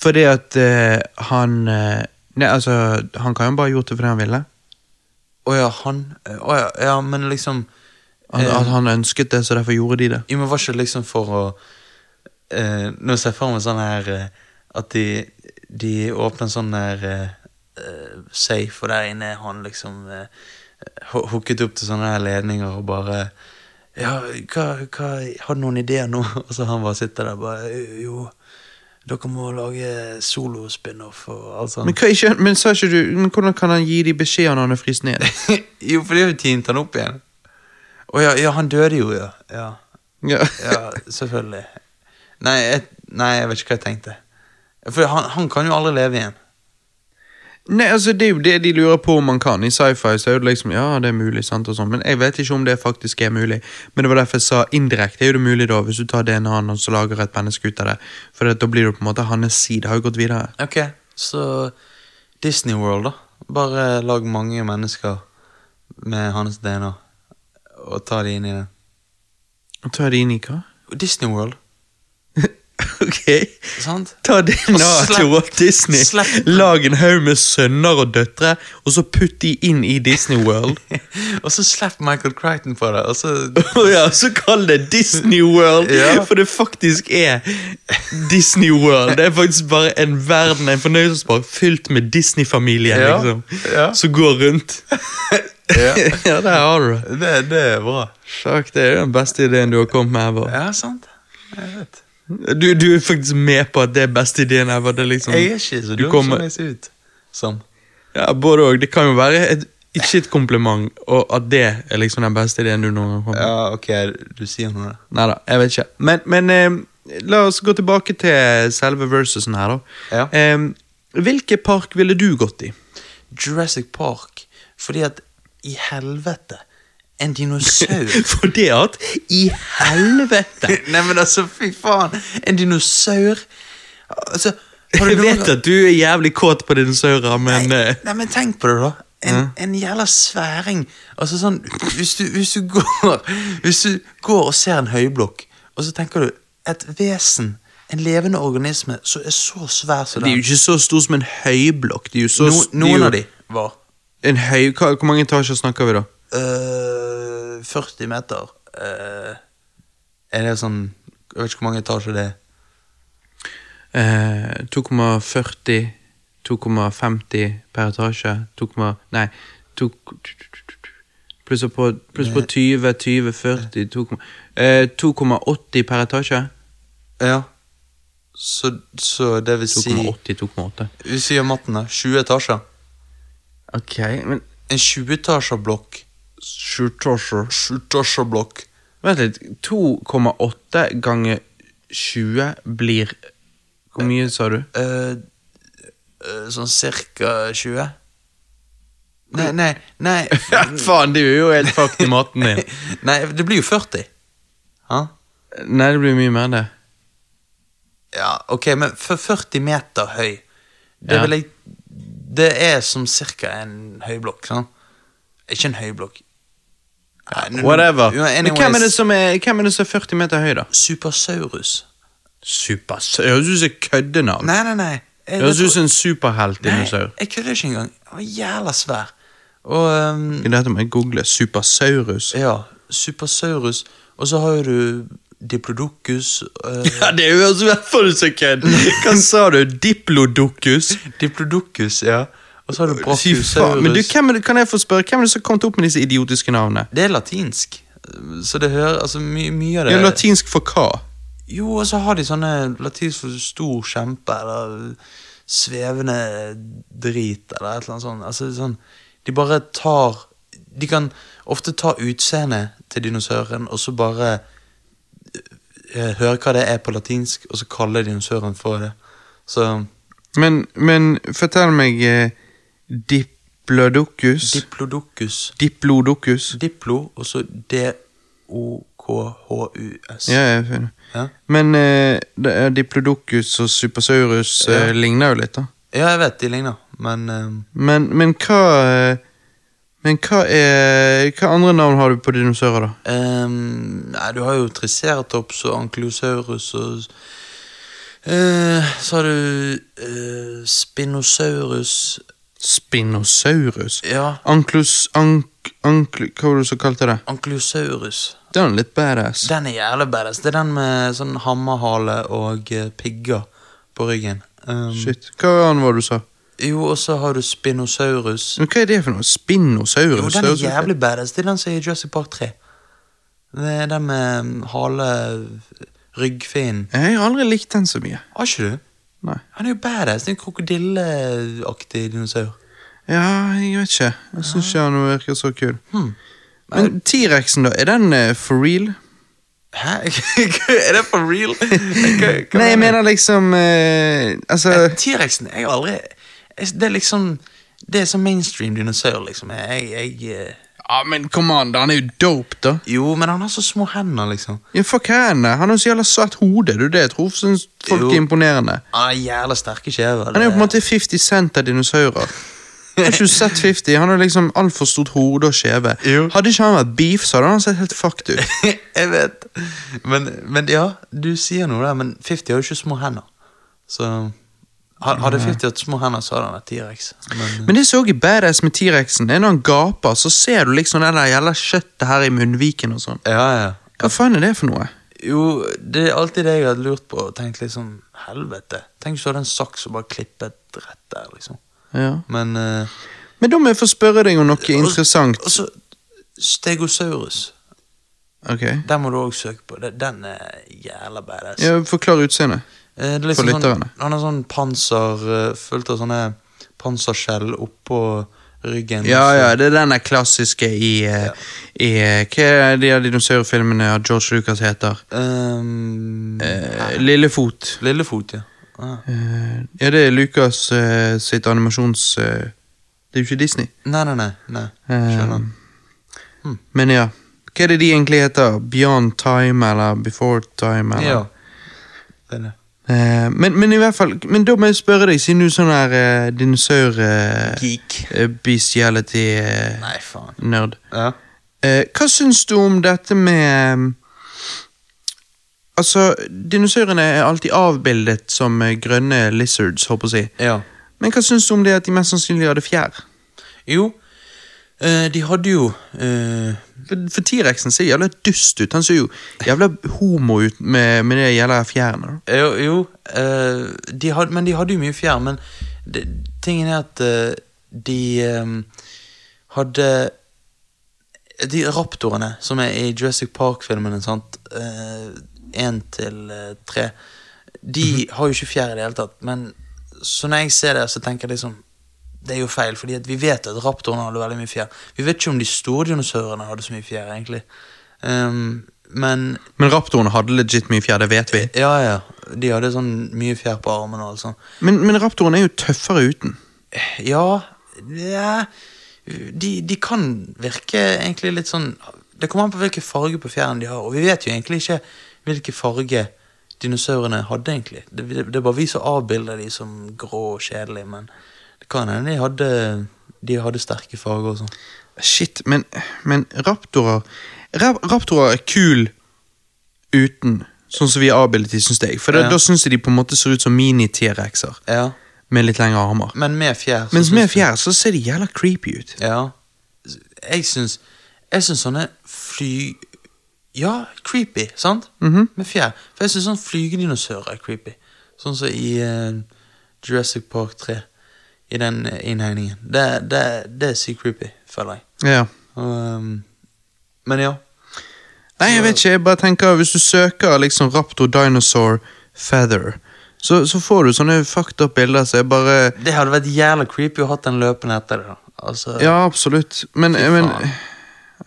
[SPEAKER 1] Fordi at eh, han eh, Nei, altså, han kan jo bare ha gjort det fordi han ville.
[SPEAKER 2] Å ja, han eh, Å ja, ja, men liksom
[SPEAKER 1] Han,
[SPEAKER 2] eh,
[SPEAKER 1] at han ønsket det, så derfor gjorde de det.
[SPEAKER 2] Jo, men var ikke det liksom for å eh, Nå ser jeg for meg sånn her eh, At de, de åpner sånn der eh, eh, safe, og der inne er han liksom eh, ho- hooket opp til sånne her ledninger og bare Ja, hva, hva Har du noen ideer nå? Og så han bare sitter der bare Jo, dere må lage solo-spin-off og alt sånt.
[SPEAKER 1] Men, hva, ikke, men, sa ikke du, men hvordan kan han gi de beskjeder når han er fryst ned?
[SPEAKER 2] jo, for det har jo tint han opp igjen. Å ja, ja, han døde jo, ja. Ja,
[SPEAKER 1] Ja.
[SPEAKER 2] ja selvfølgelig. Nei jeg, nei, jeg vet ikke hva jeg tenkte. For han, han kan jo aldri leve igjen.
[SPEAKER 1] Nei, altså Det er jo det de lurer på om man kan. I sci-fi så er det liksom Ja, det er mulig, sant og sånn, men jeg vet ikke om det faktisk er mulig. Men det var derfor jeg sa indirekte er jo det mulig, da, hvis du tar DNA-en og så lager et menneske ut av det. For at da blir det på en måte hans side har jo gått videre.
[SPEAKER 2] Ok, så Disney World, da. Bare lag mange mennesker med hans DNA, og ta de inn i det.
[SPEAKER 1] Og tar de inn i hva?
[SPEAKER 2] Disney World,
[SPEAKER 1] ok.
[SPEAKER 2] sant?
[SPEAKER 1] Ta DNA-et til
[SPEAKER 2] Slipp-
[SPEAKER 1] Walt Disney,
[SPEAKER 2] slipp-
[SPEAKER 1] lag en haug med sønner og døtre, og så putt de inn i Disney World.
[SPEAKER 2] og så slapp Michael Crichton på det, og så
[SPEAKER 1] Å ja, så kall det Disney World,
[SPEAKER 2] Ja.
[SPEAKER 1] for det faktisk er Disney World. Det er faktisk bare en verden, en fornøyelsespark fylt med Disney-familien,
[SPEAKER 2] Ja,
[SPEAKER 1] liksom.
[SPEAKER 2] ja.
[SPEAKER 1] Som går rundt.
[SPEAKER 2] Ja,
[SPEAKER 1] ja, der har du det.
[SPEAKER 2] det, det er bra.
[SPEAKER 1] Sjakk, det er den beste ideen du har kommet med ever.
[SPEAKER 2] Ja, sant? Jeg vet.
[SPEAKER 1] Du, du er faktisk med på at det er beste ideen ever. Det er liksom,
[SPEAKER 2] Jeg er ikke så
[SPEAKER 1] Du
[SPEAKER 2] dum
[SPEAKER 1] kommer-
[SPEAKER 2] som jeg ser ut som.
[SPEAKER 1] ja, både og. Det kan jo være et, ikke et kompliment, og at det er liksom den beste ideen du noen gang har kommet med.
[SPEAKER 2] Ja, ok, du sier noe der.
[SPEAKER 1] Nei da, jeg vet ikke. Men, men eh, la oss gå tilbake til selve versusen her, da.
[SPEAKER 2] Ja.
[SPEAKER 1] Eh, hvilken park ville du gått i?
[SPEAKER 2] Jurassic Park fordi at i helvete en dinosaur
[SPEAKER 1] For det at I helvete!
[SPEAKER 2] Nei, men altså, fy faen! En dinosaur Altså, Har du
[SPEAKER 1] Jeg
[SPEAKER 2] noen
[SPEAKER 1] vet at du er jævlig kåt på dinosaurer, men eh,
[SPEAKER 2] Nei, men tenk på det, da. En,
[SPEAKER 1] Mm.
[SPEAKER 2] en jævla sværing. Altså sånn, hvis du, hvis, du går, hvis du går og ser en høyblokk, og så tenker du Et vesen, en levende organisme, som er så svær som
[SPEAKER 1] De er jo
[SPEAKER 2] den
[SPEAKER 1] ikke så store som en høyblokk. De er jo så,
[SPEAKER 2] no,
[SPEAKER 1] er
[SPEAKER 2] Noen
[SPEAKER 1] jo-
[SPEAKER 2] av de var
[SPEAKER 1] En høy, hva, hvor mange etasjer snakker vi da?
[SPEAKER 2] øh, 40 meter. øh, er det sånn Jeg vet ikke hvor mange etasjer det er.
[SPEAKER 1] Eh, 2,40 2,50 per etasje. 2, nei, 2, pluss på, pluss på 20, 20, 40 2, eh, 2,80 per etasje.
[SPEAKER 2] Ja. Så, så det vil si
[SPEAKER 1] 2,80, 2,8.
[SPEAKER 2] Hvis vi gjør matten, da. 20 etasjer.
[SPEAKER 1] Ok, men
[SPEAKER 2] En 20-etasjerblokk.
[SPEAKER 1] 7 etasjer
[SPEAKER 2] 20-etasjerblokk.
[SPEAKER 1] Vent litt. 2,8 ganger 20 blir Hvor mye sa du?
[SPEAKER 2] Eh, eh, sånn cirka 20? Nei, nei, nei
[SPEAKER 1] Ja, faen, du er jo helt fucked i maten din.
[SPEAKER 2] Nei, det blir jo 40. Hæ?
[SPEAKER 1] Nei, det blir mye mer enn det.
[SPEAKER 2] Ja, ok, men for 40 meter høy Det
[SPEAKER 1] Ja.
[SPEAKER 2] vil jeg Det er som cirka en høyblokk, sant? Ikke en høyblokk. Nei, nå-
[SPEAKER 1] Whatever.
[SPEAKER 2] Ja,
[SPEAKER 1] Men hvem er det
[SPEAKER 2] anyways,
[SPEAKER 1] som er, hvem er, det som er 40 meter høy, da?
[SPEAKER 2] Supersaurus.
[SPEAKER 1] Supers... Det høres ut som et køddenavn.
[SPEAKER 2] Nei, nei, nei. Jeg-
[SPEAKER 1] Det høres ut som en superheltdinosaur.
[SPEAKER 2] Nei, jeg kødder ikke engang. Han var jævla svær. Og ehm,
[SPEAKER 1] Dette må jeg google. Supersaurus.
[SPEAKER 2] Ja, Supersaurus. Og så har jo du Diplodocus eh,
[SPEAKER 1] Ja, Det høres i hvert fall ut som kødd! Hva sa du? Diplodocus?
[SPEAKER 2] Diplodocus, ja. Og så har du
[SPEAKER 1] Fy faen.
[SPEAKER 2] Brachiosaurus.
[SPEAKER 1] Men du, hvem er det, kan jeg få spørre, hvem er det som har kommet opp med disse idiotiske navnene?
[SPEAKER 2] Det er latinsk. Så det hører Altså, my mye av det
[SPEAKER 1] Ja, latinsk for hva?
[SPEAKER 2] Jo, og så har de sånne latinsk for stor kjempe, eller svevende drit, eller et eller annet sånt. Altså, sånn De bare tar De kan ofte ta utseendet til dinosauren, og så bare eh, høre hva det er på latinsk, og så kalle dinosauren for det. Så
[SPEAKER 1] Men, men fortell meg eh, Diplodocus.
[SPEAKER 2] Diplodocus.
[SPEAKER 1] Diplodocus.
[SPEAKER 2] Diplo, og så D-O-K-H-U-S.
[SPEAKER 1] Ja, jeg finner.
[SPEAKER 2] Ja.
[SPEAKER 1] Men eh, det er Diplodocus og Supersaurus eh, ligner jo litt, da.
[SPEAKER 2] Ja, jeg vet de ligner, men ehm,
[SPEAKER 1] Men, men hva eh, Men hva er Hva andre navn har du på dinosaurer, da?
[SPEAKER 2] ehm, Nei, du har jo Triceratops og Ankylosaurus og eh, Så har du eh, Spinosaurus
[SPEAKER 1] Spinosaurus?
[SPEAKER 2] Ja,
[SPEAKER 1] Anklos... Ank... Ankl... Hva var det du så kalte det?
[SPEAKER 2] Ankylosaurus.
[SPEAKER 1] Det er litt badass.
[SPEAKER 2] Den er jævlig badass. Det er den med sånn hammerhale og eh, pigger på ryggen. Ehm,
[SPEAKER 1] Shit. Hva annet var det du sa?
[SPEAKER 2] jo, og så har du Spinosaurus.
[SPEAKER 1] Men Hva er det for noe? Mm. Spinosaurus?
[SPEAKER 2] Jo, den
[SPEAKER 1] Det
[SPEAKER 2] er
[SPEAKER 1] høres ut-
[SPEAKER 2] jævlig badass. Det er den som er i Jurassic Park 3. Det er den med um, hale Ryggfin.
[SPEAKER 1] Jeg har aldri likt den så mye.
[SPEAKER 2] Har ikke du?
[SPEAKER 1] Nei.
[SPEAKER 2] Han er jo badass. Det er en krokodilleaktig dinosaur.
[SPEAKER 1] Ja, jeg vet ikke. Jeg syns ikke han virker så kul.
[SPEAKER 2] Hmm.
[SPEAKER 1] Men T-rexen, da? Er den eh, for real?
[SPEAKER 2] Hæ? er det for real? Hva- hva
[SPEAKER 1] Nei, jeg
[SPEAKER 2] mener du?
[SPEAKER 1] mener liksom eh, Altså
[SPEAKER 2] Eh, T-rexen er jo aldri jeg- Det er liksom Det er sånn mainstream dinosaur, liksom. Jeg, jeg eh,
[SPEAKER 1] Ja, men come on, da. Han er jo dope, da.
[SPEAKER 2] Jo, men han har så små hender, liksom.
[SPEAKER 1] Ja, fuck henne. Han har jo så jævla svært hode. Det er jo det jeg tror synes folk
[SPEAKER 2] Jo.
[SPEAKER 1] er imponerende.
[SPEAKER 2] Han har jævla sterke kjever.
[SPEAKER 1] Han er jo
[SPEAKER 2] det-
[SPEAKER 1] på en måte 50 Cent av dinosaurer. Har ikke du sett 50? Han har liksom altfor stort hode og skjeve.
[SPEAKER 2] Jo.
[SPEAKER 1] Hadde ikke han vært beef, så hadde han sett helt fucked ut.
[SPEAKER 2] jeg vet. Men, men ja, du sier noe der, men 50 har jo ikke små hender. Så ha- Hadde 50 hatt små hender, så hadde han vært T-rex. Men,
[SPEAKER 1] Men det som også er badass med T-rexen, er når han gaper, så ser du liksom det der jævla kjøttet her i munnviken og sånn.
[SPEAKER 2] ja, ja.
[SPEAKER 1] Hva faen er det for noe?
[SPEAKER 2] Jo, det er alltid det jeg har lurt på og tenkt liksom Helvete. Tenk hvis du hadde en saks og bare klippet rett der, liksom.
[SPEAKER 1] Ja.
[SPEAKER 2] Men eh,
[SPEAKER 1] Men da må jeg få spørre deg om noe interessant.
[SPEAKER 2] Og så Stegosaurus.
[SPEAKER 1] Ok.
[SPEAKER 2] Den må du òg søke på. Det- Den er jævla badass.
[SPEAKER 1] Ja, Forklar utseendet.
[SPEAKER 2] Eh, det er
[SPEAKER 1] For
[SPEAKER 2] liksom sånn,
[SPEAKER 1] lytterne.
[SPEAKER 2] han har sånn panser eh, fullt av sånne panserskjell oppå ryggen.
[SPEAKER 1] Ja,
[SPEAKER 2] Så-
[SPEAKER 1] ja, det er den der klassiske i, eh, i eh, Hva er de der dinosaurfilmene av George Lucas heter?
[SPEAKER 2] Ehm,
[SPEAKER 1] Eh, Lillefot.
[SPEAKER 2] Lillefot, ja. Ah.
[SPEAKER 1] Eh, ja, det er Lucas eh, sitt animasjons... eh, det er jo ikke Disney.
[SPEAKER 2] Nei, nei, nei. nei.
[SPEAKER 1] Eh,
[SPEAKER 2] Skjønner.
[SPEAKER 1] Men ja. Hva er det de egentlig heter? Beyond Time eller Before Time? Eller?
[SPEAKER 2] Ja. Det er det.
[SPEAKER 1] Eh, men, men i hvert fall, men da må jeg spørre deg, siden du er sånn her eh, dinosaur... eh,
[SPEAKER 2] Geek.
[SPEAKER 1] eh, Bestiality-nerd.
[SPEAKER 2] Nei, faen. Ja.
[SPEAKER 1] Eh, hva syns du om dette med eh, Altså, dinosaurene er alltid avbildet som eh, grønne lizards, håper jeg å si.
[SPEAKER 2] ja.
[SPEAKER 1] Men hva syns du om det at de mest sannsynlig hadde fjær?
[SPEAKER 2] Jo, eh, de hadde jo eh,
[SPEAKER 1] For, for T-rexen ser jævla dust ut. Han ser jo jævla homo ut med, med det gjelder fjærene. da.
[SPEAKER 2] Jo, jo eh, de hadde, men de hadde jo mye fjær. Men det, tingen er at eh, de eh, hadde De raptorene som er i Jurassic Park-filmene, sant én til eh, tre, de har jo ikke fjær i det hele tatt. Men så når jeg ser det, så tenker jeg liksom det er jo feil, fordi at vi vet at raptorene hadde veldig mye fjær. Vi vet ikke om de store dinosaurene hadde så mye fjær, egentlig. Ehm, men
[SPEAKER 1] Men raptorene hadde legit mye fjær, det vet vi.
[SPEAKER 2] ja, ja. De hadde sånn mye fjær på armene og alt sånt.
[SPEAKER 1] Men, men raptorene er jo tøffere uten.
[SPEAKER 2] Ja, ja de, de kan virke egentlig litt sånn Det kommer an på hvilken farge på fjæren de har. Og vi vet jo egentlig ikke hvilken farge dinosaurene hadde, egentlig. Det, det, det er bare vi som avbilder de som grå og kjedelige, men det kan hende de hadde, de hadde sterke farger og sånn.
[SPEAKER 1] Shit, men, men raptorer rap Raptorer er kul uten, sånn som vi er avbildet i, syns jeg. For da-
[SPEAKER 2] Ja.
[SPEAKER 1] da syns jeg de på en måte ser ut som mini-T-rexer
[SPEAKER 2] Ja,
[SPEAKER 1] med litt lengre armer.
[SPEAKER 2] men med fjær så
[SPEAKER 1] Mens
[SPEAKER 2] syns
[SPEAKER 1] med
[SPEAKER 2] vi-
[SPEAKER 1] fjær så ser de jævla creepy ut.
[SPEAKER 2] Ja. Jeg syns Jeg syns sånne fly... Ja, creepy, sant?
[SPEAKER 1] Mhm.
[SPEAKER 2] Med fjær. For jeg syns sånn flygedinosaurer er creepy. Sånn som i eh, Jurassic Park 3. I den eh, innhegningen. Det, det, det er sykt creepy, føler jeg.
[SPEAKER 1] Ja.
[SPEAKER 2] Og, ehm, men ja.
[SPEAKER 1] Nei, jeg vet ikke, jeg bare tenker hvis du søker liksom raptor dinosaur feather, så, så får du sånne fucked up bilder, så jeg bare
[SPEAKER 2] Det hadde vært jævla creepy å ha den løpende etter det. da. Altså,
[SPEAKER 1] Ja, absolutt. Men, men
[SPEAKER 2] faen.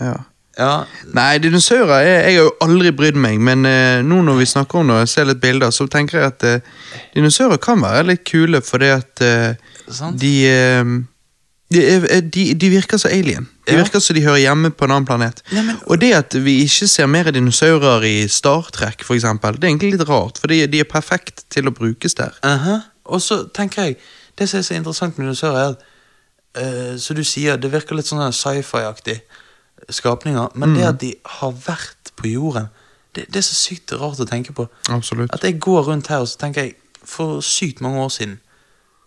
[SPEAKER 1] ja.
[SPEAKER 2] ja.
[SPEAKER 1] Nei, dinosaurer jeg, jeg har jo aldri brydd meg, men eh, nå når vi snakker om det og jeg ser litt bilder, så tenker jeg at eh, dinosaurer kan være litt kule fordi at eh,
[SPEAKER 2] Sant.
[SPEAKER 1] de, eh, de, er- de De virker som alien. De
[SPEAKER 2] Ja.
[SPEAKER 1] virker som de hører hjemme på en annen planet.
[SPEAKER 2] Nei, men-
[SPEAKER 1] og det at vi ikke ser mer dinosaurer i Star Trek, for eksempel, det er egentlig litt rart, for de, de er perfekt til å brukes der.
[SPEAKER 2] Aha. Og så tenker jeg Det som er så interessant med dinosaurer, er at eh, Som du sier, det virker litt sånn her sci-fi-aktig skapninger. Men det at de har vært på jorden, det, det er så sykt rart å tenke på.
[SPEAKER 1] Absolutt.
[SPEAKER 2] At jeg går rundt her og så tenker jeg For sykt mange år siden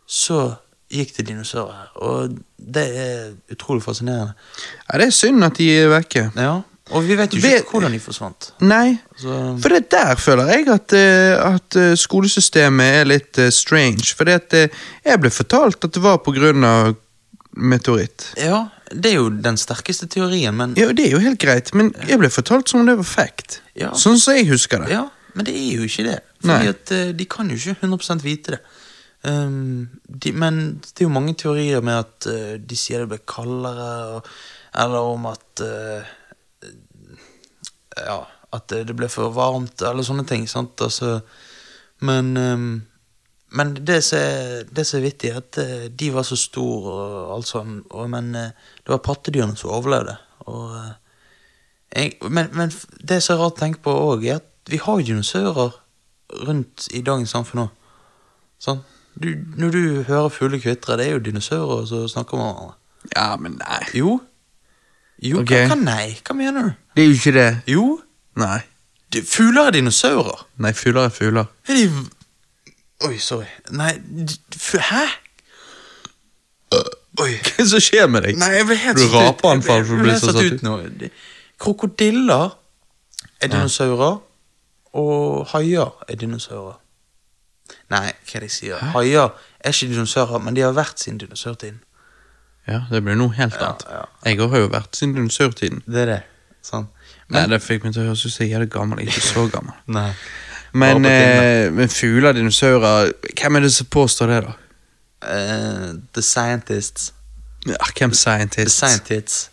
[SPEAKER 2] så gikk det dinosaurer her. Og det er utrolig fascinerende.
[SPEAKER 1] Ja, det er synd at de er vekke.
[SPEAKER 2] Ja, Og vi vet jo ikke
[SPEAKER 1] Vet-
[SPEAKER 2] hvordan de forsvant.
[SPEAKER 1] Nei,
[SPEAKER 2] Så-
[SPEAKER 1] for det der føler jeg at, eh, at eh, skolesystemet er litt eh, strange. For jeg ble fortalt at det var pga. meteoritt.
[SPEAKER 2] Ja, det er jo den sterkeste teorien, men
[SPEAKER 1] Ja, det er jo helt greit, men jeg ble fortalt som om det var fact.
[SPEAKER 2] Ja.
[SPEAKER 1] Sånn som jeg husker det.
[SPEAKER 2] Ja, men det er jo ikke det.
[SPEAKER 1] Nei.
[SPEAKER 2] Fordi at eh, de kan jo ikke 100 vite det. Ehm, de, men det er jo mange teorier med at eh, de sier det ble kaldere, og, eller om at eh, Ja, at det ble for varmt, eller sånne ting. sant? Altså, men ehm, men det som er det som er vittig, er at eh, de var så store, og alt sånn, og, men eh, det var pattedyrene som overlevde. og... eh, jeg, men, men f- det som er rart å tenke på òg, er at vi har jo dinosaurer rundt i dagens samfunn òg. Sånn. Du, når du hører fugler kvitre, det er jo dinosaurer som snakker med hverandre.
[SPEAKER 1] Ja, men nei.
[SPEAKER 2] Jo. Jo,
[SPEAKER 1] Ok.
[SPEAKER 2] hva, hva nei? Hva mener du?
[SPEAKER 1] Det er jo ikke det.
[SPEAKER 2] Jo,
[SPEAKER 1] Nei.
[SPEAKER 2] de, fugler er dinosaurer.
[SPEAKER 1] Nei, fugler er fugler.
[SPEAKER 2] Er de Oi, sorry. Nei, d- f- hæ? Oi.
[SPEAKER 1] Hva er det som skjer med deg?
[SPEAKER 2] Nei, jeg ble helt
[SPEAKER 1] Du
[SPEAKER 2] satt ut.
[SPEAKER 1] rapeanfall for å
[SPEAKER 2] Jeg ble
[SPEAKER 1] bli
[SPEAKER 2] helt
[SPEAKER 1] så satt ut.
[SPEAKER 2] nå. De- Krokodiller er dinosaurer, og haier er dinosaurer. Nei, hva er det jeg sier? Haier er ikke dinosaurer, men de har vært siden dinosaurtiden.
[SPEAKER 1] Ja, det blir noe helt
[SPEAKER 2] Ja,
[SPEAKER 1] annet.
[SPEAKER 2] ja.
[SPEAKER 1] Jeg har jo vært siden dinosaurtiden.
[SPEAKER 2] Det er det. Sånn.
[SPEAKER 1] Nei,
[SPEAKER 2] Men,
[SPEAKER 1] det fikk meg til å høres ut som jeg er jævlig gammel. Ikke så gammel.
[SPEAKER 2] nei.
[SPEAKER 1] Men,
[SPEAKER 2] Bare på
[SPEAKER 1] eh, men fugler, dinosaurer Hvem er det som påstår det, da?
[SPEAKER 2] Eh, the Scientists.
[SPEAKER 1] Ja, hvem
[SPEAKER 2] The
[SPEAKER 1] scientist?
[SPEAKER 2] Scientists.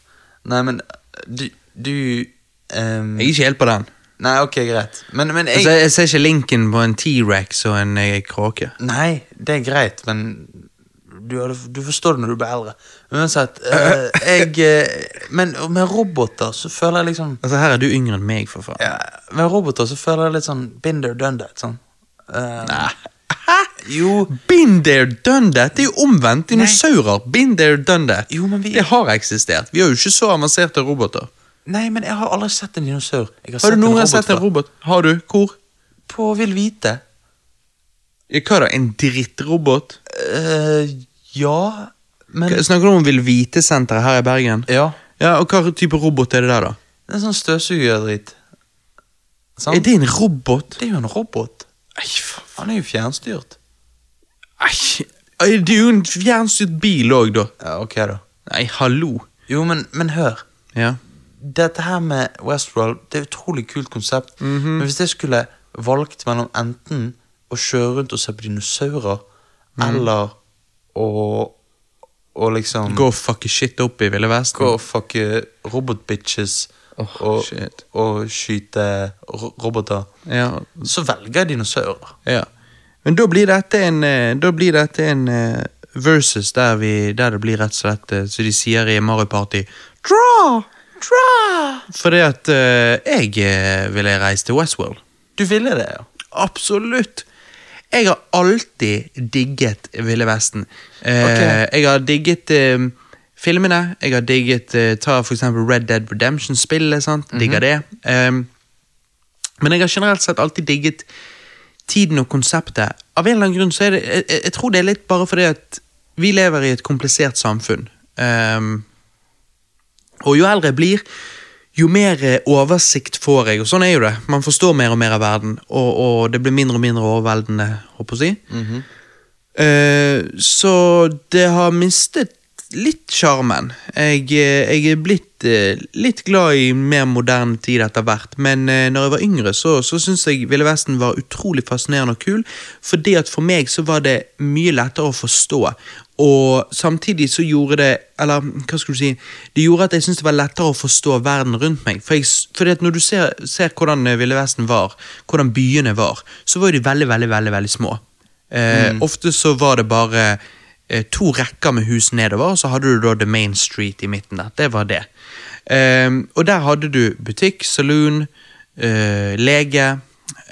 [SPEAKER 2] Nei, men du, du ehm,
[SPEAKER 1] Jeg er ikke helt på den.
[SPEAKER 2] Nei, ok, greit. Men, men jeg
[SPEAKER 1] Altså, jeg ser ikke linken på en T-rex og en eh, kråke.
[SPEAKER 2] Nei, det er greit, men du, hadde- du forstår det når du blir eldre. Uansett, eh, jeg eh, Men med roboter så føler jeg liksom
[SPEAKER 1] Altså, her er du yngre enn meg, for faen.
[SPEAKER 2] ja, Med roboter så føler jeg litt sånn Binder done that. Sånn. Eh,
[SPEAKER 1] Nei.
[SPEAKER 2] jo,
[SPEAKER 1] Been there, done that. Det er jo omvendt dinosaurer. Been there, done that.
[SPEAKER 2] Jo, men vi-
[SPEAKER 1] Det har eksistert. Vi har jo ikke så avanserte roboter.
[SPEAKER 2] nei, men jeg har aldri sett en dinosaur. Jeg har,
[SPEAKER 1] Har du noen gang
[SPEAKER 2] robot
[SPEAKER 1] sett en
[SPEAKER 2] før.
[SPEAKER 1] robot? Har du? Hvor?
[SPEAKER 2] På Vil vite.
[SPEAKER 1] Ja, Hva da, en drittrobot?
[SPEAKER 2] Eh, ja, men
[SPEAKER 1] Hva- Snakker du om Vil Vite-senteret her i Bergen?
[SPEAKER 2] Ja.
[SPEAKER 1] Ja, og Hva type robot er det der, da?
[SPEAKER 2] Det er sånn støvsugerdrit. Sant?
[SPEAKER 1] Er det en robot?
[SPEAKER 2] Det er jo en robot. Han er jo fjernstyrt.
[SPEAKER 1] Æsj! Øy, Det er jo en fjernstyrt bil òg, da.
[SPEAKER 2] Ja, ok da.
[SPEAKER 1] Nei, hallo.
[SPEAKER 2] Jo, men, men hør.
[SPEAKER 1] Ja.
[SPEAKER 2] Dette her med Westworld, det er et utrolig kult konsept.
[SPEAKER 1] Mhm.
[SPEAKER 2] Men hvis jeg skulle valgt mellom enten å kjøre rundt og se på dinosaurer,
[SPEAKER 1] Mhm.
[SPEAKER 2] eller å å liksom
[SPEAKER 1] Gå og fucke shit opp i Ville Vesten.
[SPEAKER 2] gå og fucke robotbitches
[SPEAKER 1] Åh,
[SPEAKER 2] og,
[SPEAKER 1] shit.
[SPEAKER 2] og skyte ro- roboter,
[SPEAKER 1] Ja,
[SPEAKER 2] så velger jeg dinosaurer.
[SPEAKER 1] ja. Men da blir dette en, eh, da blir dette en eh, versus der, vi, der det blir rett og slett eh, Så de sier i Mario Party Draw! Draw! Fordi at eh, jeg eh, ville reist til Westworld.
[SPEAKER 2] Du ville det, ja?
[SPEAKER 1] Absolutt. Jeg har alltid digget Ville Vesten. Eh,
[SPEAKER 2] Ok.
[SPEAKER 1] Jeg har digget eh, filmene. Jeg har digget eh, Ta for eksempel Red Dead Redemption-spillet. sant? Digger det. Eh, men jeg har generelt sett alltid digget tiden og konseptet. Av en eller annen grunn så er det Jeg, jeg- jeg tror det er litt bare fordi at vi lever i et komplisert samfunn. Eh, og jo eldre jeg blir, jo mer eh, oversikt får jeg, og sånn er jo det. Man forstår mer og mer av verden, og, og det blir mindre og mindre overveldende, håper jeg å si. Eh, så det har mistet litt sjarmen. Jeg, eh, jeg er blitt eh, litt glad i mer moderne tid etter hvert, men eh, når jeg var yngre, så, så syntes jeg Ville Vesten var utrolig fascinerende og kul, fordi at for meg så var det mye lettere å forstå. Og samtidig så gjorde det Eller hva skal du si Det gjorde at jeg syntes det var lettere å forstå verden rundt meg. For jeg, s- fordi at når du ser, ser hvordan eh, Ville Vesten var, hvordan byene var, så var jo de veldig, veldig, veldig, veldig små. Eh, Ofte så var det bare eh, to rekker med hus nedover, og så hadde du da The Main Street i midten der. Det var det. Eh, og der hadde du butikk, saloon, eh, lege,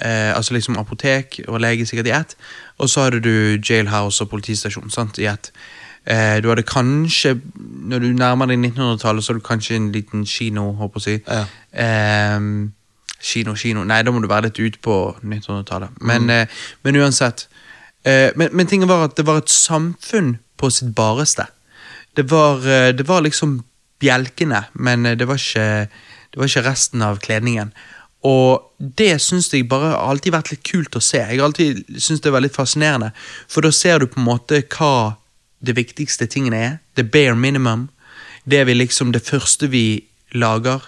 [SPEAKER 1] eh, altså liksom apotek og lege sikkert i ett, og så hadde du jailhouse og politistasjon sant, i ett. Eh, du hadde kanskje, når du nærmer deg 1900-tallet, så hadde du kanskje en liten kino, håper jeg å si.
[SPEAKER 2] Ja.
[SPEAKER 1] Ehm, kino, kino Nei, da må du være litt ut på 1900-tallet. Men, eh, men uansett. Eh, men, men tingen var at det var et samfunn på sitt bareste. Det var, eh, det var liksom bjelkene, men eh, det var ikke, det var ikke resten av kledningen. Og det syns jeg bare har alltid vært litt kult å se. Jeg har alltid syntes det var litt fascinerende. For da ser du på en måte hva det viktigste tingene er. The bare minimum. Det vi liksom det første vi lager.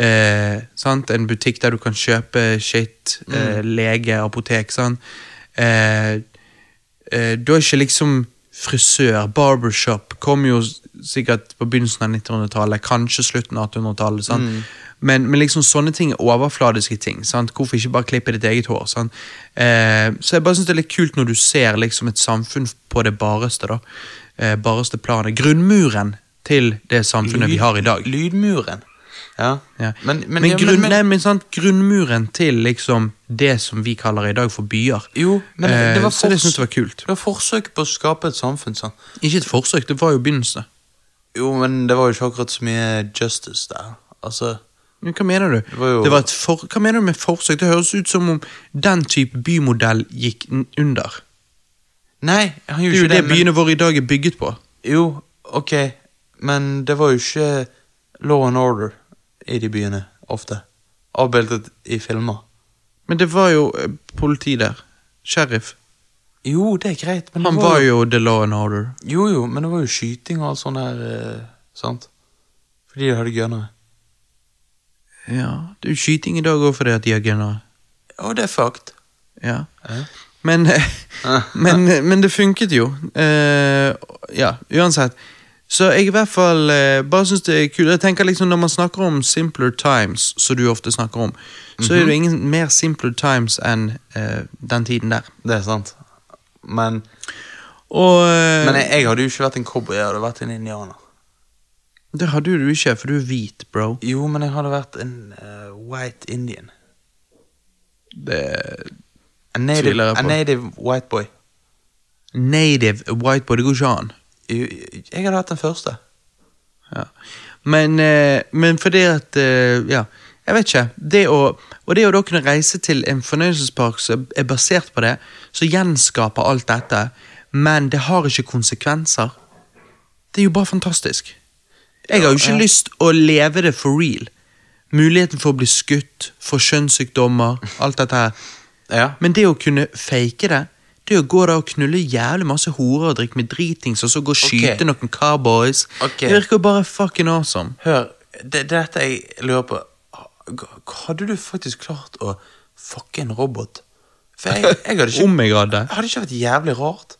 [SPEAKER 1] Eh, sant? En butikk der du kan kjøpe shit, eh, lege, apotek. Sant? Eh, eh, du har ikke liksom frisør, barbershop, kom jo s- sikkert på begynnelsen av 1900-tallet, kanskje slutten av 1800-tallet. sant? Men, men liksom sånne ting er overfladiske ting. sant? Hvorfor ikke bare klippe ditt eget hår? sant? Eh, så jeg bare synes det er litt kult når du ser liksom et samfunn på det bareste, da. Eh, bareste planet. Grunnmuren til det samfunnet vi har i dag.
[SPEAKER 2] Lydmuren. Ja.
[SPEAKER 1] Ja.
[SPEAKER 2] Men, men, ja,
[SPEAKER 1] grunn,
[SPEAKER 2] men, men
[SPEAKER 1] nei, men sant, grunnmuren til liksom det som vi kaller i dag for byer.
[SPEAKER 2] Jo, men
[SPEAKER 1] Eh,
[SPEAKER 2] det var
[SPEAKER 1] så det
[SPEAKER 2] fors-
[SPEAKER 1] synes jeg var kult.
[SPEAKER 2] Det var forsøk på å skape et samfunn, sant?
[SPEAKER 1] Ikke et forsøk, det var jo begynnelsen.
[SPEAKER 2] Jo, men det var jo ikke akkurat så mye justice der. Altså,
[SPEAKER 1] Men hva mener du? Det
[SPEAKER 2] var jo-
[SPEAKER 1] et for... Hva mener du med forsøk? Det høres ut som om den type bymodell gikk n- under.
[SPEAKER 2] Nei, han
[SPEAKER 1] Det er
[SPEAKER 2] gjorde
[SPEAKER 1] jo
[SPEAKER 2] ikke
[SPEAKER 1] det
[SPEAKER 2] det, men
[SPEAKER 1] byene våre i dag er bygget på.
[SPEAKER 2] Jo, ok, men det var jo ikke law and order i de byene, ofte. Avbildet i filmer.
[SPEAKER 1] Men det var jo eh, politi der. Sheriff.
[SPEAKER 2] Jo, det er greit, men det
[SPEAKER 1] Han var jo the law and order.
[SPEAKER 2] Jo, jo, men det var jo skyting og alt sånt der, eh, sant? Fordi de hadde gønnere.
[SPEAKER 1] Ja, det er jo skyting i dag òg fordi at de har gener.
[SPEAKER 2] Å, det er fucked.
[SPEAKER 1] Ja.
[SPEAKER 2] Ja.
[SPEAKER 1] Men, eh, men, eh, men det funket jo. Eh, ja, uansett. Så jeg i hvert fall eh, bare syns det er kult. Jeg tenker liksom Når man snakker om simpler times, som du ofte snakker om, så er det
[SPEAKER 2] Mhm.
[SPEAKER 1] jo ingen mer simpler times enn eh, den tiden der.
[SPEAKER 2] Det er sant. Men,
[SPEAKER 1] Og eh,
[SPEAKER 2] men jeg, jeg hadde jo ikke vært en cowboy, jeg hadde vært en indianer.
[SPEAKER 1] det hadde jo du ikke, for du er hvit, bro.
[SPEAKER 2] Jo, men jeg hadde vært en eh, white indian.
[SPEAKER 1] Det,
[SPEAKER 2] En
[SPEAKER 1] Tviler
[SPEAKER 2] native,
[SPEAKER 1] jeg
[SPEAKER 2] a
[SPEAKER 1] på.
[SPEAKER 2] native white boy.
[SPEAKER 1] Native white boy, det går ikke an.
[SPEAKER 2] Jeg jeg hadde hatt den første.
[SPEAKER 1] Ja. Men, eh, men fordi at eh, Ja, jeg vet ikke. Det å, og det å da kunne reise til en fornøyelsespark som er basert på det, som gjenskaper alt dette, men det har ikke konsekvenser, det er jo bare fantastisk. Jeg har jo ikke lyst å leve det for real. Muligheten for å bli skutt, for kjønnssykdommer, alt dette her.
[SPEAKER 2] Ja.
[SPEAKER 1] Men det å kunne fake det, det å gå der og knulle jævlig masse horer og drikke med dritings, og så gå og skyte
[SPEAKER 2] Ok.
[SPEAKER 1] noen cowboys,
[SPEAKER 2] Ok.
[SPEAKER 1] det virker jo bare fucking awesome.
[SPEAKER 2] Hør, det, det er dette jeg lurer på. Hadde du faktisk klart å fucke en robot? For jeg, jeg hadde ikke
[SPEAKER 1] Om jeg hadde.
[SPEAKER 2] Hadde ikke vært jævlig rart?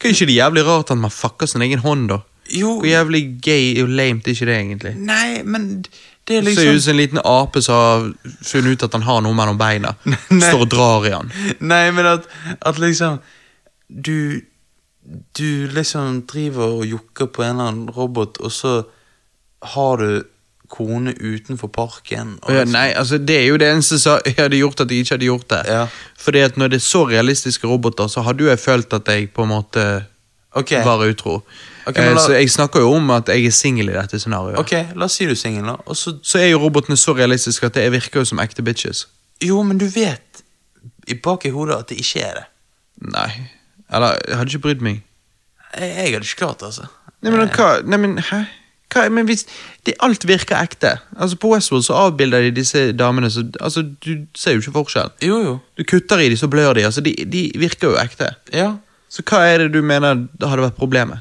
[SPEAKER 1] Det er ikke det jævlig rart at man fucker sin egen hånd, da.
[SPEAKER 2] Jo,
[SPEAKER 1] Hvor jævlig gay og lame er ikke det, egentlig?
[SPEAKER 2] nei, men det er
[SPEAKER 1] Det Ser ut
[SPEAKER 2] liksom
[SPEAKER 1] som en liten ape som har funnet ut at han har noe mellom beina. Står og drar i han.
[SPEAKER 2] Nei, men at, at liksom Du Du liksom driver og jokker på en eller annen robot, og så har du kone utenfor parken og
[SPEAKER 1] Og
[SPEAKER 2] liksom-
[SPEAKER 1] Ja, nei, altså Det er jo det eneste som jeg hadde gjort at jeg ikke hadde gjort det.
[SPEAKER 2] Ja.
[SPEAKER 1] Fordi at når det er så realistiske roboter, så hadde jo jeg følt at jeg på en måte
[SPEAKER 2] Ok,
[SPEAKER 1] var utro.
[SPEAKER 2] Ok, men
[SPEAKER 1] Eh,
[SPEAKER 2] la-
[SPEAKER 1] Så jeg snakker jo om at jeg er singel i dette scenarioet.
[SPEAKER 2] ok, la oss si du er singel, da. Og så
[SPEAKER 1] Så er jo robotene så realistiske at det virker jo som ekte bitches.
[SPEAKER 2] Jo, men du vet i bak i hodet at det ikke er det.
[SPEAKER 1] Nei. Eller jeg hadde ikke brydd meg. Eh.
[SPEAKER 2] Jeg, jeg hadde ikke klart det, altså.
[SPEAKER 1] Nei, men hva, nei, men, hæ? Hva, men hvis, det, alt virker ekte. Altså På Westworld så avbilder de disse damene så, altså, Du ser jo ikke forskjell.
[SPEAKER 2] Jo, jo.
[SPEAKER 1] Du kutter i dem, så blør de. Altså, de, de virker jo ekte.
[SPEAKER 2] Ja.
[SPEAKER 1] Så hva er det du mener det hadde vært problemet?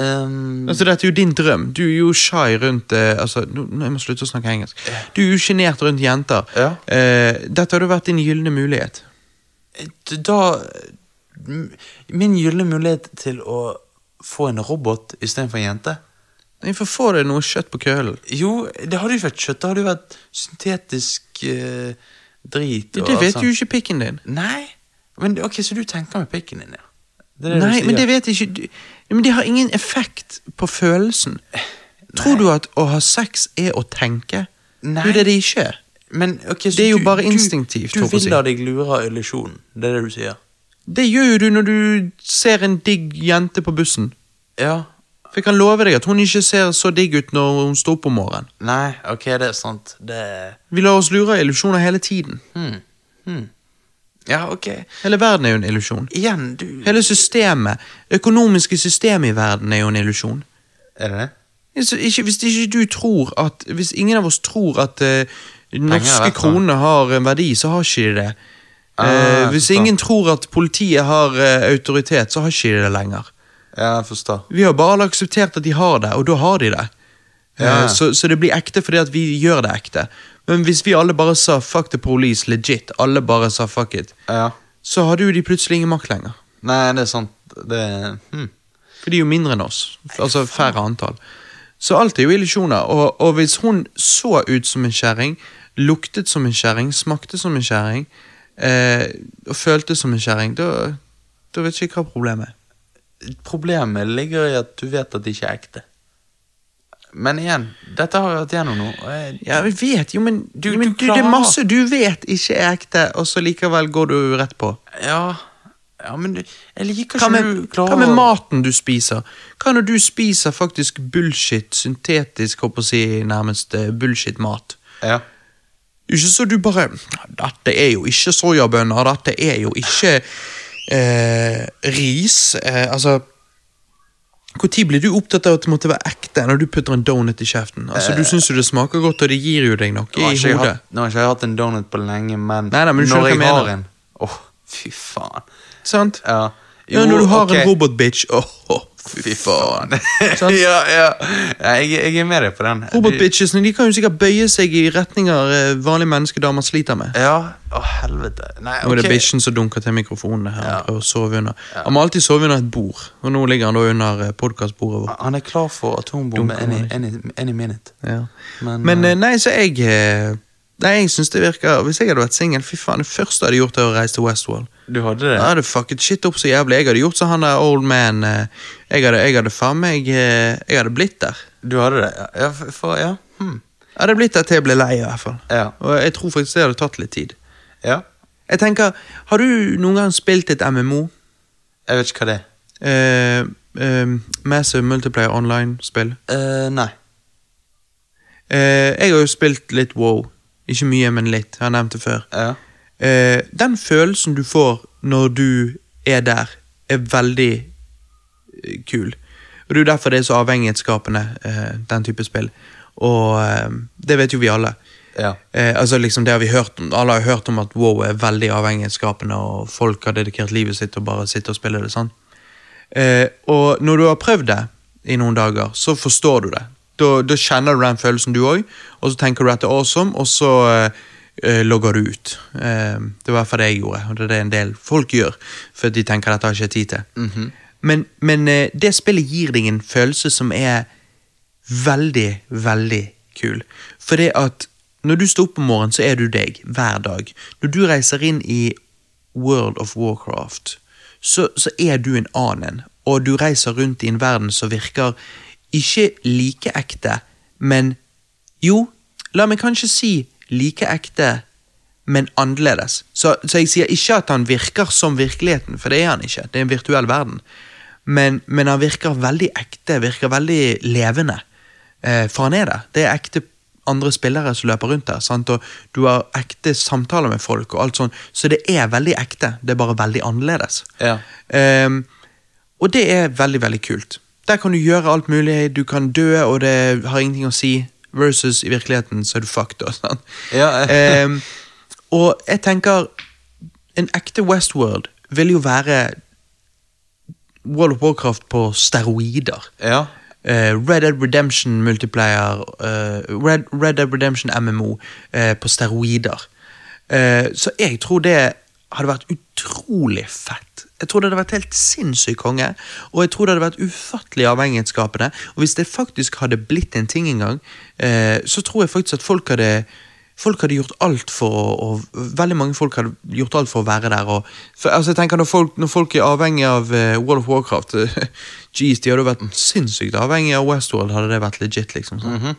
[SPEAKER 2] ehm,
[SPEAKER 1] Altså Dette er jo din drøm. Du er jo shy rundt eh, altså, nå, nå, Jeg må slutte å snakke engelsk. Du er jo sjenert rundt jenter.
[SPEAKER 2] Ja.
[SPEAKER 1] Eh, dette hadde vært din gylne mulighet.
[SPEAKER 2] da m- Min gylne mulighet til å få en robot istedenfor en jente
[SPEAKER 1] Nei, for Få deg noe kjøtt på kølen.
[SPEAKER 2] Jo, det hadde jo vært kjøtt. Det hadde jo vært syntetisk eh, drit.
[SPEAKER 1] Det, det vet jo ikke pikken din.
[SPEAKER 2] Nei. Men det- ok, Så du tenker med pikken din, ja? Det er det du
[SPEAKER 1] Nei,
[SPEAKER 2] sier.
[SPEAKER 1] men det vet jeg ikke du, Nei, Men det har ingen effekt på følelsen. Tror du at å ha sex er å tenke?
[SPEAKER 2] Nei.
[SPEAKER 1] Du, det er det ikke.
[SPEAKER 2] Men, ok, så
[SPEAKER 1] Det er jo
[SPEAKER 2] du-
[SPEAKER 1] bare
[SPEAKER 2] du-
[SPEAKER 1] instinktivt,
[SPEAKER 2] Du
[SPEAKER 1] holdt på å si.
[SPEAKER 2] vil la deg lure av illusjonen. Det er det du sier?
[SPEAKER 1] Det gjør jo du når du ser en digg jente på bussen.
[SPEAKER 2] Ja.
[SPEAKER 1] For jeg kan love deg at hun ikke ser så digg ut når hun står opp om morgenen.
[SPEAKER 2] Nei, ok, det er sant. Det er
[SPEAKER 1] Vi lar oss lure av illusjoner hele tiden.
[SPEAKER 2] hmm. Hmm. Ja, ok.
[SPEAKER 1] Hele verden er jo en illusjon.
[SPEAKER 2] Igjen, du
[SPEAKER 1] Hele systemet, det økonomiske systemet i verden er jo en illusjon.
[SPEAKER 2] Er det det?
[SPEAKER 1] Hvis ikke, hvis ikke du tror at Hvis ingen av oss tror at eh,
[SPEAKER 2] verdt
[SPEAKER 1] norske
[SPEAKER 2] noe.
[SPEAKER 1] kroner har en verdi, så har ikke de det.
[SPEAKER 2] Ah,
[SPEAKER 1] Eh,
[SPEAKER 2] jeg
[SPEAKER 1] hvis
[SPEAKER 2] forstår.
[SPEAKER 1] ingen tror at politiet har eh, autoritet, så har ikke de det lenger.
[SPEAKER 2] Ja, jeg forstår.
[SPEAKER 1] Vi har bare alle akseptert at de har det, og da har de det. Eh,
[SPEAKER 2] Ja.
[SPEAKER 1] så, så det blir ekte fordi at vi gjør det ekte. Men hvis vi alle bare sa 'fuck the police', legit, alle bare sa 'fuck it',
[SPEAKER 2] Ja.
[SPEAKER 1] så hadde jo de plutselig ingen makt lenger.
[SPEAKER 2] Nei, det er sant. Det er hmm.
[SPEAKER 1] For de er jo mindre enn oss. Altså færre antall. Så alt er jo illusjoner. Og, og hvis hun så ut som en kjerring, luktet som en kjerring, smakte som en kjerring, eh, og følte som en kjerring, da da vet ikke jeg hva problemet er.
[SPEAKER 2] Problemet ligger i at du vet at det ikke er ekte. Men igjen, dette har jeg vært gjennom nå. Og jeg,
[SPEAKER 1] Ja, vi vet jo, men,
[SPEAKER 2] Du-
[SPEAKER 1] men
[SPEAKER 2] du
[SPEAKER 1] det er
[SPEAKER 2] klarer.
[SPEAKER 1] masse du vet ikke er ekte, og så likevel går du rett på.
[SPEAKER 2] ja, ja, men du- jeg liker
[SPEAKER 1] Hva
[SPEAKER 2] ikke
[SPEAKER 1] med,
[SPEAKER 2] Altså, du
[SPEAKER 1] hva
[SPEAKER 2] klarer
[SPEAKER 1] med
[SPEAKER 2] å-
[SPEAKER 1] maten du spiser? Hva når du spiser faktisk bullshit, syntetisk, håper jeg å si, nærmest eh, bullshit-mat?
[SPEAKER 2] Ja.
[SPEAKER 1] Ikke så du bare Dette er jo ikke soyabønner, dette er jo ikke eh, ris. Eh, altså Når blir du opptatt av at det måtte være ekte når du putter en donut i kjeften? Altså Du syns jo det smaker godt, og det gir jo deg noe
[SPEAKER 2] Nå Eh. har
[SPEAKER 1] i
[SPEAKER 2] ikke jeg
[SPEAKER 1] hodet.
[SPEAKER 2] hatt- Nå har ikke jeg hatt en donut på lenge, men,
[SPEAKER 1] Nei, nei, men du skjønner
[SPEAKER 2] når
[SPEAKER 1] hva jeg
[SPEAKER 2] jeg har
[SPEAKER 1] mener.
[SPEAKER 2] en Åh, fy faen.
[SPEAKER 1] Sant?
[SPEAKER 2] Ja.
[SPEAKER 1] ja, når du har
[SPEAKER 2] ok.
[SPEAKER 1] en robotbitch Åh, åh, fy faen. Sant?
[SPEAKER 2] ja, ja. ja jeg, jeg er med deg på den.
[SPEAKER 1] Robotbitchesene de kan jo sikkert bøye seg i retninger eh, vanlige menneskedamer sliter med.
[SPEAKER 2] Ja. Å, helvete. Nei,
[SPEAKER 1] Nå er det
[SPEAKER 2] Eh, ok.
[SPEAKER 1] bitchen som dunker til mikrofonene her.
[SPEAKER 2] Ja.
[SPEAKER 1] og prøver å sove under. Han må alltid sove under et bord, og nå ligger han da under eh, podcastbordet vårt.
[SPEAKER 2] Han er klar for atombombe
[SPEAKER 1] Dunker
[SPEAKER 2] any,
[SPEAKER 1] meg.
[SPEAKER 2] any, any minute.
[SPEAKER 1] Ja.
[SPEAKER 2] Men,
[SPEAKER 1] Men eh, nei, så jeg eh, Nei, jeg synes det virker Hvis jeg hadde vært singel, fy faen, det første jeg hadde gjort, er å reise til Westworld.
[SPEAKER 2] Du hadde det?
[SPEAKER 1] Jeg eh, hadde fucket shit opp så jævlig. Jeg hadde gjort som han der old man. eh, Jeg hadde, jeg hadde faen meg eh, Jeg hadde blitt der.
[SPEAKER 2] Du hadde det? Ja, Ja, for, for ja. Hmm.
[SPEAKER 1] Jeg hadde blitt der til jeg ble lei, i hvert fall.
[SPEAKER 2] Ja.
[SPEAKER 1] Og jeg tror faktisk det hadde tatt litt tid.
[SPEAKER 2] ja.
[SPEAKER 1] Jeg tenker, Har du noen gang spilt et MMO?
[SPEAKER 2] Jeg vet ikke hva det er.
[SPEAKER 1] Eh, eh, Massive Multiplayer Online-spill.
[SPEAKER 2] Eh, nei.
[SPEAKER 1] Eh, jeg har jo spilt litt WoW. Ikke mye, men litt. Jeg har nevnt det før.
[SPEAKER 2] Ja.
[SPEAKER 1] Eh, den følelsen du får når du er der, er veldig eh, kul. Og Det er jo derfor det er så avhengighetsskapende, eh, den type spill. Og eh, det vet jo vi alle.
[SPEAKER 2] ja.
[SPEAKER 1] Eh, altså liksom det har vi hørt om Alle har jo hørt om at wow er veldig avhengighetsskapende, og folk har dedikert livet sitt til å bare sitte og spille det. sant? Eh, og når du har prøvd det i noen dager, så forstår du det. Da, da kjenner du den følelsen, du òg, og så tenker du at det er awesome, og så eh, eh, logger du ut. Eh, det var i hvert fall det jeg gjorde, og det er det en del folk gjør, for de tenker at dette har jeg ikke tid til. Men, men eh, det spillet gir deg en følelse som er veldig, veldig kul. For det at når du står opp om morgenen, så er du deg hver dag. Når du reiser inn i World of Warcraft, så, så er du en annen. Og du reiser rundt i en verden som virker ikke like ekte, men jo, la meg kanskje si like ekte, men annerledes. Så, så jeg sier ikke at han virker som virkeligheten, for det er han ikke. Det er en virtuell verden. Men, men han virker veldig ekte, virker veldig levende. Eh, for han er det. Det er ekte andre spillere som løper rundt der, sant? og du har ekte samtaler med folk, og alt sånt. så det er veldig ekte. Det er bare veldig annerledes.
[SPEAKER 2] Ja.
[SPEAKER 1] Ehm, og det er veldig, veldig kult. Der kan du gjøre alt mulig, du kan dø, og det har ingenting å si. Versus i virkeligheten, så er du fucked. Og, sånn.
[SPEAKER 2] Ja, eh.
[SPEAKER 1] Ehm, og jeg tenker En ekte Westworld vil jo være World of Warcraft på steroider.
[SPEAKER 2] ja.
[SPEAKER 1] Eh, Red Dead Redemption Multiplayer, eh, Red, Red Dead Redemption MMO eh, på steroider. Eh, så jeg tror det hadde vært utrolig fett. Jeg tror det hadde vært helt sinnssykt konge, og jeg tror det hadde vært ufattelig avhengighetsskapende. Og hvis det faktisk hadde blitt en ting en gang, eh, så tror jeg faktisk at folk hadde Folk hadde gjort alt for å, og Veldig mange folk hadde gjort alt for å være der. Og, for, altså jeg tenker Når folk, når folk er avhengig av eh, World of Warcraft Jeez, de hadde jo vært sinnssykt avhengig av Westworld, hadde det vært legit. liksom sånn.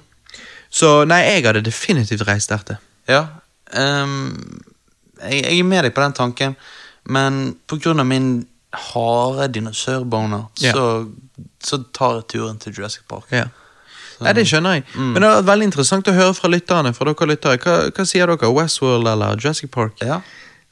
[SPEAKER 1] Så nei, jeg hadde definitivt reist der til.
[SPEAKER 2] Ja. ehm, jeg, jeg er med deg på den tanken, men på grunn av min harde dinosaurboner,
[SPEAKER 1] Ja.
[SPEAKER 2] så, så tar jeg turen til Jurassic Park.
[SPEAKER 1] Ja. Nei, Det skjønner jeg. Men det har vært veldig interessant å høre fra lytterne. Fra dere lyttere. Hva, hva sier dere? Westworld eller Jurassic Park?
[SPEAKER 2] Ja.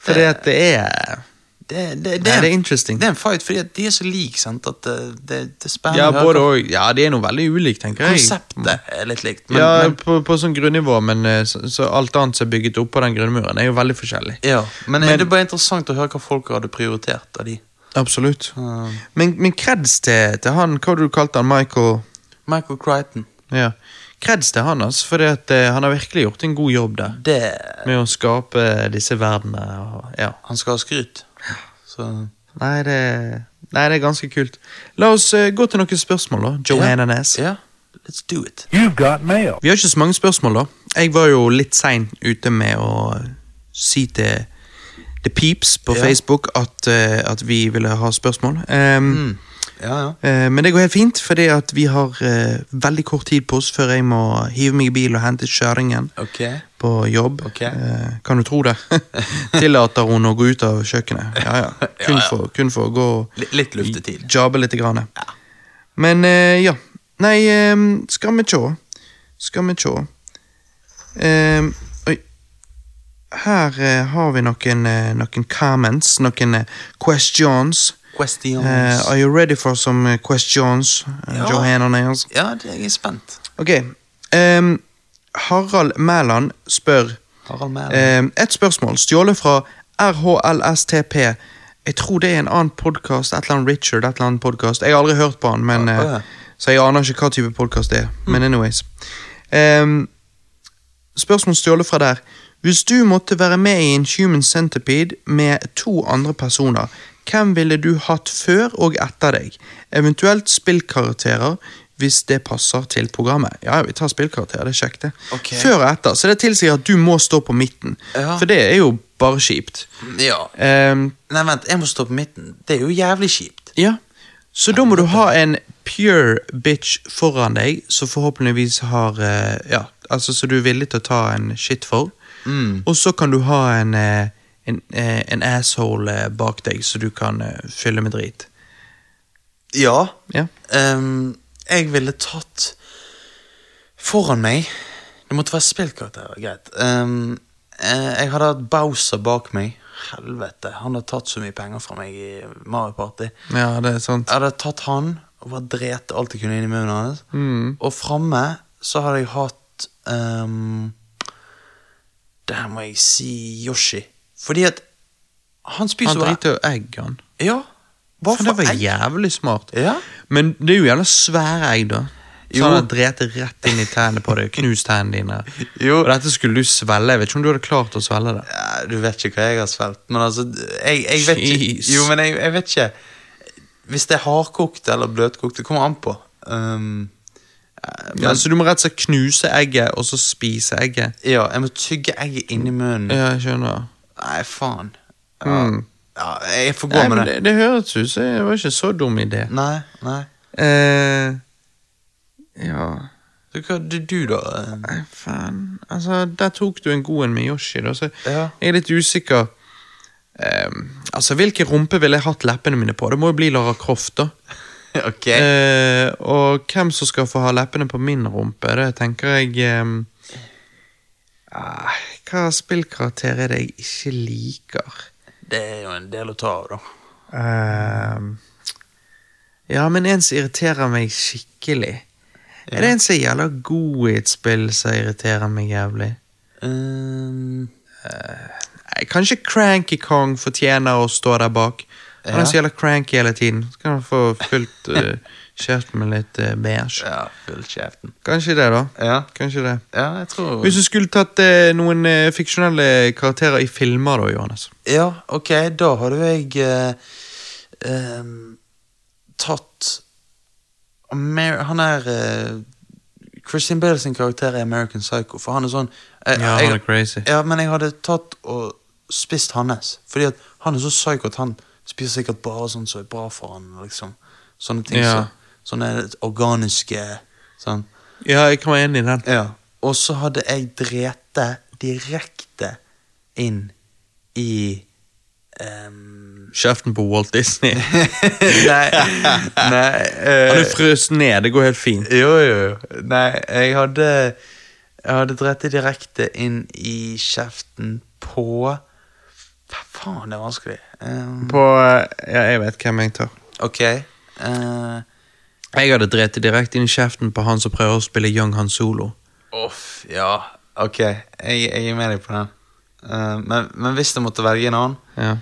[SPEAKER 1] Fordi at det er
[SPEAKER 2] Det, det, det,
[SPEAKER 1] Nei,
[SPEAKER 2] er,
[SPEAKER 1] det er
[SPEAKER 2] en,
[SPEAKER 1] interesting.
[SPEAKER 2] det er en fight, fordi at de er så like, sant, at det, det, det er spennende.
[SPEAKER 1] Ja,
[SPEAKER 2] å høre
[SPEAKER 1] både
[SPEAKER 2] på.
[SPEAKER 1] og. Ja, de er noe veldig ulikt, tenker jeg.
[SPEAKER 2] Konseptet er litt likt, men,
[SPEAKER 1] ja,
[SPEAKER 2] men,
[SPEAKER 1] på, på sånn grunnivå, men eh, så, så alt annet som er bygget opp på den grunnmuren, er jo veldig forskjellig.
[SPEAKER 2] ja. men,
[SPEAKER 1] Men-
[SPEAKER 2] er det bare interessant å høre hva folk hadde prioritert av de.
[SPEAKER 1] Absolutt.
[SPEAKER 2] Um,
[SPEAKER 1] Men, men kreds til, til han, hva hadde du kalt han, Michael
[SPEAKER 2] Michael Crichton,
[SPEAKER 1] Ja. Kreds til han, altså, for han har virkelig gjort en god jobb der.
[SPEAKER 2] det
[SPEAKER 1] Med å skape disse verdenene og Ja.
[SPEAKER 2] Han skal ha skryt. Så
[SPEAKER 1] Nei, det, nei, det er ganske kult. La oss eh, gå til noen spørsmål, da. Johanna Næss.
[SPEAKER 2] ja, let's do it.
[SPEAKER 3] You've got mail.
[SPEAKER 1] Vi har ikke så mange spørsmål, da. Jeg var jo litt sein ute med å si til The Peeps på
[SPEAKER 2] Ja.
[SPEAKER 1] Facebook at, eh, at vi ville ha spørsmål. Ehm,
[SPEAKER 2] Mm. Ja, ja.
[SPEAKER 1] eh, men det går helt fint, fordi at vi har eh, veldig kort tid på oss før jeg må hive meg i bil og hente kjøringen
[SPEAKER 2] Ok.
[SPEAKER 1] på jobb.
[SPEAKER 2] Ok.
[SPEAKER 1] Eh, kan du tro det? Tillater hun å gå ut av kjøkkenet? Ja, ja. Kun, For, kun for å gå og
[SPEAKER 2] Litt, litt luftetid.
[SPEAKER 1] Jabbe litt. Grann. Men eh, ja. Nei, ehm, skal vi sjå. Skal vi sjå. Ehm, oi. Her eh, har vi noen, eh, noen comments, noen eh, questions.
[SPEAKER 2] Questions.
[SPEAKER 1] Eh, are you ready for some eh, questions, eh,
[SPEAKER 2] Ja.
[SPEAKER 1] Johanna Nails?
[SPEAKER 2] ja, det- jeg er spent.
[SPEAKER 1] Ok. ehm, Harald Mæland spør
[SPEAKER 2] Harald Mæhl.
[SPEAKER 1] Ehm, Et spørsmål, stjålet fra RHLSTP. Jeg tror det er en annen podkast, et eller annet Richard, et eller annet podcast. Jeg har aldri hørt på han, men,
[SPEAKER 2] Å,
[SPEAKER 1] eh,
[SPEAKER 2] ja.
[SPEAKER 1] så jeg aner ikke hva type podkast det er.
[SPEAKER 2] Mm.
[SPEAKER 1] Men anyways. Ehm, spørsmål stjålet fra der. Hvis du måtte være med i en Human Centipede med to andre personer, hvem ville du hatt før og etter deg? Eventuelt spillkarakterer, hvis det passer til programmet. Ja, vi tar spillkarakterer, det er kjekt, det.
[SPEAKER 2] Ok.
[SPEAKER 1] Før og etter, så det tilsier at du må stå på midten.
[SPEAKER 2] Ja.
[SPEAKER 1] For det er jo bare kjipt.
[SPEAKER 2] ja.
[SPEAKER 1] Ehm,
[SPEAKER 2] Nei, vent, jeg må stå på midten. Det er jo jævlig kjipt.
[SPEAKER 1] ja. Så da må du ha en pure bitch foran deg, som forhåpentligvis har eh, Mm.
[SPEAKER 2] Mm.
[SPEAKER 1] Ja, altså så du er villig til å ta en shit for. Og så kan du ha en, eh, en, eh, en asshole eh, bak deg som du kan eh, fylle med drit.
[SPEAKER 2] Ja.
[SPEAKER 1] Ja.
[SPEAKER 2] ehm, jeg ville tatt Foran meg Det måtte være spillkarakterer, greit. Ehm, eh, jeg hadde hatt Bowser bak meg. Helvete, han har tatt så mye penger fra meg i Mario Party.
[SPEAKER 1] ja, det er sant.
[SPEAKER 2] Jeg hadde tatt han og bare drept alt jeg kunne inn i munnen hans.
[SPEAKER 1] Mm.
[SPEAKER 2] Og framme så hadde jeg hatt ehm, Der må jeg si Yoshi. Fordi at han
[SPEAKER 1] Han
[SPEAKER 2] spiser bare
[SPEAKER 1] driter jo egg, han.
[SPEAKER 2] Ja. Hva
[SPEAKER 1] Faen, det
[SPEAKER 2] for
[SPEAKER 1] var
[SPEAKER 2] egg?
[SPEAKER 1] jævlig smart.
[SPEAKER 2] Ja.
[SPEAKER 1] Men det er jo gjerne svære egg, da.
[SPEAKER 2] Jo.
[SPEAKER 1] Så han har drept det rett inn i tennene på deg, knust tennene dine.
[SPEAKER 2] Jo.
[SPEAKER 1] Og dette skulle du svelge. Jeg vet ikke om du hadde klart å svelge det.
[SPEAKER 2] Ja, Du vet ikke hva jeg har svelget, men altså jeg, jeg vet
[SPEAKER 1] Jeez.
[SPEAKER 2] ikke, Jo, men jeg, jeg vet ikke. Hvis det er hardkokt eller bløtkokt, det kommer an på. Um,
[SPEAKER 1] Ja, så du må rett og slett knuse egget, og så spise egget.
[SPEAKER 2] ja, jeg må tygge egget inni munnen.
[SPEAKER 1] Ja, jeg skjønner.
[SPEAKER 2] Nei, faen. Ja, ja, jeg får Mm. gå
[SPEAKER 1] Nei,
[SPEAKER 2] med
[SPEAKER 1] men
[SPEAKER 2] det.
[SPEAKER 1] det,
[SPEAKER 2] Mm.
[SPEAKER 1] det høres ut som det var ikke så dum idé.
[SPEAKER 2] Nei, nei.
[SPEAKER 1] Eh, ja
[SPEAKER 2] Så hva du, du da? eh?
[SPEAKER 1] Nei, faen. Altså, der tok du en god en med Yoshi, da, så
[SPEAKER 2] Ja.
[SPEAKER 1] jeg er litt usikker. Ehm, altså, hvilke rumpe ville jeg hatt leppene mine på? Det må jo bli Lara Croft, da.
[SPEAKER 2] Ok.
[SPEAKER 1] Eh, og hvem som skal få ha leppene på min rumpe, det tenker jeg ehm, ah, Hva spillkarakter er det jeg ikke liker?
[SPEAKER 2] Det er jo en del å ta av, da.
[SPEAKER 1] Ehm, ja, men en som irriterer meg skikkelig. Er det en som er jævla god i et spill som irriterer meg jævlig?
[SPEAKER 2] Um,
[SPEAKER 1] Nei, Kanskje Cranky Kong fortjener å stå der bak. Han
[SPEAKER 2] Ja.
[SPEAKER 1] er så jævla cranky hele tiden. Så kan han få fylt eh, kjeften med litt eh, beige.
[SPEAKER 2] ja, full kjeften.
[SPEAKER 1] Kanskje det, da.
[SPEAKER 2] Ja,
[SPEAKER 1] Kanskje det.
[SPEAKER 2] ja jeg tror
[SPEAKER 1] Hvis du skulle tatt eh, noen eh, fiksjonelle karakterer i filmer, da, Johannes?
[SPEAKER 2] Ja, ok, da hadde jeg eh, ehm, tatt Amer Han er eh, Christian Bale sin karakter er American Psycho, for han er sånn eh,
[SPEAKER 1] Ja,
[SPEAKER 2] jeg,
[SPEAKER 1] han er crazy.
[SPEAKER 2] Ja, men jeg hadde tatt og spist hans, fordi at han er så psycho at han spiser sikkert bare sånn som er bra for han, liksom. Sånne ting
[SPEAKER 1] Ja.
[SPEAKER 2] som Sånne organiske sånn.
[SPEAKER 1] Ja, jeg kan være enig i den.
[SPEAKER 2] Ja. Og så hadde jeg drete direkte inn i ehm,
[SPEAKER 1] Kjeften på Walt Disney. Han
[SPEAKER 2] Nei, nei eh,
[SPEAKER 1] er frøst ned, det går helt fint.
[SPEAKER 2] Jo, jo, jo. Nei, jeg hadde Jeg hadde drete direkte inn i kjeften på Hva faen, det er vanskelig. Ehm,
[SPEAKER 1] På eh, Ja, jeg vet hvem jeg tar.
[SPEAKER 2] ok. eh,
[SPEAKER 1] Jeg hadde drept det direkte inn i kjeften på han som prøver å spille Young Han Solo.
[SPEAKER 2] Uff, ja. Ok, jeg, jeg er med deg på den. Eh, men, men hvis jeg måtte velge en annen,
[SPEAKER 1] Ja.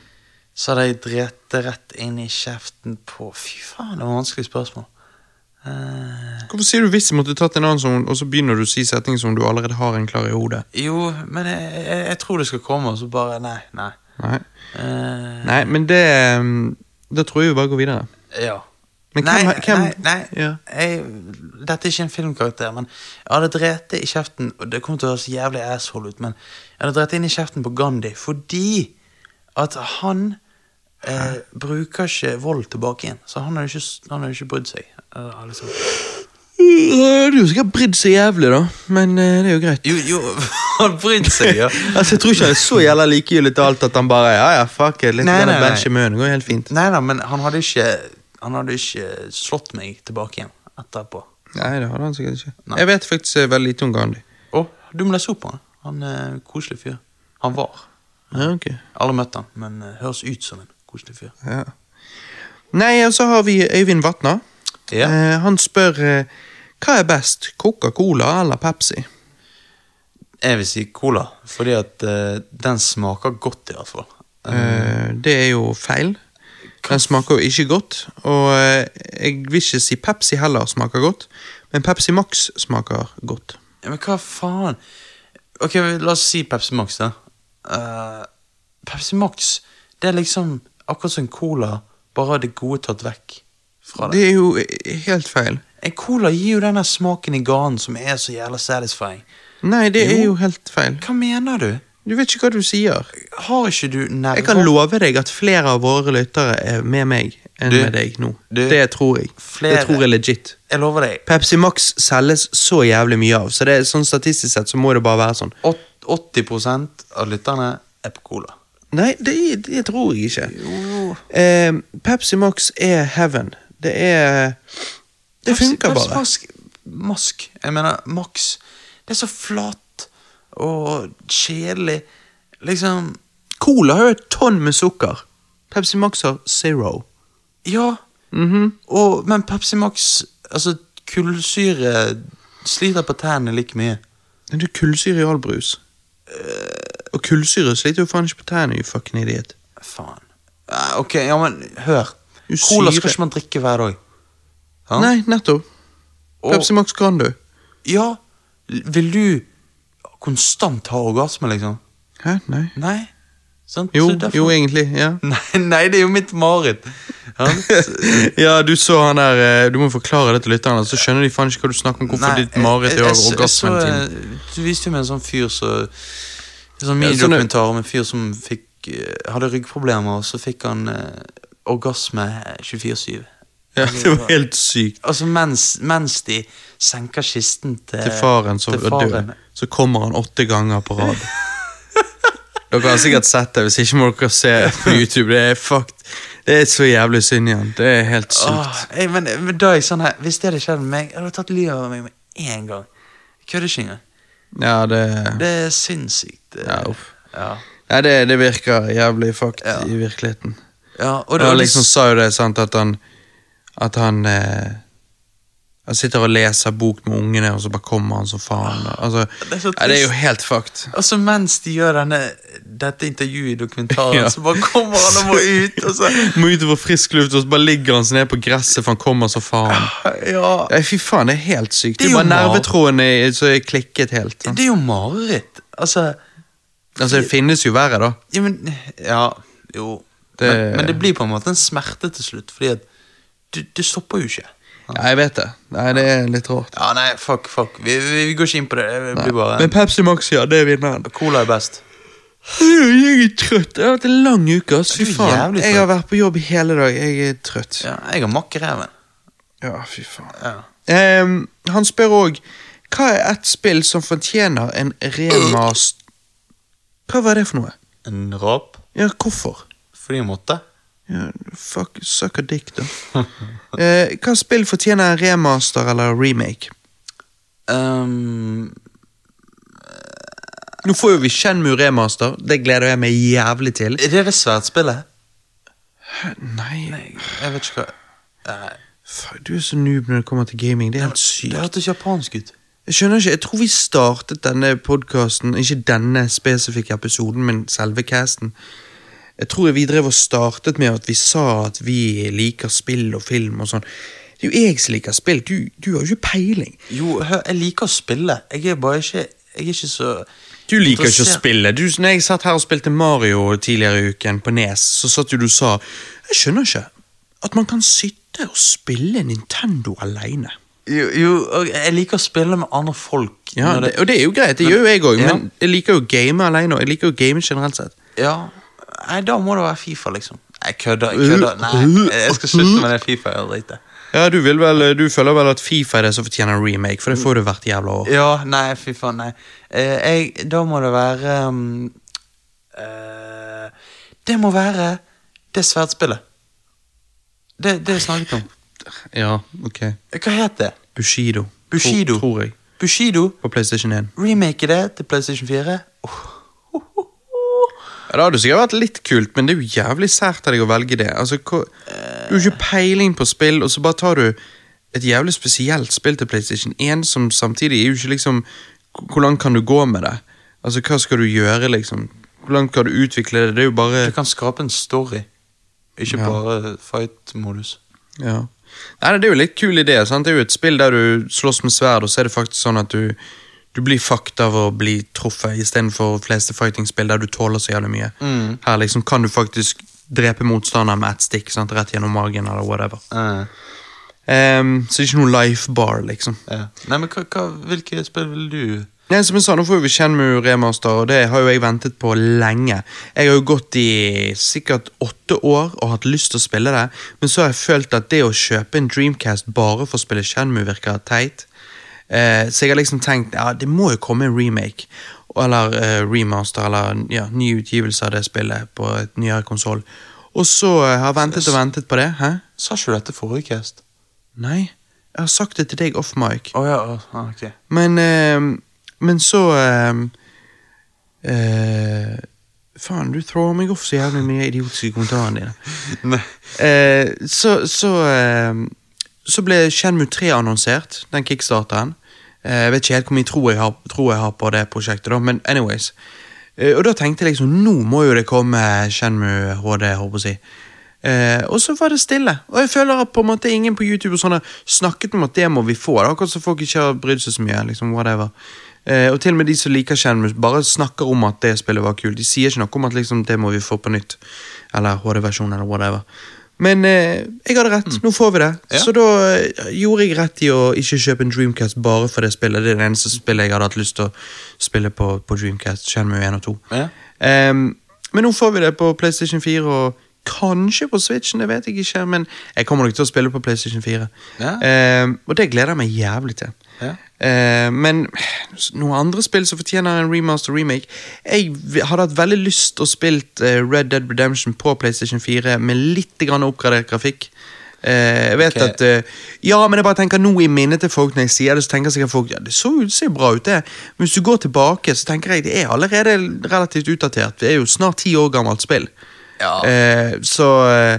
[SPEAKER 2] så hadde jeg drept det rett inn i kjeften på Fy faen, det var et vanskelig spørsmål. Eh,
[SPEAKER 1] Hvorfor sier du hvis jeg måtte tatt en annen som, og så begynner du å si setning som du allerede har en klar i hodet?
[SPEAKER 2] jo, men jeg, jeg, jeg tror det skal komme, og så bare Nei, nei.
[SPEAKER 1] Nei,
[SPEAKER 2] Eh,
[SPEAKER 1] Nei men det um, Da tror jeg vi bare går videre.
[SPEAKER 2] Ja.
[SPEAKER 1] Men
[SPEAKER 2] nei,
[SPEAKER 1] hvem- hvem-
[SPEAKER 2] nei, nei.
[SPEAKER 1] Ja.
[SPEAKER 2] Jeg, dette er ikke en filmkarakter, men jeg hadde drept det i kjeften og Det kommer til å høres jævlig asshole ut, men jeg hadde drept det inn i kjeften på Gandhi fordi at han eh, bruker ikke vold tilbake igjen. Så han har jo ikke, s- han har jo ikke brydd seg. eh, liksom.
[SPEAKER 1] Øh, Du skal brydd så jævlig, da. Men eh, det er jo greit.
[SPEAKER 2] Jo, jo, han brydde seg, ja.
[SPEAKER 1] Altså, Jeg tror ikke han er så jævla likegyldig til alt at han bare ja, ja, fuck it, litt
[SPEAKER 2] Nei,
[SPEAKER 1] grann
[SPEAKER 2] nei, nei.
[SPEAKER 1] bench i munnen, det går helt fint.
[SPEAKER 2] Nei da, men han hadde ikke Han hadde ikke slått meg tilbake igjen etterpå.
[SPEAKER 1] Nei, det hadde han sikkert ikke.
[SPEAKER 2] Nei.
[SPEAKER 1] Jeg vet faktisk eh, veldig lite om Gandhi.
[SPEAKER 2] Å, du må lese opp på han. Han er en koselig fyr. Han var.
[SPEAKER 1] Ja, ok.
[SPEAKER 2] Alle møtte han, men eh, høres ut som en koselig fyr.
[SPEAKER 1] Ja. Nei, og så har vi Øyvind Vatna.
[SPEAKER 2] Ja.
[SPEAKER 1] Eh, han spør eh, hva er best, Coca-Cola eller Pepsi?
[SPEAKER 2] Jeg vil si cola, fordi at eh, den smaker godt i hvert fall.
[SPEAKER 1] Eh, det er jo feil. Den smaker jo ikke godt. Og eh, jeg vil ikke si Pepsi heller smaker godt, men Pepsi Max smaker godt.
[SPEAKER 2] Ja, men hva faen? Ok, la oss si Pepsi Max, da. Eh, Pepsi Max, det er liksom akkurat som en cola, bare det gode tatt vekk fra det.
[SPEAKER 1] Det er jo eh, helt feil.
[SPEAKER 2] En cola gir jo denne smaken i ganen som er så jævla satisfying.
[SPEAKER 1] Nei, det er
[SPEAKER 2] Jo.
[SPEAKER 1] jo helt feil.
[SPEAKER 2] Hva mener du?
[SPEAKER 1] Du vet ikke hva du sier.
[SPEAKER 2] Har ikke du nerver?
[SPEAKER 1] Jeg kan love deg at flere av våre lyttere er med meg enn
[SPEAKER 2] Du,
[SPEAKER 1] med deg nå.
[SPEAKER 2] du,
[SPEAKER 1] det tror jeg.
[SPEAKER 2] flere.
[SPEAKER 1] Det tror jeg legit.
[SPEAKER 2] Jeg lover deg.
[SPEAKER 1] Pepsi Max selges så jævlig mye av, så det er sånn statistisk sett så må det bare være sånn.
[SPEAKER 2] åt- 80 av lytterne er på cola.
[SPEAKER 1] Nei, det, det tror jeg ikke.
[SPEAKER 2] Jo.
[SPEAKER 1] Eh, Pepsi Max er heaven. Det er Det funker
[SPEAKER 2] Pepsi- Pepsi
[SPEAKER 1] bare.
[SPEAKER 2] Max, mask. Jeg mener Max. Det er så flatt og kjedelig. Liksom
[SPEAKER 1] Cola har jo et tonn med sukker. Pepsi Max har zero.
[SPEAKER 2] Ja. Mhm. og, men Pepsi Max Altså, kullsyre sliter på tennene like mye.
[SPEAKER 1] Men det er kullsyre i all brus.
[SPEAKER 2] Eh.
[SPEAKER 1] Og kullsyre sliter jo faen ikke på tærne, you fucking idiot.
[SPEAKER 2] Faen. Eh, Ok, ja, men hør.
[SPEAKER 1] Jo,
[SPEAKER 2] Cola
[SPEAKER 1] syre.
[SPEAKER 2] skal ikke man drikke hver dag. Ja.
[SPEAKER 1] Nei, nettopp.
[SPEAKER 2] Og-
[SPEAKER 1] Pepsi Max kan du.
[SPEAKER 2] Ja, vil du konstant ha orgasme, liksom?
[SPEAKER 1] Hæ, nei.
[SPEAKER 2] Nei. Sant?
[SPEAKER 1] Jo,
[SPEAKER 2] Så derfor-
[SPEAKER 1] jo egentlig. ja
[SPEAKER 2] Nei, nei, det er jo mitt mareritt. Ja,
[SPEAKER 1] Ja, du så han der eh, Du må forklare det til lytterne, så skjønner de faen ikke hva du snakker om. Hvorfor
[SPEAKER 2] Nei,
[SPEAKER 1] ditt mareritt
[SPEAKER 2] jeg-
[SPEAKER 1] gjør
[SPEAKER 2] jeg så- jeg
[SPEAKER 1] orgasmen
[SPEAKER 2] så,
[SPEAKER 1] din.
[SPEAKER 2] eh, Du viste jo meg en sånn fyr så En sånn
[SPEAKER 1] Ja, sånn-
[SPEAKER 2] minidokumentar om en fyr som fikk, eh, hadde ryggproblemer, og så fikk han eh, orgasme 24-7.
[SPEAKER 1] Ja, det var helt sykt.
[SPEAKER 2] Altså mens, mens de senker kisten til,
[SPEAKER 1] Til faren som
[SPEAKER 2] Eh, til
[SPEAKER 1] var død,
[SPEAKER 2] faren.
[SPEAKER 1] så kommer han åtte ganger på rad. Dere har sikkert sett det, hvis ikke må dere se på YouTube. Det er fucked. Det er så jævlig synd i han. Det er helt sykt.
[SPEAKER 2] Åh, jeg, men, men da er jeg sånn her Hvis det hadde skjedd med meg, jeg hadde tatt livet av meg med en gang. Kødder ikke engang.
[SPEAKER 1] Ja, det
[SPEAKER 2] Det er sinnssykt. eh,
[SPEAKER 1] Ja, uff.
[SPEAKER 2] ja.
[SPEAKER 1] Nei, det, det virker jævlig fucked
[SPEAKER 2] Ja.
[SPEAKER 1] i virkeligheten.
[SPEAKER 2] Ja, og
[SPEAKER 1] Og
[SPEAKER 2] det,
[SPEAKER 1] han
[SPEAKER 2] og
[SPEAKER 1] liksom
[SPEAKER 2] det,
[SPEAKER 1] sa jo det, sant, at han At han eh, Han sitter og leser bok med ungene, og så bare kommer han som faen. og- Altså,
[SPEAKER 2] Det er så
[SPEAKER 1] ja, det er jo
[SPEAKER 2] trist.
[SPEAKER 1] helt fucked.
[SPEAKER 2] altså mens de gjør denne, dette intervjuet i dokumentaren,
[SPEAKER 1] Ja.
[SPEAKER 2] så bare kommer han og må ut, og så
[SPEAKER 1] Må ut og få frisk luft, og så bare ligger han seg ned på gresset, for han kommer som faen.
[SPEAKER 2] Ja.
[SPEAKER 1] Nei, fy faen, det er helt sykt. Det
[SPEAKER 2] Det
[SPEAKER 1] er
[SPEAKER 2] er
[SPEAKER 1] bare
[SPEAKER 2] jo mar-
[SPEAKER 1] nervetråden er- som er klikket helt. sant?
[SPEAKER 2] Det er jo mareritt. Altså
[SPEAKER 1] Altså, det finnes jo verre, da.
[SPEAKER 2] Ja, men Ja, jo.
[SPEAKER 1] Det-
[SPEAKER 2] Men, men det blir på en måte en smerte til slutt, fordi at du, det stopper jo ikke.
[SPEAKER 1] Ja, jeg vet det. Nei, det er litt rart.
[SPEAKER 2] Ja, nei, fuck, fuck. Vi, vi, vi går ikke inn på det. Det blir bare
[SPEAKER 1] Men Pepsi Max, ja, det er vinneren.
[SPEAKER 2] Cola er best.
[SPEAKER 1] Jeg er trøtt. Jeg har hatt en lang uke. ass. Fy
[SPEAKER 2] Du er
[SPEAKER 1] faen.
[SPEAKER 2] jævlig
[SPEAKER 1] Jeg har vært på jobb hele dag. Jeg er trøtt.
[SPEAKER 2] Ja, jeg har makk i ræven.
[SPEAKER 1] Ja, fy faen.
[SPEAKER 2] Ja.
[SPEAKER 1] Ehm, han spør òg hva er et spill som fortjener en remast... Hva var det for noe?
[SPEAKER 2] En rap
[SPEAKER 1] Ja, hvorfor?
[SPEAKER 2] fordi jeg måtte.
[SPEAKER 1] Ja, fuck, suck a dick, da. Eh, hva spill fortjener en remaster eller remake?
[SPEAKER 2] Ehm,
[SPEAKER 1] Nå får jo vi Shenmue remaster. Det gleder jeg meg jævlig til.
[SPEAKER 2] er det det sværdspillet?
[SPEAKER 1] Nei,
[SPEAKER 2] Jeg vet ikke hva Nei,
[SPEAKER 1] faen, du er så noob når det kommer til gaming. Det er helt sykt.
[SPEAKER 2] Det hørtes japansk ut.
[SPEAKER 1] Jeg skjønner ikke, jeg tror vi startet denne podkasten Ikke denne spesifikke episoden, men selve casten. Jeg tror vi drev og startet med at vi sa at vi liker spill og film og sånn. Det er jo jeg som liker spill, du, du har jo ikke peiling.
[SPEAKER 2] Jo, hør, jeg liker å spille. Jeg er bare ikke Jeg er ikke så
[SPEAKER 1] Du liker ikke å
[SPEAKER 2] interessert.
[SPEAKER 1] spille. Du, når jeg satt her og spilte Mario tidligere i uken på Nes, så satt jo du og sa Jeg skjønner ikke at man kan sitte og spille Nintendo aleine.
[SPEAKER 2] Jo, jo, og jeg liker å spille med andre folk.
[SPEAKER 1] Ja,
[SPEAKER 2] når
[SPEAKER 1] det, og det er jo greit, det gjør jo jeg òg,
[SPEAKER 2] Ja.
[SPEAKER 1] men jeg liker jo å game alene, og jeg liker jo å game generelt sett.
[SPEAKER 2] ja. Nei, da må det være Fifa, liksom. Jeg kødder. jeg kødder Nei, jeg skal slutte med det Fifa. Jeg driter.
[SPEAKER 1] Ja, du, vil vel, du føler vel at Fifa er det som fortjener en remake, for det får du hvert jævla år.
[SPEAKER 2] Ja, nei, fy faen, nei. Eh, jeg, da må det være um, eh, Det må være det sverdspillet. Det, det jeg snakket om.
[SPEAKER 1] Ja, ok.
[SPEAKER 2] Hva het det?
[SPEAKER 1] Bushido.
[SPEAKER 2] Bushido.
[SPEAKER 1] Tror, tror jeg.
[SPEAKER 2] Bushido.
[SPEAKER 1] På PlayStation 1.
[SPEAKER 2] Remake det til PlayStation 4.
[SPEAKER 1] Ja, Det hadde sikkert vært litt kult, men det er jo jævlig sært av deg å velge det. Altså, hva, Du har jo ikke peiling på spill, og så bare tar du et jævlig spesielt spill til PlayStation 1, som samtidig er jo ikke liksom hvor- Hvor langt kan du gå med det? Altså, hva skal du gjøre, liksom? Hvor langt kan du utvikle det? Det er jo bare
[SPEAKER 2] Det kan skape en story, ikke
[SPEAKER 1] Ja.
[SPEAKER 2] bare fight-modus.
[SPEAKER 1] Ja. Nei, det er jo litt kul idé. sant? Det er jo et spill der du slåss med sverd, og så er det faktisk sånn at du, du blir fucked av å bli truffet, istedenfor fleste fighting-spill der du tåler så jævlig mye. Her liksom kan du faktisk drepe motstanderen med ett stikk sant? rett gjennom magen eller whatever.
[SPEAKER 2] Eh,
[SPEAKER 1] Ehm, så det er ikke noe life bar, liksom.
[SPEAKER 2] ja. Nei, men hva, hva, hvilke spill vil du
[SPEAKER 1] Nei, som jeg sa, Nå får vi Shenmue remaster, og det har jo jeg ventet på lenge. Jeg har jo gått i sikkert åtte år og hatt lyst til å spille det, men så har jeg følt at det å kjøpe en Dreamcast bare for å spille Shenmue virker teit. Eh, så jeg har liksom tenkt ja, det må jo komme en remake. Eller eh, remaster, eller ja, ny utgivelse av det spillet på et nyere konsoll. Og så eh, har jeg ventet og ventet på det. Hæ?
[SPEAKER 2] Sa ikke du dette forrige cast?
[SPEAKER 1] Nei, jeg har sagt det til deg off mic.
[SPEAKER 2] Å ja, å, ah, ok.
[SPEAKER 1] Men, eh, men så eh, eh, Faen, du thrower meg off så jævlig mye idiotiske kommentarene dine.
[SPEAKER 2] Nei.
[SPEAKER 1] Eh, så så, eh, så ble Shenmue 3 annonsert, den kickstarteren. Eh, jeg vet ikke helt hvor mye tro jeg har, tro jeg har på det prosjektet, da, men anyways. Eh, og da tenkte jeg liksom, nå må jo det komme Shenmue HD, håper jeg å si. Eh, og så var det stille. Og jeg føler at på en måte ingen på YouTube og sånne snakket om at det må vi få. Det er akkurat som folk ikke har brydd seg så mye. liksom, whatever. Eh, og til og med de som liker Shenmue, bare snakker om at det spillet var kult. De sier ikke noe om at liksom, det må vi få på nytt. Eller HD-versjon, eller whatever. Men eh, jeg hadde rett, nå får vi det.
[SPEAKER 2] Mm. Ja.
[SPEAKER 1] Så da eh, gjorde jeg rett i å ikke kjøpe en Dreamcast bare for det spillet. Det er det eneste spillet jeg hadde hatt lyst til å spille på, på Dreamcast. Shenmue 1 og 2.
[SPEAKER 2] Ja.
[SPEAKER 1] Ehm, men nå får vi det på PlayStation 4 og kanskje på Switchen, det vet jeg ikke. Men jeg kommer nok til å spille på PlayStation 4.
[SPEAKER 2] Ja.
[SPEAKER 1] Ehm, og det gleder jeg meg jævlig til.
[SPEAKER 2] Ja.
[SPEAKER 1] Ehm, men noen andre spill som fortjener en remaster remake Jeg v- hadde hatt veldig lyst til å spilt eh, Red Dead Redemption på PlayStation 4 med litt grann oppgradert grafikk. Eh, jeg vet
[SPEAKER 2] Ok.
[SPEAKER 1] at eh, Ja, men jeg bare tenker nå i minnet til folk når jeg sier det, så tenker sikkert folk ja, det så ut, ser bra ut, det. Men hvis du går tilbake, så tenker jeg det er allerede relativt utdatert. Det er jo snart ti år gammelt spill.
[SPEAKER 2] Ja.
[SPEAKER 1] Eh, så eh,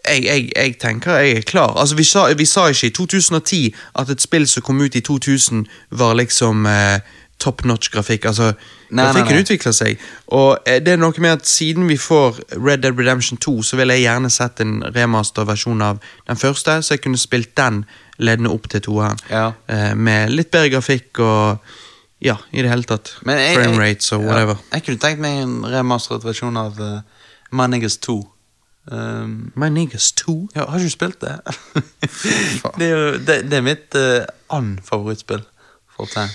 [SPEAKER 1] jeg, jeg, jeg tenker jeg er klar. Altså, vi sa, vi sa ikke i 2010 at et spill som kom ut i 2000, var liksom eh, top notch grafikk. Altså,
[SPEAKER 2] Nei, nei,
[SPEAKER 1] grafikken
[SPEAKER 2] nei.
[SPEAKER 1] utvikler seg. Og eh, det er noe med at siden vi får Red Dead Redemption 2, så ville jeg gjerne sett en remaster-versjon av den første, så jeg kunne spilt den ledende opp til toeren.
[SPEAKER 2] Ja.
[SPEAKER 1] Eh, med litt bedre grafikk og Ja, i det hele tatt.
[SPEAKER 2] Men jeg- jeg-
[SPEAKER 1] Frame rates og whatever.
[SPEAKER 2] Ja, jeg kunne tenkt meg en remasteret versjon av uh, Mannigas 2. Um,
[SPEAKER 1] My niggas 2.
[SPEAKER 2] ja, har ikke du spilt det? det, er jo, det, det er mitt uh, annet favorittspill. For time.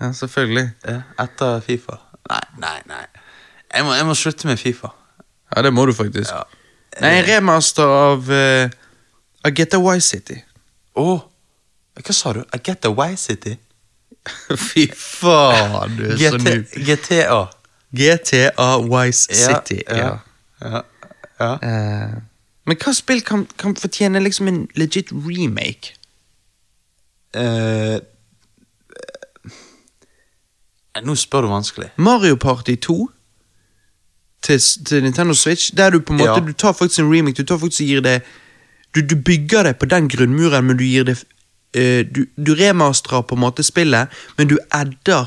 [SPEAKER 1] Ja, selvfølgelig.
[SPEAKER 2] Ja, etter Fifa. Nei, nei, nei. Jeg må, jeg må slutte med Fifa.
[SPEAKER 1] Ja, det må du faktisk.
[SPEAKER 2] Ja.
[SPEAKER 1] Nei, en remaster av, eh, av Getta Wise City.
[SPEAKER 2] Å! hva sa du? I get away city?
[SPEAKER 1] Fy faen, du
[SPEAKER 2] GT, GTA.
[SPEAKER 1] GTA Wise
[SPEAKER 2] Ja,
[SPEAKER 1] City. Ja.
[SPEAKER 2] ja. Ja. ja.
[SPEAKER 1] Eh, men hva spill kan, kan fortjene liksom en legit remake?
[SPEAKER 2] Eh, eh, nå spør du vanskelig.
[SPEAKER 1] Mario Party 2 til, s- til Nintendo Switch, der du på en måte
[SPEAKER 2] Ja.
[SPEAKER 1] Du tar faktisk en remake, du tar faktisk og gir det du, du bygger det på den grunnmuren, men du gir det eh, du, du remasterer på en måte spillet, men du adder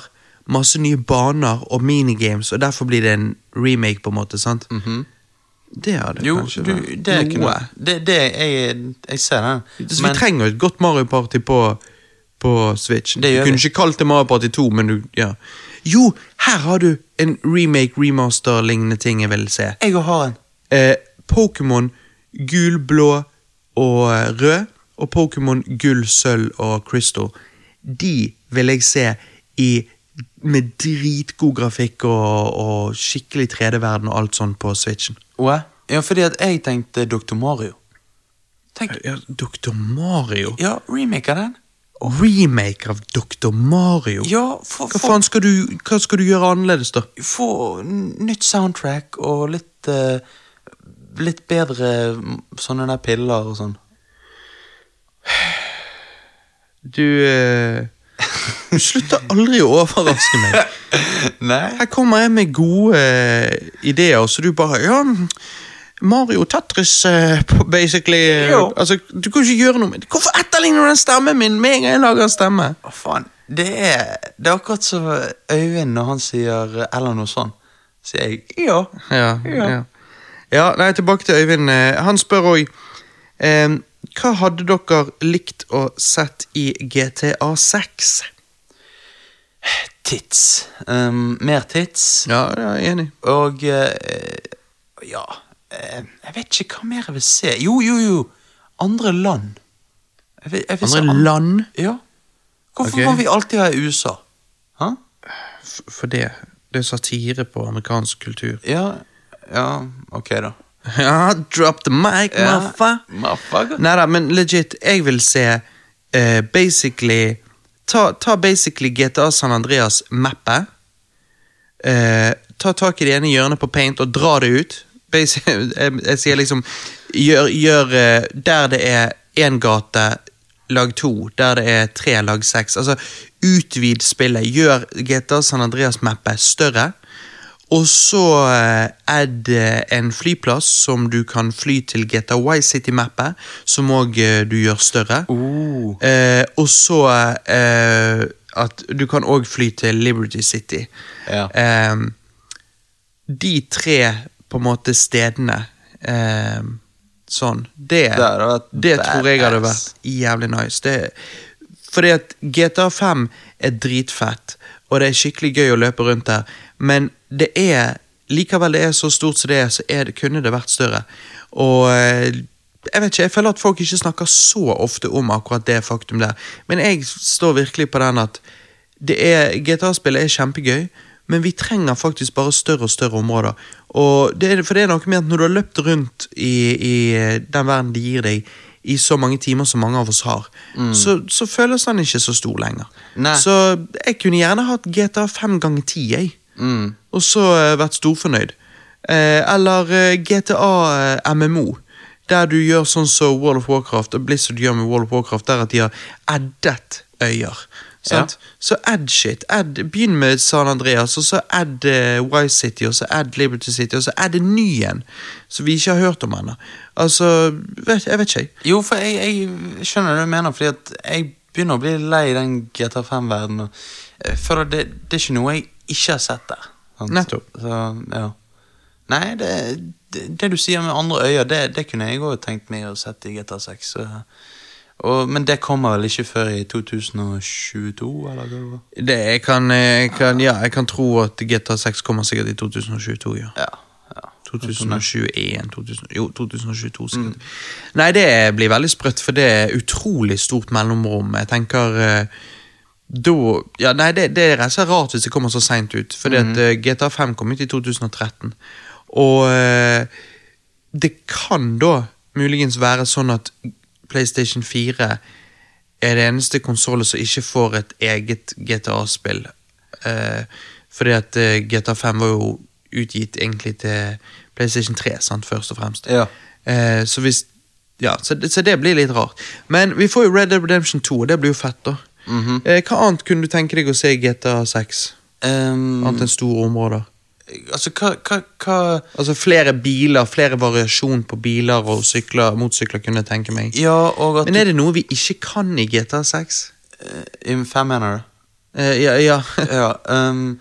[SPEAKER 1] masse nye baner og minigames, og derfor blir det en remake, på en måte. sant? Det er det
[SPEAKER 2] Mhm. Jo,
[SPEAKER 1] kanskje.
[SPEAKER 2] du,
[SPEAKER 1] vært.
[SPEAKER 2] det
[SPEAKER 1] Noe.
[SPEAKER 2] kunne det, det, jeg, jeg ser den.
[SPEAKER 1] Så
[SPEAKER 2] Men
[SPEAKER 1] vi trenger jo et godt Mario Party på, på Switch.
[SPEAKER 2] Det gjør
[SPEAKER 1] du kunne
[SPEAKER 2] vi.
[SPEAKER 1] ikke kalt det Mario Party 2, men du ja. Jo, her har du en remake, remaster-lignende ting jeg vil se.
[SPEAKER 2] jeg og har en.
[SPEAKER 1] Eh, Pokémon gul, blå og eh, rød, og Pokémon gull, sølv og crystal. De vil jeg se i med dritgod grafikk og, og skikkelig 3D-verden og alt sånt på Switchen.
[SPEAKER 2] Hva? Ja, fordi at jeg tenkte Dr. Mario. Tenk,
[SPEAKER 1] Ja, Dr. Mario?
[SPEAKER 2] ja, remake av den.
[SPEAKER 1] Remake av Dr. Mario?
[SPEAKER 2] Ja, få,
[SPEAKER 1] Hva
[SPEAKER 2] få,
[SPEAKER 1] faen skal du, hva skal du gjøre annerledes, da?
[SPEAKER 2] få n- nytt soundtrack og litt eh, Litt bedre mm, sånne der piller og sånn.
[SPEAKER 1] Du eh, Du slutter aldri å overraske meg.
[SPEAKER 2] Nei?
[SPEAKER 1] Her kommer jeg med gode eh, ideer, og så du bare Ja, Mario Tatris, eh, på basically eh,
[SPEAKER 2] Jo.
[SPEAKER 1] Altså, Du kan ikke gjøre noe med det. Hvorfor etterligner du den stemmen min med en gang jeg lager en stemme?
[SPEAKER 2] Å, faen. Det er, det er akkurat som Øyvind når han sier eh, eller noe sånn. Sier jeg ja.
[SPEAKER 1] Ja,
[SPEAKER 2] Ja.
[SPEAKER 1] ja. ja nei, tilbake til Øyvind. Eh, Han spør òg Hva hadde dere likt å sett i GTA 6?
[SPEAKER 2] Tits. Um, mer tits.
[SPEAKER 1] Ja, ja, jeg er enig.
[SPEAKER 2] Og eh, ja eh, Jeg vet ikke hva mer jeg vil se. Jo, jo, jo! Andre land. Jeg vil, jeg vil se
[SPEAKER 1] Andre
[SPEAKER 2] an-
[SPEAKER 1] land?
[SPEAKER 2] Ja. Hvorfor
[SPEAKER 1] Ok.
[SPEAKER 2] må vi alltid ha USA? Hæ?
[SPEAKER 1] F- for det. Det er satire på amerikansk kultur.
[SPEAKER 2] Ja, ja, ok, da.
[SPEAKER 1] Ja, drop the mic,
[SPEAKER 2] Ja.
[SPEAKER 1] maffa!
[SPEAKER 2] Motherfucker.
[SPEAKER 1] Nei da, men legit, jeg vil se eh, basically ta, ta basically GTA San Andreas-mappet. eh, ta tak i det ene hjørnet på paint og dra det ut. Basi- Jeg, jeg sier liksom gjør, gjør eh, Der det er én gate, lag to. Der det er tre, lag seks. Altså, utvid spillet. Gjør GTA San Andreas-mappet større. Og så eh, er det en flyplass som du kan fly til GTA Wise City-mappet, som òg du gjør større.
[SPEAKER 2] Oh.
[SPEAKER 1] Eh, og så eh, at du kan òg fly til Liberty City.
[SPEAKER 2] Ja.
[SPEAKER 1] Eh, de tre på en måte stedene eh, sånn Det,
[SPEAKER 2] Det hadde vært
[SPEAKER 1] det tror jeg hadde
[SPEAKER 2] badass.
[SPEAKER 1] vært jævlig nice. Det, fordi at GTA5 er dritfett, og det er skikkelig gøy å løpe rundt der, men det er Likevel det er så stort som det er, så er det, kunne det vært større. Og eh, jeg vet ikke, jeg føler at folk ikke snakker så ofte om akkurat det faktum der, men jeg står virkelig på den at det er, GTA-spillet er kjempegøy, men vi trenger faktisk bare større og større områder. Og det er, for det er noe med at når du har løpt rundt i, i eh, den verden de gir deg, i så mange timer som mange av oss har, så, så føles den ikke så stor lenger.
[SPEAKER 2] Nei.
[SPEAKER 1] Så jeg kunne gjerne hatt GTA fem ganger ti, jeg.
[SPEAKER 2] Mm.
[SPEAKER 1] Og så eh, vært storfornøyd. Eh, eller eh, GTA eh, MMO. Der du gjør sånn som World of Warcraft og Blizzard gjør med World of Warcraft, der at de har addet øyer. Sant? Så add shit. Add, begynn med San Andreas, og så add eh, Wise City, og så add Liberty City, og så add en ny en som vi ikke har hørt om ennå. Altså, vet, jeg vet ikke, jeg.
[SPEAKER 2] Jo, for jeg, jeg skjønner det du mener, fordi at jeg begynner å bli lei den GTA 5-verdenen. eh, For det, det er ikke noe jeg ikke har sett der. sant?
[SPEAKER 1] Nettopp.
[SPEAKER 2] Så, ja. Nei, det, det, det du sier med andre øyer, det, det kunne jeg òg tenkt meg å sett i GTA 6. Så, og, men det kommer vel ikke før i 2022, eller hva det var?
[SPEAKER 1] Det, jeg, kan, eh, jeg, kan, ja, jeg kan tro at GTA 6 kommer sikkert i 2022, ja.
[SPEAKER 2] Ja, ja.
[SPEAKER 1] 2021 2000, Jo, 2022 sikkert. Nei, det blir veldig sprøtt, for det er utrolig stort mellomrom. Jeg tenker eh, da ja, Nei, det, det er rett og slett rart hvis det kommer så seint ut, fordi at eh, GTA 5 kom ut i 2013. Og eh, det kan da muligens være sånn at PlayStation 4 er det eneste konsollet som ikke får et eget GTA-spill. Eh, fordi at eh, GTA 5 var jo utgitt egentlig til PlayStation 3, sant, først og fremst.
[SPEAKER 2] Ja.
[SPEAKER 1] Eh, så hvis Ja, så det, så det blir litt rart. Men vi får jo Red Dead Redemption 2, og det blir jo fett, da. eh, hva annet kunne du tenke deg å se i GTA 6?
[SPEAKER 2] Ehm,
[SPEAKER 1] Annet enn store områder?
[SPEAKER 2] altså, hva, hva, hva
[SPEAKER 1] Altså flere biler, flere variasjon på biler og sykler, motorsykler kunne jeg tenke meg.
[SPEAKER 2] Ja, og at
[SPEAKER 1] Men er det noe vi ikke kan i GTA 6?
[SPEAKER 2] I fem, mener du?
[SPEAKER 1] Eh, ja, ja.
[SPEAKER 2] ja, ehm,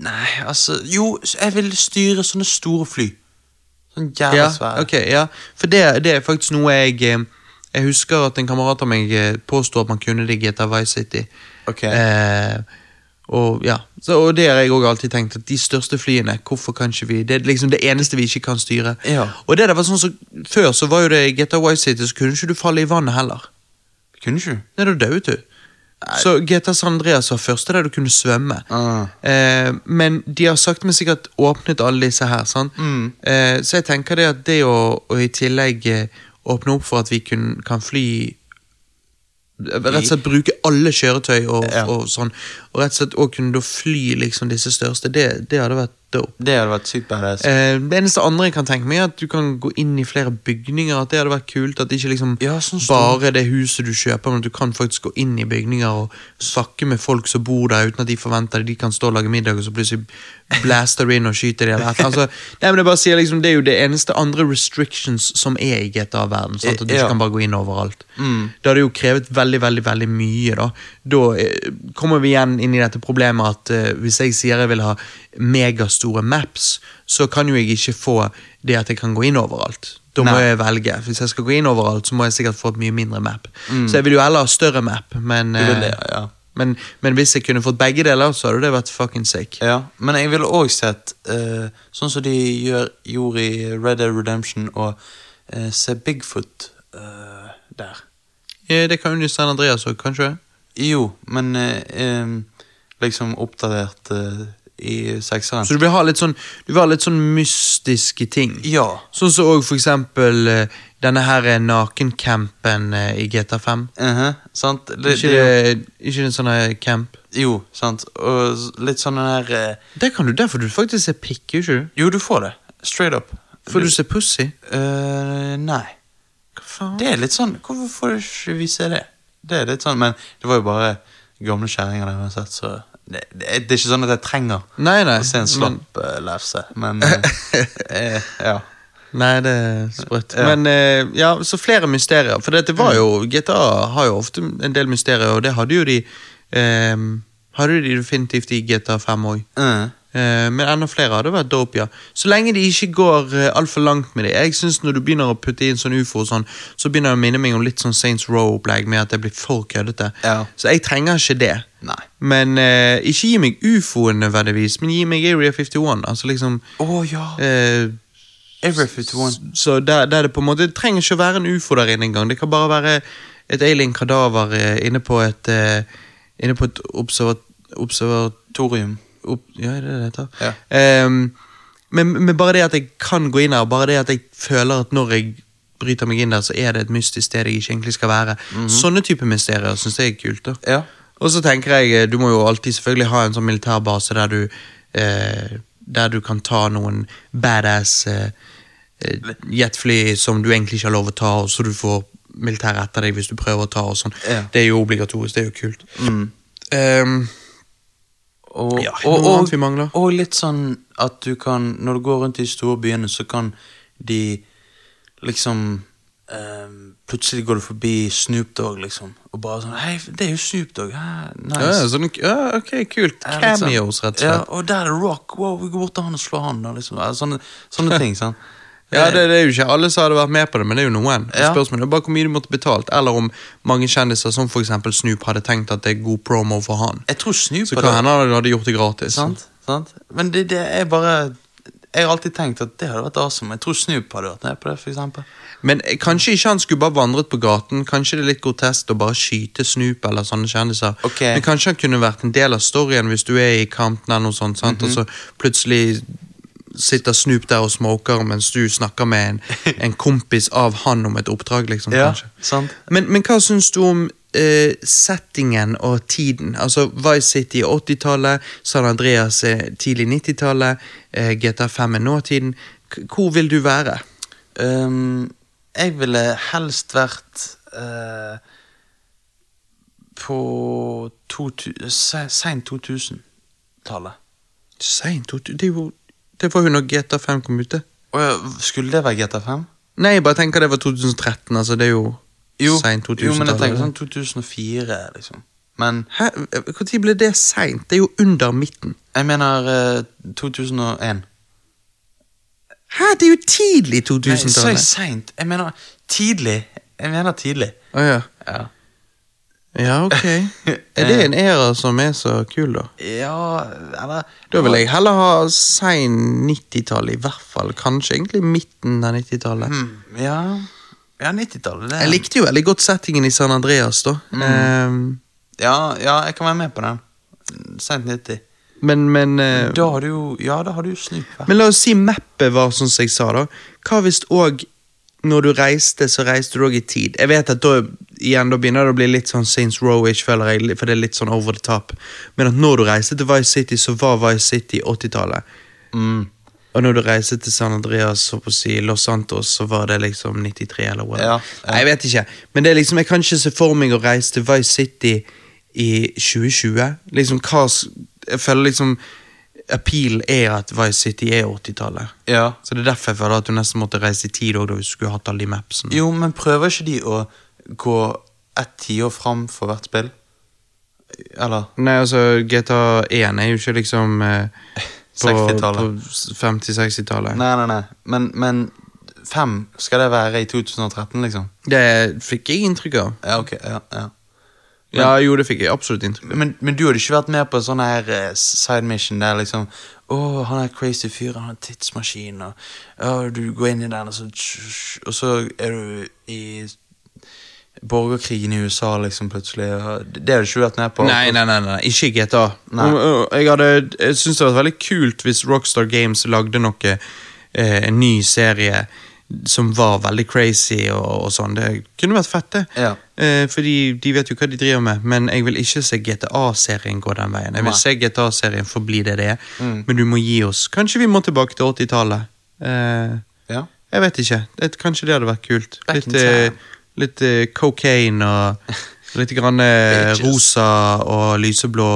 [SPEAKER 2] Nei, altså Jo, jeg vil styre sånne store fly. Sånn jævla
[SPEAKER 1] ja,
[SPEAKER 2] svære.
[SPEAKER 1] ok, ja. For det, det er faktisk noe jeg eh, Jeg husker at en kamerat av meg eh, påsto at man kunne det i GTA Vice City.
[SPEAKER 2] Ok.
[SPEAKER 1] Eh, og ja, så, og det har jeg også alltid tenkt, at de største flyene, hvorfor kan ikke vi Det er liksom det eneste vi ikke kan styre.
[SPEAKER 2] Ja.
[SPEAKER 1] Og det der var sånn som, Før så var jo det i GTA Vice City, så kunne ikke du falle i vannet heller.
[SPEAKER 2] Kunne ikke du?
[SPEAKER 1] Nei, da døde du. Så GTA San Andreas var første der du kunne svømme.
[SPEAKER 2] Ah.
[SPEAKER 1] Eh, men de har sakte, men sikkert åpnet alle disse her. sant?
[SPEAKER 2] Mm.
[SPEAKER 1] Eh, så jeg tenker det at det å, å i tillegg eh, åpne opp for at vi kun, kan fly Rett og slett bruke alle kjøretøy og,
[SPEAKER 2] Ja.
[SPEAKER 1] og sånn. Og rett og slett også kunne da fly liksom disse største. Det, det hadde vært dope.
[SPEAKER 2] Det hadde vært sykt badass.
[SPEAKER 1] Eh, det eneste andre jeg kan tenke meg, er at du kan gå inn i flere bygninger. At det hadde vært kult. At det ikke liksom
[SPEAKER 2] Ja, sånn stor-
[SPEAKER 1] bare det huset du kjøper, men at du kan faktisk gå inn i bygninger og snakke med folk som bor der, uten at de forventer det. De kan stå og lage middag, og så plutselig blaster du inn og skyter de. Eller. et eller annet. Altså, nei, men jeg bare sier liksom, Det er jo det eneste andre restrictions som er i GTA-verden. sant? At du
[SPEAKER 2] Ja.
[SPEAKER 1] ikke kan bare gå inn overalt.
[SPEAKER 2] Mm.
[SPEAKER 1] Det hadde jo krevet veldig, veldig veldig mye. Da Da eh, kommer vi igjen inn i dette problemet at eh, hvis jeg sier jeg vil ha megastore maps, så kan jo jeg ikke få det at jeg kan gå inn overalt. Da må
[SPEAKER 2] Nei.
[SPEAKER 1] jeg velge. Hvis jeg skal gå inn overalt, så må jeg sikkert få et mye mindre map. Så jeg vil jo heller ha større map, men,
[SPEAKER 2] Mm. vil
[SPEAKER 1] eh,
[SPEAKER 2] det, ja.
[SPEAKER 1] men, men hvis jeg kunne fått begge deler, så hadde det vært fucking sick.
[SPEAKER 2] Ja, Men jeg ville òg sett eh, sånn som de gjør, gjorde i Red Dead Redemption, og eh, se Bigfoot eh, der.
[SPEAKER 1] Eh, Det kan jo San Andreas òg, kanskje?
[SPEAKER 2] ehm, Jo, men eh, em, liksom oppdatert eh, i sekseren.
[SPEAKER 1] Så du vil ha litt sånn, du vil ha litt sånn mystiske ting.
[SPEAKER 2] Ja.
[SPEAKER 1] Sånn som òg for eksempel eh, denne her eh, nakencampen eh, i GTA5.
[SPEAKER 2] Mhm, sant? Det,
[SPEAKER 1] Ikke
[SPEAKER 2] det,
[SPEAKER 1] det, ikke det en sånn her camp?
[SPEAKER 2] jo, sant. Og s- litt sånn den der eh,
[SPEAKER 1] Der kan du, der får du faktisk se pikk, ikke du?
[SPEAKER 2] Jo, du får det. Straight up.
[SPEAKER 1] Får du se pussy?
[SPEAKER 2] Eh, nei.
[SPEAKER 1] Hva faen?
[SPEAKER 2] Det er litt sånn Hvorfor får ikke vi se det? Det er litt sånn, Men det var jo bare gamle kjerringer der uansett, så det, det, er- det er ikke sånn at jeg trenger
[SPEAKER 1] Nei, nei.
[SPEAKER 2] å se en
[SPEAKER 1] men-
[SPEAKER 2] slapp eh, lefse, men eh, eh, Ja.
[SPEAKER 1] Nei, det er sprøtt.
[SPEAKER 2] Ja. Mm.
[SPEAKER 1] Men eh, ja, så flere mysterier. For det, det var jo, GTA har jo ofte en del mysterier, og det hadde jo de eh, Hadde jo de definitivt i GTA 5 òg.
[SPEAKER 2] eh,
[SPEAKER 1] men enda flere hadde vært dope, ja. Så lenge de ikke går eh, altfor langt med det. Jeg synes Når du begynner å putte inn sånn ufo, og sånn, så begynner det å minne meg om litt sånn Saints Row-opplegg, med at det blir for køddete.
[SPEAKER 2] Ja.
[SPEAKER 1] Så jeg trenger ikke det.
[SPEAKER 2] nei.
[SPEAKER 1] Men eh, ikke gi meg ufoen nødvendigvis, men gi meg Area 51. Altså liksom
[SPEAKER 2] Å ja!
[SPEAKER 1] eh,
[SPEAKER 2] Every 51.
[SPEAKER 1] så der, der er det på en måte Det trenger ikke å være en ufo der inne engang. Det kan bare være et alien-kadaver eh, inne på et eh, Inne på et observat... observat
[SPEAKER 2] Thorium.
[SPEAKER 1] ob, ja, er det det heter?
[SPEAKER 2] Ja.
[SPEAKER 1] Ehm, men, men bare det at jeg kan gå inn her, bare det at jeg føler at når jeg bryter meg inn der, så er det et mystisk sted jeg ikke egentlig skal være.
[SPEAKER 2] Mhm.
[SPEAKER 1] Sånne type mysterier syns jeg er kult. da
[SPEAKER 2] Ja.
[SPEAKER 1] og så tenker jeg, eh, du må jo alltid selvfølgelig ha en sånn militærbase der du eh, Der du kan ta noen badass eh, eh, jetfly som du egentlig ikke har lov å ta, og så du får militær etter deg hvis du prøver å ta og sånn.
[SPEAKER 2] Ja.
[SPEAKER 1] Det er jo obligatorisk, det er jo kult.
[SPEAKER 2] Mm.
[SPEAKER 1] Ehm,
[SPEAKER 2] Og,
[SPEAKER 1] Ja, noe annet vi mangler.
[SPEAKER 2] og litt sånn at du kan Når du går rundt i de store byene, så kan de liksom ehm, Plutselig går du forbi Snoop Dogg, liksom, og bare sånn Hei, det er jo Snoop Dogg. hæ, nice.
[SPEAKER 1] ja, sånn, ja, ok, kult.
[SPEAKER 2] Ja, litt sånn.
[SPEAKER 1] Cameos, rett og
[SPEAKER 2] Ja,
[SPEAKER 1] slett.
[SPEAKER 2] og der er Rock. Wow, vi går bort til han og slår han. Og liksom. ja, sånne, sånne ting. sant? Eh,
[SPEAKER 1] Ja, det, det er jo ikke alle som hadde vært med på det, men det er jo noen.
[SPEAKER 2] Ja.
[SPEAKER 1] Spørsmålet er bare hvor mye du måtte betalt, eller om mange kjendiser, som for eksempel Snoop, hadde tenkt at det er god promo for han.
[SPEAKER 2] Jeg tror Snoop
[SPEAKER 1] Så
[SPEAKER 2] hadde-
[SPEAKER 1] hva hender det du hadde gjort det gratis?
[SPEAKER 2] Sant? sant? Men det, det er bare Jeg har alltid tenkt at det hadde vært awesome. Jeg tror Snoop hadde vært med på det, for eksempel.
[SPEAKER 1] Men eh, kanskje ikke han skulle bare vandret på gaten. Kanskje det er litt grotesk å bare skyte Snoop eller sånne kjendiser.
[SPEAKER 2] Ok.
[SPEAKER 1] Men kanskje han kunne vært en del av storyen hvis du er i Compton eller noe sånt, sant? og så plutselig sitter Snoop der og smoker mens du snakker med en, en kompis av han om et oppdrag, liksom. kanskje.
[SPEAKER 2] sant?
[SPEAKER 1] Men, men hva syns du om eh, settingen og tiden? Altså Vice City er 80-tallet, San Andreas er tidlig 90-tallet, eh, GTA5 er nåtiden. K hvor vil du være?
[SPEAKER 2] Ehm, jeg ville helst vært eh, på totu- se- sent 2000-tallet.
[SPEAKER 1] Seint? Det, er jo- det var jo når GTA5 kom ut, det.
[SPEAKER 2] Å ja, skulle det være GTA5?
[SPEAKER 1] Nei, jeg bare tenker det var 2013. altså Det er jo, seint
[SPEAKER 2] jo, men jeg
[SPEAKER 1] 2000-tallet.
[SPEAKER 2] tenker sånn 2004, liksom. Men
[SPEAKER 1] Hæ? Når ble det seint? Det er jo under midten.
[SPEAKER 2] jeg mener eh, 2001.
[SPEAKER 1] Hæ, det er jo tidlig
[SPEAKER 2] Nei, sa jeg
[SPEAKER 1] 2000-tallet!
[SPEAKER 2] seint? Jeg mener tidlig. Jeg mener tidlig.
[SPEAKER 1] Å ja.
[SPEAKER 2] Ja.
[SPEAKER 1] ja, ok. Er det en æra som er så kul, da?
[SPEAKER 2] Ja, eller
[SPEAKER 1] Da vil jeg heller ha sein 90-tall, i hvert fall. Kanskje egentlig midten av 90-tallet.
[SPEAKER 2] Mm, Ja, ja 90-tallet. det er-
[SPEAKER 1] Jeg likte jo veldig godt settingen i San Andreas, da.
[SPEAKER 2] Hmm.
[SPEAKER 1] Ehm,
[SPEAKER 2] ja, ja, jeg kan være med på den. Sent 90.
[SPEAKER 1] men, men eh,
[SPEAKER 2] Da har du jo Ja, da har du jo Snoop. her.
[SPEAKER 1] Men la oss si mappet var sånn som jeg sa, da. Hva hvis òg når du reiste, så reiste du òg i tid? Jeg vet at da igjen, da begynner det å bli litt sånn Saints Row-ish, føler jeg, for det er litt sånn over the top. Men at når du reiste til Vice City, så var Vice City 80-tallet. Og når du reiste til San Andreas og på å si Los Santos, så var det liksom 93 eller hva.
[SPEAKER 2] Ja, ja.
[SPEAKER 1] Nei, jeg vet ikke. Men det er liksom, jeg kan ikke se for meg å reise til Vice City i 2020. Liksom, hva s- Jeg føler liksom Appeal er at Vice City er 80-tallet.
[SPEAKER 2] Ja.
[SPEAKER 1] Så det er derfor jeg føler at du nesten måtte reise i tid også, da, hvis du skulle hatt alle de mapsene.
[SPEAKER 2] Jo, men prøver ikke de å gå ett tiår fram for hvert spill? Eller
[SPEAKER 1] Nei, altså, GTA 1 er jo ikke liksom eh, på,
[SPEAKER 2] 60-tallet.
[SPEAKER 1] på 50-60-tallet.
[SPEAKER 2] Nei, nei, nei. Men, men fem skal det være i 2013, liksom?
[SPEAKER 1] Det fikk jeg inntrykk av.
[SPEAKER 2] Ja, ok. Ja, ja.
[SPEAKER 1] Ja, jo, det fikk jeg absolutt inntrykk av.
[SPEAKER 2] Men, men du hadde ikke vært med på en sånn her eh, side mission der liksom Å, han er crazy fyr, han har tidsmaskin, og «Å, du går inn i den, og så, og så er du i borgerkrigen i USA, liksom, plutselig. og Det det hadde ikke du vært med på.
[SPEAKER 1] Nei, nei, nei, nei, ikke GTA.
[SPEAKER 2] Nei.
[SPEAKER 1] Om, ø, Jeg, hadde, jeg synes det hadde vært veldig kult hvis Rockstar Games lagde noe, eh, en ny serie som var veldig crazy og, og sånn. Det kunne vært fett, det.
[SPEAKER 2] Ja.
[SPEAKER 1] Eh, fordi de vet jo hva de driver med, men jeg vil ikke se GTA-serien gå den veien. Jeg vil
[SPEAKER 2] Nei.
[SPEAKER 1] se GTA-serien forbli det det er, men du må gi oss. Kanskje vi må tilbake til 80-tallet. Eh,
[SPEAKER 2] Ja.
[SPEAKER 1] jeg vet ikke. Det, kanskje det hadde vært kult.
[SPEAKER 2] Back
[SPEAKER 1] Litt,
[SPEAKER 2] in time.
[SPEAKER 1] eh, litt eh, cocaine og litt grann, eh,
[SPEAKER 2] Bitches.
[SPEAKER 1] rosa og lyseblå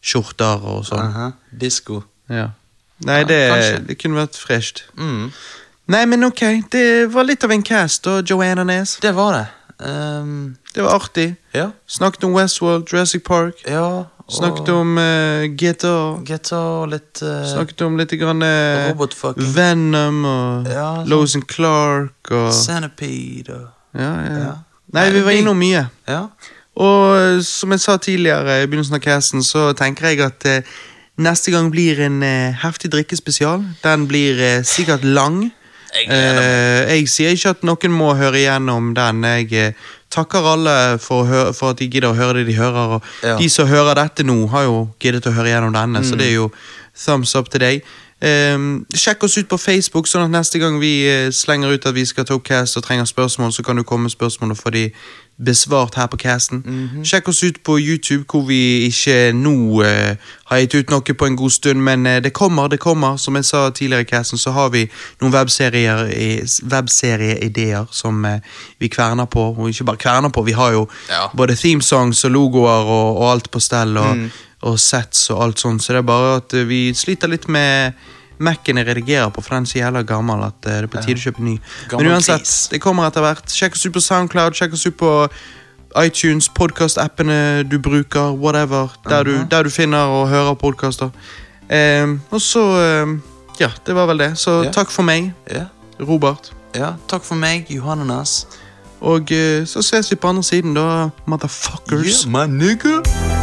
[SPEAKER 1] skjorter og sånn.
[SPEAKER 2] Aha. Disko.
[SPEAKER 1] Ja. Nei,
[SPEAKER 2] Ja,
[SPEAKER 1] det,
[SPEAKER 2] kanskje.
[SPEAKER 1] det kunne vært fresht.
[SPEAKER 2] Mm.
[SPEAKER 1] Nei, men ok, det var litt av en cast da, Joanna Nes.
[SPEAKER 2] Det var det. Ehm,
[SPEAKER 1] Det var artig.
[SPEAKER 2] ja.
[SPEAKER 1] Snakket om Westworld, Jurassic Park.
[SPEAKER 2] ja. Og
[SPEAKER 1] Snakket om eh, GTA.
[SPEAKER 2] GTA og litt eh,
[SPEAKER 1] Snakket om litt grann, eh,
[SPEAKER 2] Robotfucking
[SPEAKER 1] Venom og
[SPEAKER 2] Ja, sånn.
[SPEAKER 1] Lois and Clark og
[SPEAKER 2] Centipede og
[SPEAKER 1] ja, ja.
[SPEAKER 2] Ja.
[SPEAKER 1] Nei,
[SPEAKER 2] Nei,
[SPEAKER 1] vi var
[SPEAKER 2] det-
[SPEAKER 1] innom mye.
[SPEAKER 2] Ja.
[SPEAKER 1] Og eh, som jeg sa tidligere i begynnelsen av casten, så tenker jeg at eh, neste gang blir en eh, heftig drikkespesial. Den blir eh, sikkert lang.
[SPEAKER 2] Jeg gleder meg.
[SPEAKER 1] Eh, jeg sier ikke at noen må høre igjennom den. Jeg eh, takker alle for, å hø- for at de gidder å høre det de hører. Og
[SPEAKER 2] Ja.
[SPEAKER 1] de som hører dette nå, har jo giddet å høre igjennom denne, så det er jo thumbs up til deg. Eh, sjekk oss ut på Facebook, sånn at neste gang vi eh, slenger ut at vi skal ta opp cast og trenger spørsmål, så kan du komme med spørsmål og få de besvart her på casten. Sjekk oss ut på YouTube, hvor vi ikke nå eh, har gitt ut noe på en god stund, men eh, det kommer, det kommer. Som jeg sa tidligere i casten, så har vi noen webserier i- webserieideer som eh, vi kverner på, og ikke bare kverner på, vi har jo
[SPEAKER 2] Ja.
[SPEAKER 1] både theme songs og logoer og, og alt på stell, og,
[SPEAKER 2] Mm.
[SPEAKER 1] og sets og alt sånt, så det er bare at eh, vi sliter litt med Mac-en jeg redigerer på, for den er så jævla gammel at eh, det er på tide å kjøpe ny.
[SPEAKER 2] Gammel
[SPEAKER 1] Men uansett,
[SPEAKER 2] please.
[SPEAKER 1] det kommer etter hvert. Sjekk oss ut på Soundcloud, sjekk oss ut på iTunes, podkast-appene du bruker, whatever. Der, du,
[SPEAKER 2] Mhm.
[SPEAKER 1] der du finner og hører podkaster. og så ehm, Ja, det var vel det. Så
[SPEAKER 2] Ja.
[SPEAKER 1] takk for meg,
[SPEAKER 2] Ja.
[SPEAKER 1] Robert.
[SPEAKER 2] ja. Takk for meg, Johannenas.
[SPEAKER 1] Og eh, så ses vi på andre siden, da, motherfuckers.
[SPEAKER 2] my nigga.